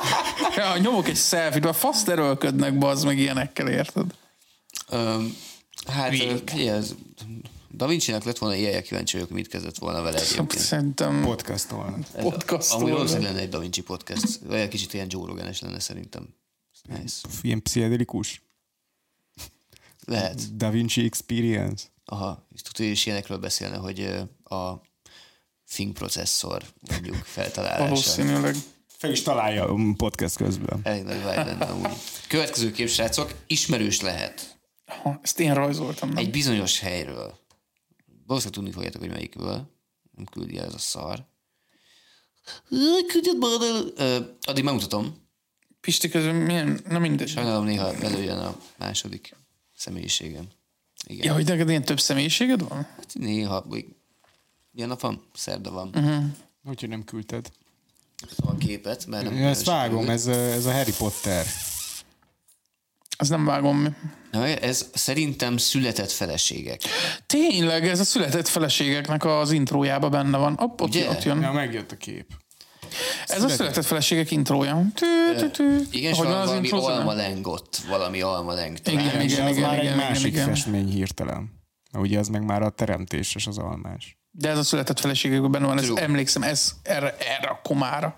Ja, nyomok egy selfie-t, már faszt erőlködnek, bazd meg ilyenekkel, érted? Öm, hát, Hülyék. ö, figyelj, ez, Da Vinci-nek lett volna ilyen kíváncsi vagyok, mit kezdett volna vele egyébként. Szerintem Podcastolnak. Amúgy valószínűleg podcastról. lenne egy Da Vinci podcast. Olyan kicsit ilyen Joe rogan lenne szerintem. Nice. Ilyen pszichedelikus. Lehet. Da Vinci Experience. Aha. És tudod, hogy is ilyenekről beszélne, hogy ö, a Think processzor mondjuk feltalálása. Valószínűleg. Fel is találja a podcast közben. Elég nagy vibe lenne amúgy. Következő kép, srácok, ismerős lehet. Ha, ezt én rajzoltam, nem? Egy bizonyos helyről. Valószínűleg tudni fogjátok, hogy melyikből. Nem küldi el ez a szar. Ö, Küldjed magad el. Ö, Addig megmutatom. Pisti közben milyen, na mindegy. Sajnálom, néha előjön a második személyiségem. Igen. Ja, hogy neked ilyen több személyiséged van? Hát néha, még ilyen nap van, szerda van. Mhm. Uh-huh. Úgyhogy nem küldted. A képet, mert nem... Ja, ezt vágom, sikerült. ez, a- ez a Harry Potter. Az nem vágom. Na, ez szerintem született feleségek. Tényleg, ez a született feleségeknek az intrójába benne van. Op, ott, Ugye? ott jön. megjött a kép. Ez a született feleségek intrója. Tű, tű, tű. Igen, és Ahogy van az valami intro zene? almaleng ott, valami almaleng. talán. Igen, És igen, az igen, már egy igen, igen, másik igen. festmény hirtelen. Mert Ugye az meg már a teremtéses az almás. De ez a született feleségekben benne van, ez, True. emlékszem, ez erre, erre a komára.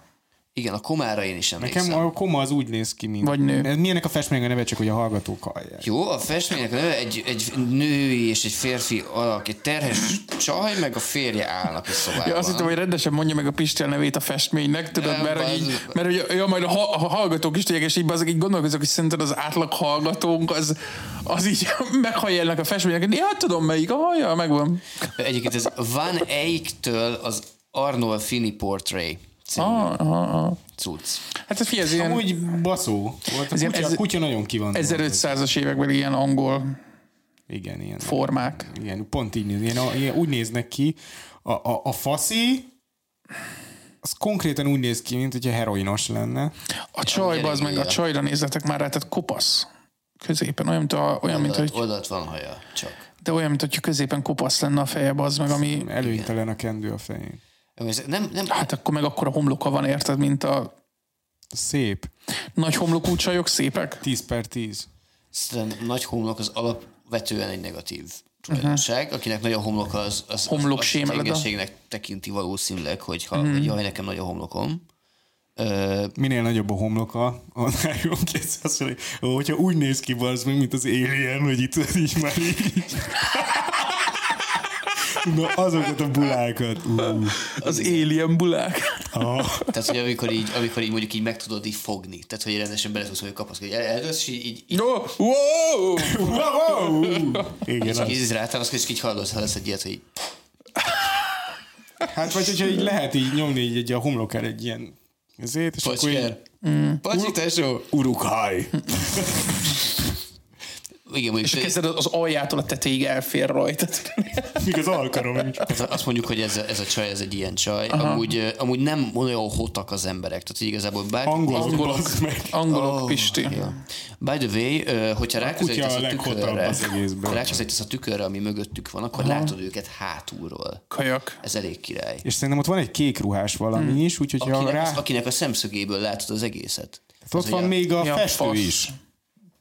Igen, a komára én is emlékszem. Nekem a koma az úgy néz ki, mint... Vagy nő. Ez Milyenek a festmények a neve, csak hogy a hallgatók hallják. Jó, a festménynek a neve egy, egy női és egy férfi alak, egy terhes csaj, meg a férje állnak a szobában. Ja, azt hittem, hogy rendesen mondja meg a Pistel nevét a festménynek, tudod, Nem, mert, hogy bazd. így, mert hogy, ja, majd a, ha, a hallgatók is tudják, és így, azok így gondolkozok, hogy szerinted az átlag hallgatónk az, az így meghallja ennek a festménynek. Ja, hát tudom melyik, a hallja, megvan. Egyébként ez Van Eyck-től az Arnold Fini Portrait című Ah, ah, ah. cucc. Hát ez figyelj, ez ilyen Amúgy baszó volt. A Ez ilyen kutya, ez- a kutya nagyon ki van. tolva. 1500-as években ilyen angol Igen, ilyen. formák. Igen, pont így néz, ilyen, ilyen, úgy néznek ki. A, a, a faszi, az konkrétan úgy néz ki, mint hogyha heroinos lenne. Hát A csajba az meg, a gyerekére. csajra nézzetek már rá, tehát kopasz középen, olyan, mint, a, olyan, mint, Oldalt, hogy, oldalt van haja, csak. de olyan, mint hogyha középen kopasz lenne a feje, az meg, ami, Előnytelen a kendő a fején. Ez Nem, nem, hát akkor meg akkor a homloka van, érted, mint a Szép. nagy homlokú csajok szépek. 10 per 10. szerintem Szóval nagy homlok az alapvetően egy negatív tulajdonság. Akinek nagy a homlok, az, az, Mhm. Homlok az, az sémeled a- Mhm. gyengeségnek tekinti valószínűleg, hogy ha, hogy jaj, nekem nagy a homlokom. Ö, Minél nagyobb a homloka, annál jobb kész az, hogy ó, hogyha úgy néz ki, az meg, mint az Alien, hogy itt így már így. Na, azokat a bulákat. Ú, Az alien bulák. ah. Tehát, hogy amikor így, amikor így mondjuk így meg tudod így fogni, tehát, hogy rendesen bele tudsz, hogy kapaszkodni. El- Először is így, így, így No, wow! Wow! Igen, az. Ízíz rá, aztán és így hallod, ha lesz egy ilyet, hogy Hát vagy hogyha így lehet így nyomni így, egy a homlokára egy ilyen ezért, és akkor így, pacsker. Mhm. Pacsi, tesó. urukhaj. Igen, És mondjuk, kezded az aljától a tetejéig elfér rajta. Még az alkarom nincs. ez- azt mondjuk, hogy ez a, ez a csaj, ez egy ilyen csaj. Amúgy, ö, amúgy nem olyan hotak az emberek, tehát hogy igazából bár... Angolok, Angolok. bazd meg. Angolok, oh, Pisti. Ja. By the way, ö, hogyha ráközelítesz kutya a, a leghotabb tükörre, az egészben. ha ráközelítesz a tükörre, ami mögöttük van, akkor látod őket hátulról. Kajak. Ez elég király. És szerintem ott van egy kék ruhás valami is, úgyhogy ha Hmm. Akinek, rá... Hát az, akinek a szemszögéből látod az egészet. ott van még a Mi a festő fasz? is.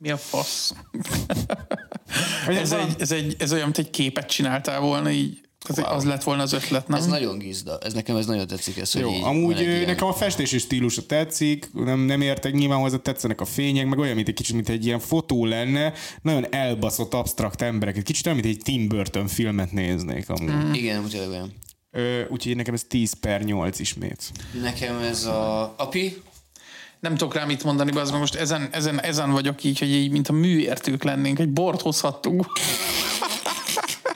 Mi a fasz? Vagy Ez, van- egy, ez, egy, ez olyan, mint egy képet csináltál volna így. Ez egy, az lett volna az ötlet, nem? Ez nagyon gizda. Ez nekem ez nagyon tetszik. Ez, hogy Jó, így amúgy van egy ö, ilyen- nekem a festési stílusa tetszik, nem, nem értek nyilván hozzá, tetszenek a fények, meg olyan, mint egy kicsit, mint egy ilyen fotó lenne, nagyon elbaszott, absztrakt embereket, kicsit olyan, mint egy Tim Burton filmet néznék amúgy. Mm. Igen, úgy olyan. Ö, úgyhogy nekem ez 10 per 8 ismét. Nekem ez a... Api? Nem tudok rá mit mondani, az most ezen, ezen, ezen vagyok így, hogy így, mint a műértők lennénk, egy bort hozhattunk.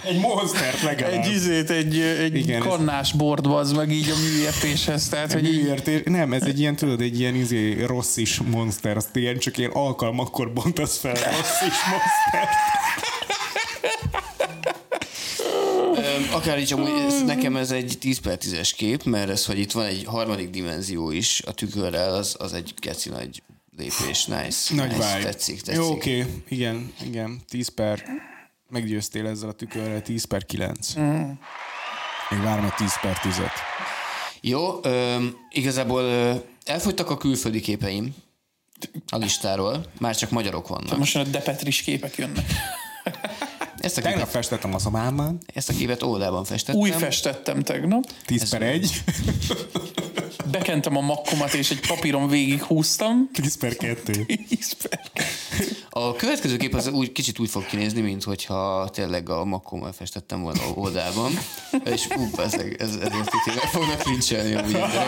Egy monstert legalább. Egy Egy izé- izét, egy, Igen, egy Igen, ez- kannás bort, az meg így a műértéshez. Tehát, hogy így, Műértés. Nem, ez egy ilyen, tudod, egy ilyen izé, rossz is monster, azt ilyen csak ilyen alkalmakkor bontasz fel rossz is monster. Öm, Akár így amúgy ez, Mm. nekem ez egy 10 per 10-es kép, mert ez, hogy itt van egy harmadik dimenzió is a tükörrel, az, az egy keci nagy lépés. Nice. Nagy nice. vibe. Tetszik, tetszik. Jó, oké, okay. igen, igen, 10 per, meggyőztél ezzel a tükörrel, 10 per 9. Mm. Még várom a 10 per 10 Jó, öm, igazából ö, elfogytak a külföldi képeim a listáról, már csak magyarok vannak. most a depetris képek jönnek. Ezt a Tegnap képet, festettem a szobámban, ezt a képet óvodában festettem. Új festettem tegnap. 10 per 1, Bekentem a makkomat, és egy papíron végig húztam. 10 per 2. A következő kép az úgy, kicsit úgy fog kinézni, mint hogyha tényleg a makkommal festettem volna oldalban, és ú, ezek, ez, ezért itt meg fognak lincselni amúgy emberek.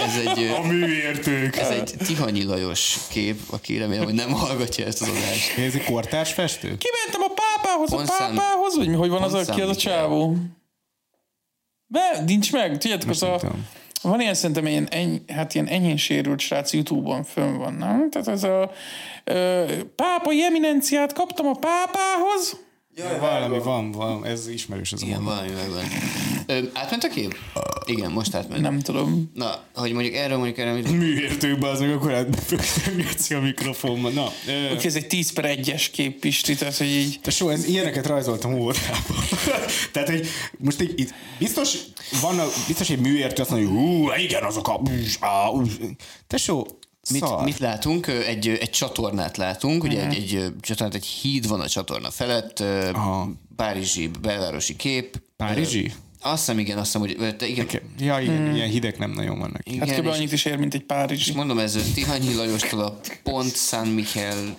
Ez egy, ö, A műértők. ez egy Tihanyi Lajos kép, aki remélem, hogy nem hallgatja ezt az adást. Ez egy kortárs festő? Kimentem a pápához, Pont a szám- pápához, hogy mi, hogy van az, pont a, ki az a számít csávó. De nincs meg, tudjátok, az nem a... tudom. Van ilyen, szerintem ilyen, eny, hát ilyen enyhén sérült srác Youtube-on fönn van, nem? Tehát ez a ö, pápai eminenciát kaptam a pápához, Jaj, valami van, van, ez ismerős ez a Igen, mondat. valami megvan. Ö, átment a kép? Igen, most átment. Nem tudom. Na, hogy mondjuk erről mondjuk erre, mit... Műértőkbe az meg akkor átbefőtengetszi a mikrofonban. Na, ö, Oké, ez egy 10 per 1-es kép, Pisti, tehát, hogy így... te so, ez, ilyeneket rajzoltam óvodában. Tehát, hogy most így, itt biztos, van a, biztos egy műértő azt mondja, hogy hú, igen, azok a... Te so, Mit, szar. Mhm. mit látunk? Ö, Egy, ö, egy csatornát látunk, ugye egy, egy ö, csatornát, egy híd van a csatorna felett, ö, Aha. párizsi, belvárosi kép. Párizsi? Ö, Azt hiszem, igen, azt hiszem, hogy ö, te, igen, Oké. Hát Ja, igen, Hmm. ilyen hideg nem nagyon van neki. Hát igen kb. és, annyit is ér, mint egy és Párizsi. mondom ez ö, Tihanyi Lajostól a Pont San Michel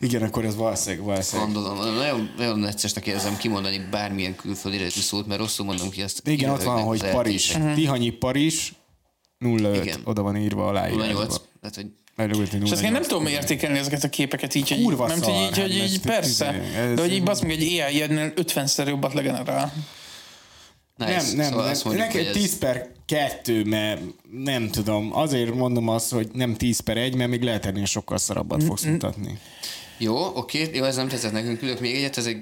Igen, akkor ez valószínűleg, valószínűleg. gondolom. Nagyon, nagyon egyszerűsnek érzem kimondani bármilyen külföldi eredetű szót, mert rosszul mondom ki azt. De igen, ott van, illetőknek hogy az Parizs. Hmm. eltések. Tihanyi Parizs, 05, Igen. oda van írva aláírva. 08. Tehát, hogy Lenyugodni És ezt én nem 08. tudom értékelni ezeket a képeket így, hogy Kurva nem szar, tudom, így, hát hogy ez- izé, így persze, ez- de hogy így bazd meg egy AI-nél 50-szer jobbat legenerál. nice. Nem, nem, szóval szóval azt nem. mondjuk, Nekem hogy ez- 10 per 2, mert nem tudom, azért mondom azt, hogy nem 10 per 1, mert még lehet ennél sokkal Mm, szarabbat fogsz mutatni. Jó, oké, jó, ez nem tetszett nekünk, külök még egyet, ez egy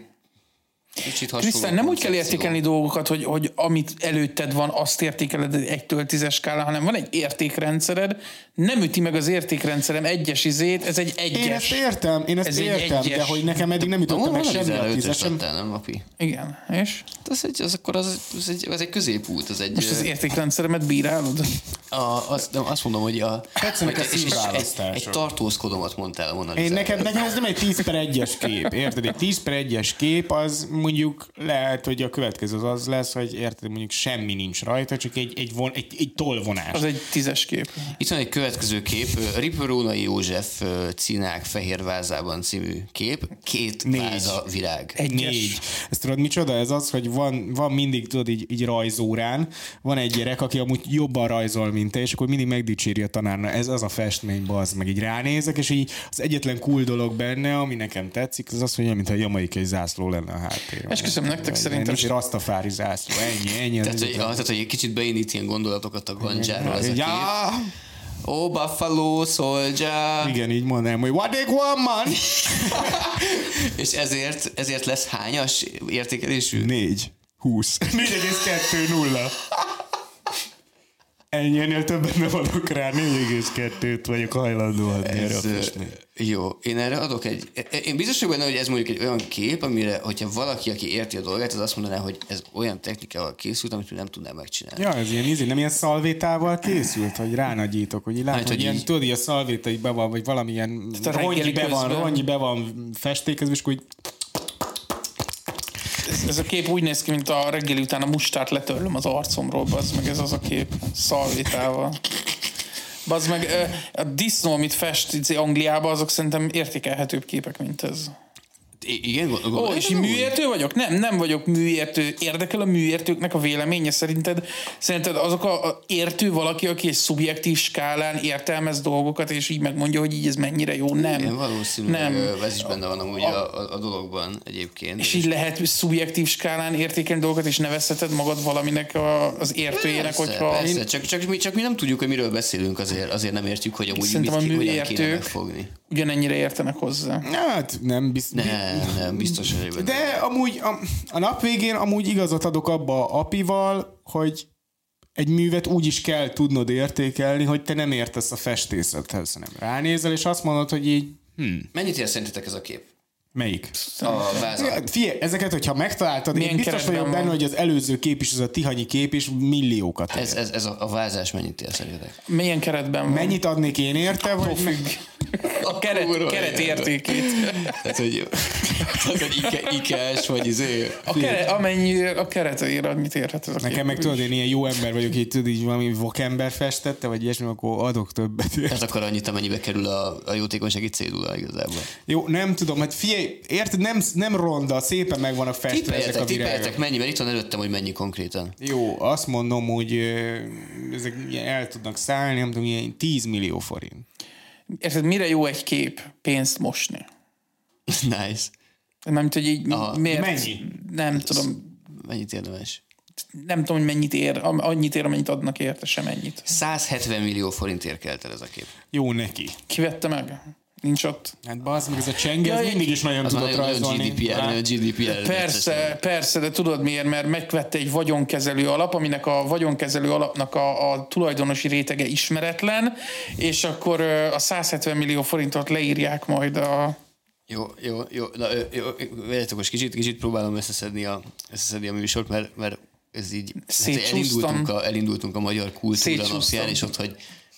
kicsit hasonló. Krisztán, nem úgy kell koncepció. értékelni dolgokat, hogy, hogy amit előtted van, azt értékeled egy 1-től 10 skálán, hanem van egy értékrendszered, nem üti meg az értékrendszerem egyes izét, ez egy Én ezt egyes. értem, én ezt Ez ez egy értem, de egyes. hogy nekem eddig nem Ó, jutottam meg van semmi a 15-ös tízesem. adtál, nem, api? Igen, és? Hát Az, egy, az akkor az, az, egy, az egy középút, az egy... Most az ö, értékrendszeremet bírálod? a, azt, nem, azt mondom, hogy a... Tetszenek a hogy- és- és- színválasztások. Egy, egy tartózkodomat mondtál volna. Én nekem, nekem ez nem egy 10 per 1-es kép, érted? Egy 10 per 1-es kép az mondjuk lehet, hogy a következő az az lesz, hogy érted, mondjuk semmi nincs rajta, csak egy, egy, von, egy, egy tolvonás. Az egy tízes kép. Itt van egy következő kép, ö, Riperónai József ö, Cinák Fehér Vázában című kép, két Négy. váza virág. Egyes. Négy. Ezt tudod, micsoda? Ez az, hogy van, van mindig, tudod, így, így rajzórán, van egy gyerek, aki amúgy jobban rajzol, mint te, és akkor mindig megdicséri a tanárna. Ez az a festmény, bazd, meg így ránézek, és így az egyetlen cool dolog benne, ami nekem tetszik, az az, hogy olyan, mintha jamaikai zászló lenne a háttérben. Esküszöm nektek, szerintem- Egy rastafári zászló, ennyi, ennyi. Tehát, hogy, ah, tehát, hogy egy kicsit beindít ilyen gondolatokat a ganjáról ez a kép. ja, Ó, Buffalo Soldier! igen, így mondanám, hogy what they want, man? És ezért, ezért lesz hányas értékelésű? Négy. Húsz. 4,2 nulla. Ennyi, ennél többen nem adok rá, 4,2-t vagyok hajlandó adni erre a Ez, ö, festményre. jó, én erre adok egy... e, Én biztos vagyok benne, hogy ez mondjuk egy olyan kép, amire, hogyha valaki, aki érti a dolgát, az azt mondaná, hogy ez olyan technikával készült, amit mi nem tudnám megcsinálni. Ja, ez ilyen ízé, nem ilyen szalvétával készült, hogy ránagyítok, hogy így látom, Hát, hát, hogy hogy ilyen, így- tudod, így a szalvéta így be van, vagy valamilyen a reggeli rongy be, van, közben. rongy be van festékezve, és akkor így, Ez, ez a kép úgy néz ki, mint a reggeli után a mustárt letörlöm az arcomról, bazd meg ez az a kép szalvétával. Bazd meg, ö, a disznó, amit fest izé, Angliába, azok szerintem értékelhetőbb képek, mint ez. I- igen, gond- Ó, gondolod és úgy? én műértő vagyok? Nem, nem vagyok műértő. Érdekel a műértőknek a véleménye szerinted? Szerinted azok a, a értő valaki, aki egy szubjektív skálán értelmez dolgokat, és így megmondja, hogy így ez mennyire jó? Nem. Igen, valószínűleg nem. ö, ez is benne van amúgy a, a, a dologban egyébként. És így lehet szubjektív skálán értékelni dolgokat, és nevezheted magad valaminek a, az értőjének, Persze, hogyha... persze. Csak, csak, mi, csak mi nem tudjuk, hogy miről beszélünk, azért, azért nem értjük, hogy amúgy mit, Szerintem a ki- hogyan kéne műértők- megfogni. ugyanennyire értenek hozzá. hát nem biztos. Nem, nem, biztos, hogy benne. De amúgy a, a nap végén amúgy igazat adok abba a apival, hogy egy művet úgy is kell tudnod értékelni, hogy te nem értesz a festészethez, hanem ránézel, és azt mondod, hogy így Mennyit ér szerintetek ez a kép? melyik? A váza. Ja, Figyelj, ezeket, hogyha megtaláltad, Milyen én biztos keretben vagyok van? benne, hogy az előző kép is, ez a tihanyi kép is milliókat ér. Ez, ez, ez a, a vázás mennyit ér szerintetek? Milyen keretben van? Mennyit adnék én érte, vagy meg... A keret, Kurva keret életben. értékét. Tehát, hogy, tehát, hogy ike, ikás, vagy izé. A keret, amennyi a keret ér, annyit érhet ez a Nekem kép. meg tudod, én ilyen jó ember vagyok, így tudod, így valami vakember festette, vagy ilyesmi, akkor adok többet. Tehát Hát akkor annyit, amennyibe kerül a, a jótékonysági cédula igazából. Jó, nem tudom, hát figyelj, érted, nem, nem ronda, szépen meg vannak festve ezek Tippeljetek, a virágok. tippeljetek, mennyi, mert itt van előttem, hogy mennyi konkrétan. Jó, azt mondom, hogy ö, ezek ilyen el tudnak szállni, nem tudom, ilyen 10 millió forint. Érted, mire jó egy kép pénzt mosni? Nice. Nem tudom, hogy így Aha, miért... mennyi? Nem tudom, Mennyit érdemes? nem tudom, hogy mennyit ér, am- annyit ér, amennyit adnak érte, sem ennyit. 170 millió forintért kelt el ez a kép. Jó neki. Ki vette meg? Nincs ott. Hát bazd meg, ez a csenge, ez Jaj, mindig is nagyon Az már tudott nagyon nagyon rajzolni. GDPR, nagyon GDPR. Persze, persze, de tudod miért? Mert megvette egy vagyonkezelő alap, aminek a vagyonkezelő alapnak a, a tulajdonosi rétege ismeretlen, és akkor ö, a 170 millió forintot leírják majd a... Jó, jó, jó. Na, ö, jó, ö, várjátok, most kicsit, kicsit próbálom összeszedni a, összeszedni a műsort, mert, mert ez így hát Szétcsúsztam. elindultunk a, elindultunk a magyar kultúra Szétcsúsztam. napján, és ott, hogy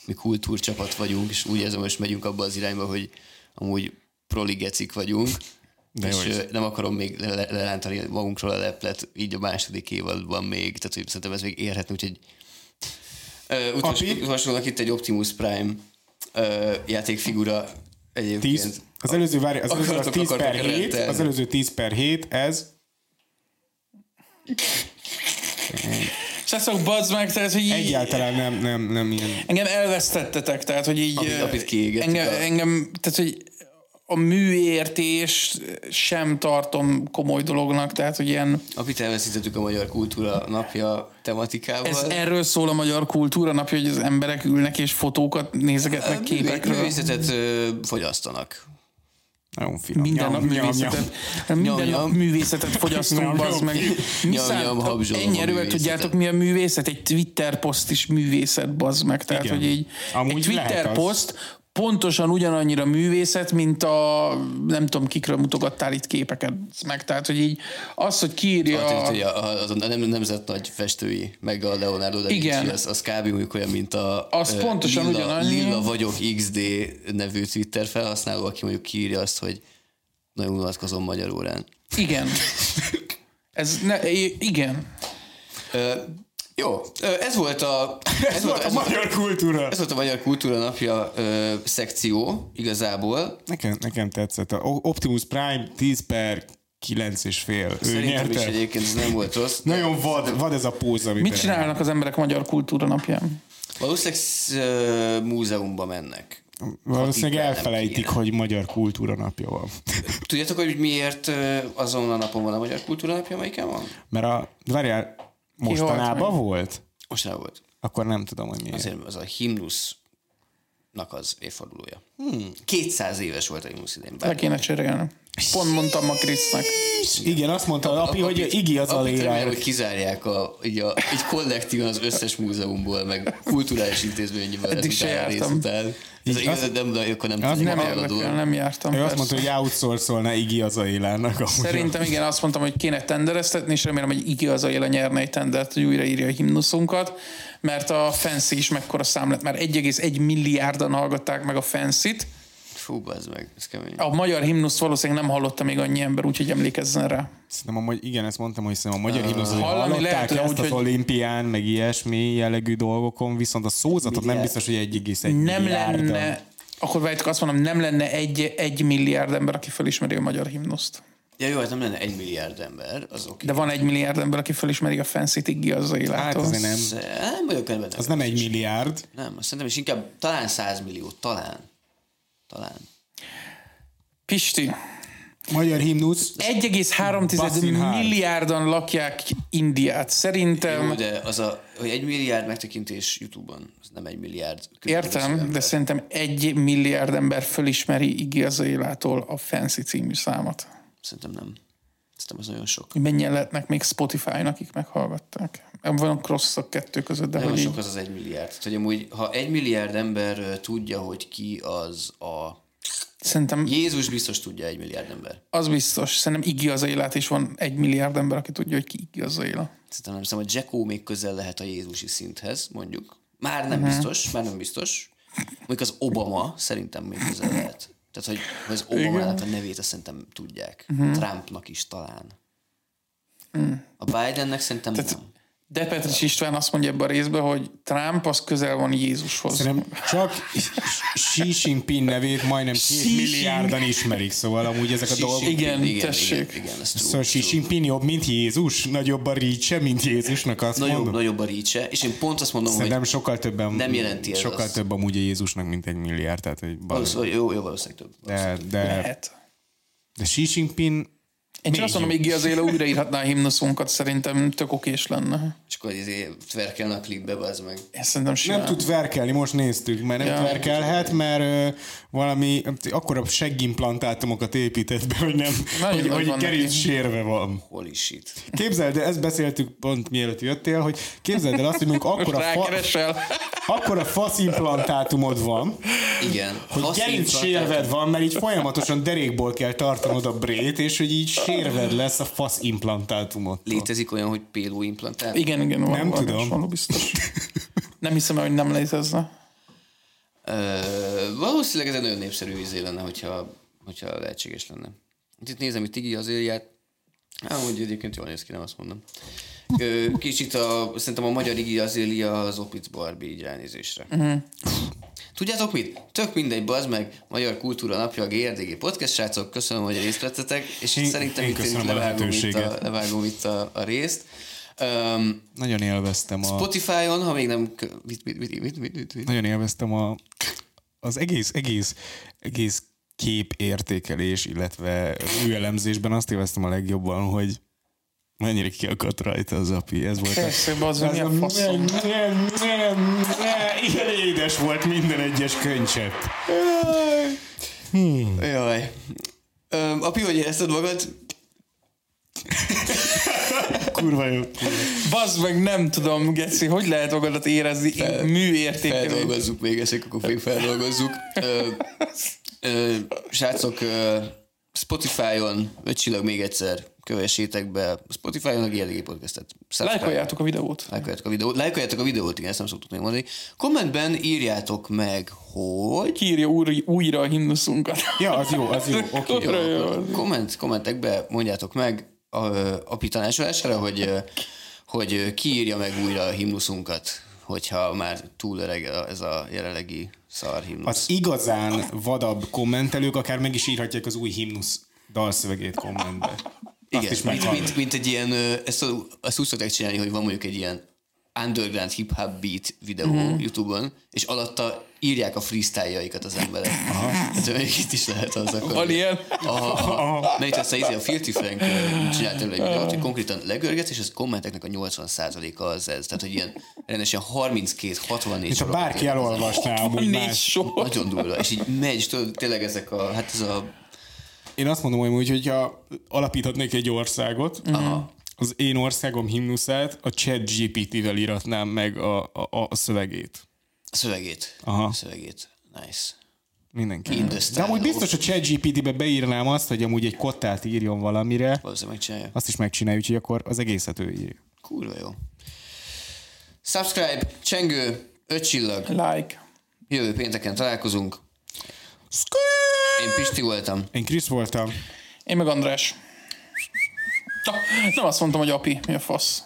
mi kultúrcsapat vagyunk, és úgy érzem, hogy most megyünk abba az irányba, hogy amúgy proligecik vagyunk, De és jó ö, nem akarom még le- le- lerántani magunkról a leplet, így a második évadban még, tehát hogy szerintem ez még érhetne, úgyhogy Ö, utolsó- Api? Utolsónak itt egy Optimus Prime ö, játékfigura egyébként. 10, az előző, várj, az előző az Akartok, 10 per akartok 7, rendelni. az előző 10 per 7, ez Srácok, bazd meg, tehát, hogy így... egyáltalán nem, nem, nem ilyen. Engem elvesztettetek, tehát, hogy így... Apit- ö, apit kiégetik engem, a- engem, tehát, hogy a műértést sem tartom komoly dolognak, tehát, hogy ilyen... Apit elveszítettük a magyar kultúra napja tematikával. Ez erről szól a magyar kultúra napja, hogy az emberek ülnek és fotókat nézegetnek képekről. Művészetet ö, fogyasztanak. Nagyon finom. Minden nap Nyam, nyam, nyam. művészetet, minden Nyam, nap nyam. művészetet fogyasztunk, Nyam, bazd nyam. meg. Mi Nyam, szánt- nyam, habzsolom Ennyi a erővel művészetet. tudjátok, mi a művészet? Egy Twitter poszt is művészet, bazd meg. Tehát, Igen. hogy így Amúgy egy lehet Twitter az. poszt pontosan ugyanannyira művészet, mint a nem tudom kikről mutogattál itt képeket meg. Tehát, hogy így az, hogy kiírja... Szóval Hát, hogy a, a, az a nem, nemzet nagy festői, meg a Leonardo da Vinci, Igen. az, az kb. mondjuk olyan, mint a Az ö, pontosan Lilla, ugyanannyi. Lilla vagyok XD nevű Twitter felhasználó, aki mondjuk kiírja azt, hogy nagyon unatkozom magyar órán. Igen. Ez ne, i- igen. Ö, jó, ö, ez volt a... Ez volt a magyar kultúra. Ez volt a Magyar Kultúra Napja ö, szekció igazából. Nekem, nekem tetszett. A O- Optimus Prime 10 per 9 és fél. Ő Szerintem is nyerte. egyébként ez nem volt rossz. Nagyon vad, vad ez a póz, amit Mit csinálnak az emberek magyar kultúra napján? Valószínűleg sz- ö, múzeumba mennek. Valószínűleg Hatik, nem elfelejtik, kéne. hogy magyar kultúra napja van. Tudjátok, hogy miért ö, azon a napon van a Magyar Kultúra Napja, melyiken van? Mert a, várjál, mostanában volt? Most nem volt. Akkor nem tudom, hogy miért. Azért az a himnusznak az évfordulója. Hmm. 200 éves volt a himnusz idén. Le kéne cserélni. Pont mondtam a Krisznek. Igen, azt mondta a api, hogy Igi az a lélek. lélek. hogy kizárják a, így, a, így kollektívan az összes múzeumból, meg kulturális intézményből Eddig ezután se a rész jártam. után. Ez Így igazad azt- nem, de akkor nem azt tudjuk Nem magadról. érdekel, nem jártam. Ő azt persze. mondta, hogy outsourcolna Igi az a élának. Szerintem igen, azt mondtam, hogy kéne tendereztetni, és remélem, hogy Igi az a nyerne egy tendert, hogy újraírja a himnuszunkat, mert a Fancy is mekkora szám lett. Már 1,1 milliárdan hallgatták meg a Fancy-t. Fú, bazd meg, ez kemény. A magyar himnuszt valószínűleg nem hallotta még annyi ember, úgyhogy emlékezzen rá. Szerintem amúgy, igen, ezt mondtam, hogy szerintem a magyar himnusz, hogy hallani hallották lehet, ezt úgy, az hogy- olimpián, meg ilyesmi jellegű dolgokon, viszont a szózatot nem Milliárd. biztos, hogy egy egész egy Nem milliárdan. lenne, Hát akkor várjátok, azt mondom, nem lenne egy, egy milliárd ember, aki felismeri a magyar himnuszt. Ja, jó, hát nem lenne egy milliárd ember, az oké. De van egy milliárd ember, aki felismeri a Fancy-t Iggy az Hát élától. azért nem. De Nem vagyok benne. Az nem egy milliárd. Nem, azt szerintem is inkább talán 100 millió, talán. Talán. Pisti, Magyar himnusz. 1,3 Basinhár. milliárdan lakják Indiát. Jó, Szerintem, de az a, hogy egy milliárd megtekintés YouTube-on, az nem egy milliárd. különböző értem, de ember. szerintem egy milliárd ember fölismeri Iggy Azalea-tól a Fancy című számot. Szerintem nem. Szerintem az nagyon sok. Hogy mennyien lehetnek még Spotify-n, akik meghallgatták. Van cross a kettő között, de Nagyon hogy sok így, az az egy milliárd. Tehát, hogy amúgy, ha egy milliárd ember ö, tudja, hogy ki az a... szerintem Jézus biztos tudja egy milliárd ember. az biztos, szerintem Iggy Azalea-t is van egy milliárd ember, aki tudja, hogy ki Iggy Azalea. Szerintem nem hiszem, hogy Jacko még közel lehet a Jézusi szinthez, mondjuk. Már Mhm. nem biztos, már nem biztos. Mondjuk az Obama szerintem még közel lehet. Tehát, hogy hogy az Obamának a nevét azt szerintem tudják. Mhm. Trumpnak is talán. A Bidennek szerintem nem. De Petris István azt mondja ebben a részben, hogy Trump az közel van Jézushoz. Szerintem csak Xi Jinping nevét majdnem két Xi milliárdan ismerik, szóval amúgy ezek a dolgok. Xi Jinping, Igen, tessék. Igen, igen, ez Szóval true, Xi true. Jinping jobb, mint Jézus? Nagyobb a rícse, mint Jézusnak, azt Nagyobb, mondom. nagyobb a rícse, és én pont azt mondom, Szerintem hogy sokkal többen, nem jelenti ez sokkal azt. több amúgy a Jézusnak, mint egy milliárd. Tehát, hogy bal- valószínűleg, jó, jó, valószínűleg több. de, de, Lehet. de Xi Jinping Én csak azt mondom, Iggy az éle újraírhatná a himnuszunkat, szerintem tök okés lenne. És akkor izé tverkelne a klipbe, az meg. Én szerintem simán. Nem tud verkelni, most néztük, mert nem Ja. ja. verkelhet, mert ö, valami akkora seggimplantátumokat épített be, hogy nem, Nagyon hogy, nagy hogy van kerinc neki. sérve van. Holy shit. Képzeld, el, ezt beszéltük pont mielőtt jöttél, hogy képzeld el azt, hogy mondjuk Most akkora, fa, rákeresel. akkora faszimplantátumod van, Igen. hogy gerinc sérved van, mert így folyamatosan derékból kell tartanod a brét, és hogy így sérved lesz a faszimplantátumot. Létezik olyan, hogy péló implantál? Igen, igen, van Nem valami tudom. hasonló biztos. Nem hiszem, el, hogy nem létezne. Ö, valószínűleg ez egy nagyon népszerű izé lenne, hogyha, hogyha lehetséges lenne. Itt nézem, hogy Tigi az élját. Hát, hogy egyébként jól néz ki, nem azt mondom. Ö, Kicsit a, szerintem a magyar Igi az Ilia az Opitz Barbie így ránézésre. Mhm. Tudjátok mit? Tök mindegy, bazd meg, Magyar Kultúra Napja, a GRDG Podcast, srácok, köszönöm, hogy részt vettetek, és Én- szerintem én itt köszönöm itt a levágom, itt a, lehetőséget. levágom itt a, a részt. Um, Nagyon élveztem a... Spotify-on, ha még nem... kö- Mit, mit, mit, mit, mit, mit, mit? nagyon élveztem a, az egész, egész, egész képértékelés, illetve műelemzésben azt élveztem a legjobban, hogy mennyire kiakadt rajta az api. Ez volt a Persze, az mi a nem, faszom. nem, nem, nem. Ilyen édes volt minden egyes könycsepp. Jaj. Ö, api, hogy érezted magad? Kurva jó. Bazd meg, nem tudom, Geci, hogy lehet magadat érezni műértékelő? Feldolgozzuk még ezek, akkor még feldolgozzuk. Ö, ö, srácok, ö, Spotify-on, öt csillag még egyszer, kövessétek be Spotify-on a GLG podcastet. Subscribe. Lájkoljátok a videót. Lájkoljátok a videót. Lájkoljátok a videót, igen, ezt nem szoktuk még mondani. Kommentben írjátok meg, hogy... Kírja újra, újra a himnuszunkat. Ja, az jó, az jó. Oké. Kurva Jó, jó. akkor komment, kommentekbe mondjátok meg a, a tanácsolására, hogy, ö, hogy ö, kiírja meg újra a himnuszunkat, hogyha már túl öreg a- ez a jelenlegi szar himnusz. Az igazán vadabb kommentelők akár meg is írhatják az új himnusz dalszövegét kommentbe. Igen, is mint, meghallom. mint, mint, egy ilyen, ö, ezt, a- ezt úgy szokták csinálni, hogy van mondjuk egy ilyen underground hip-hop beat videó Mhm. YouTube-on, és alatta írják a freestyle-jaikat az emberek. Aha. Hát még itt is lehet az akkor. Van ilyen? Aha, aha. Mert ezt a, izé, a Filthy Frank ö, csinált tőle egy videót, hogy konkrétan legörgetsz, és az kommenteknek a 80%-a az ez. Tehát, hogy ilyen rendesen 32-64 És ha bárki elolvasná amúgy Négy más sor. Nagyon durva, és így megy, és tudod, tényleg ezek a, hát ez a Én azt mondom, hogy úgy, hogyha alapíthatnék egy országot, Mhm. Aha. az én országom himnuszát a chat GPT-vel íratnám meg a, a, a szövegét. szövegét. Aha. Szövegét. Nice. Mindenki. In the De style amúgy of- biztos a chat GPT-be beírnám azt, hogy amúgy egy kottát írjon valamire, Valószínűleg megcsinálja. azt is megcsinálja, úgyhogy akkor az egészet ő írja. Kurva jó. Subscribe, csengő, öt csillag. Like. Jövő pénteken találkozunk. Én Pisti voltam. Én Krisz voltam. Én meg András. Na, Nem azt mondtam, hogy api, mi a fasz.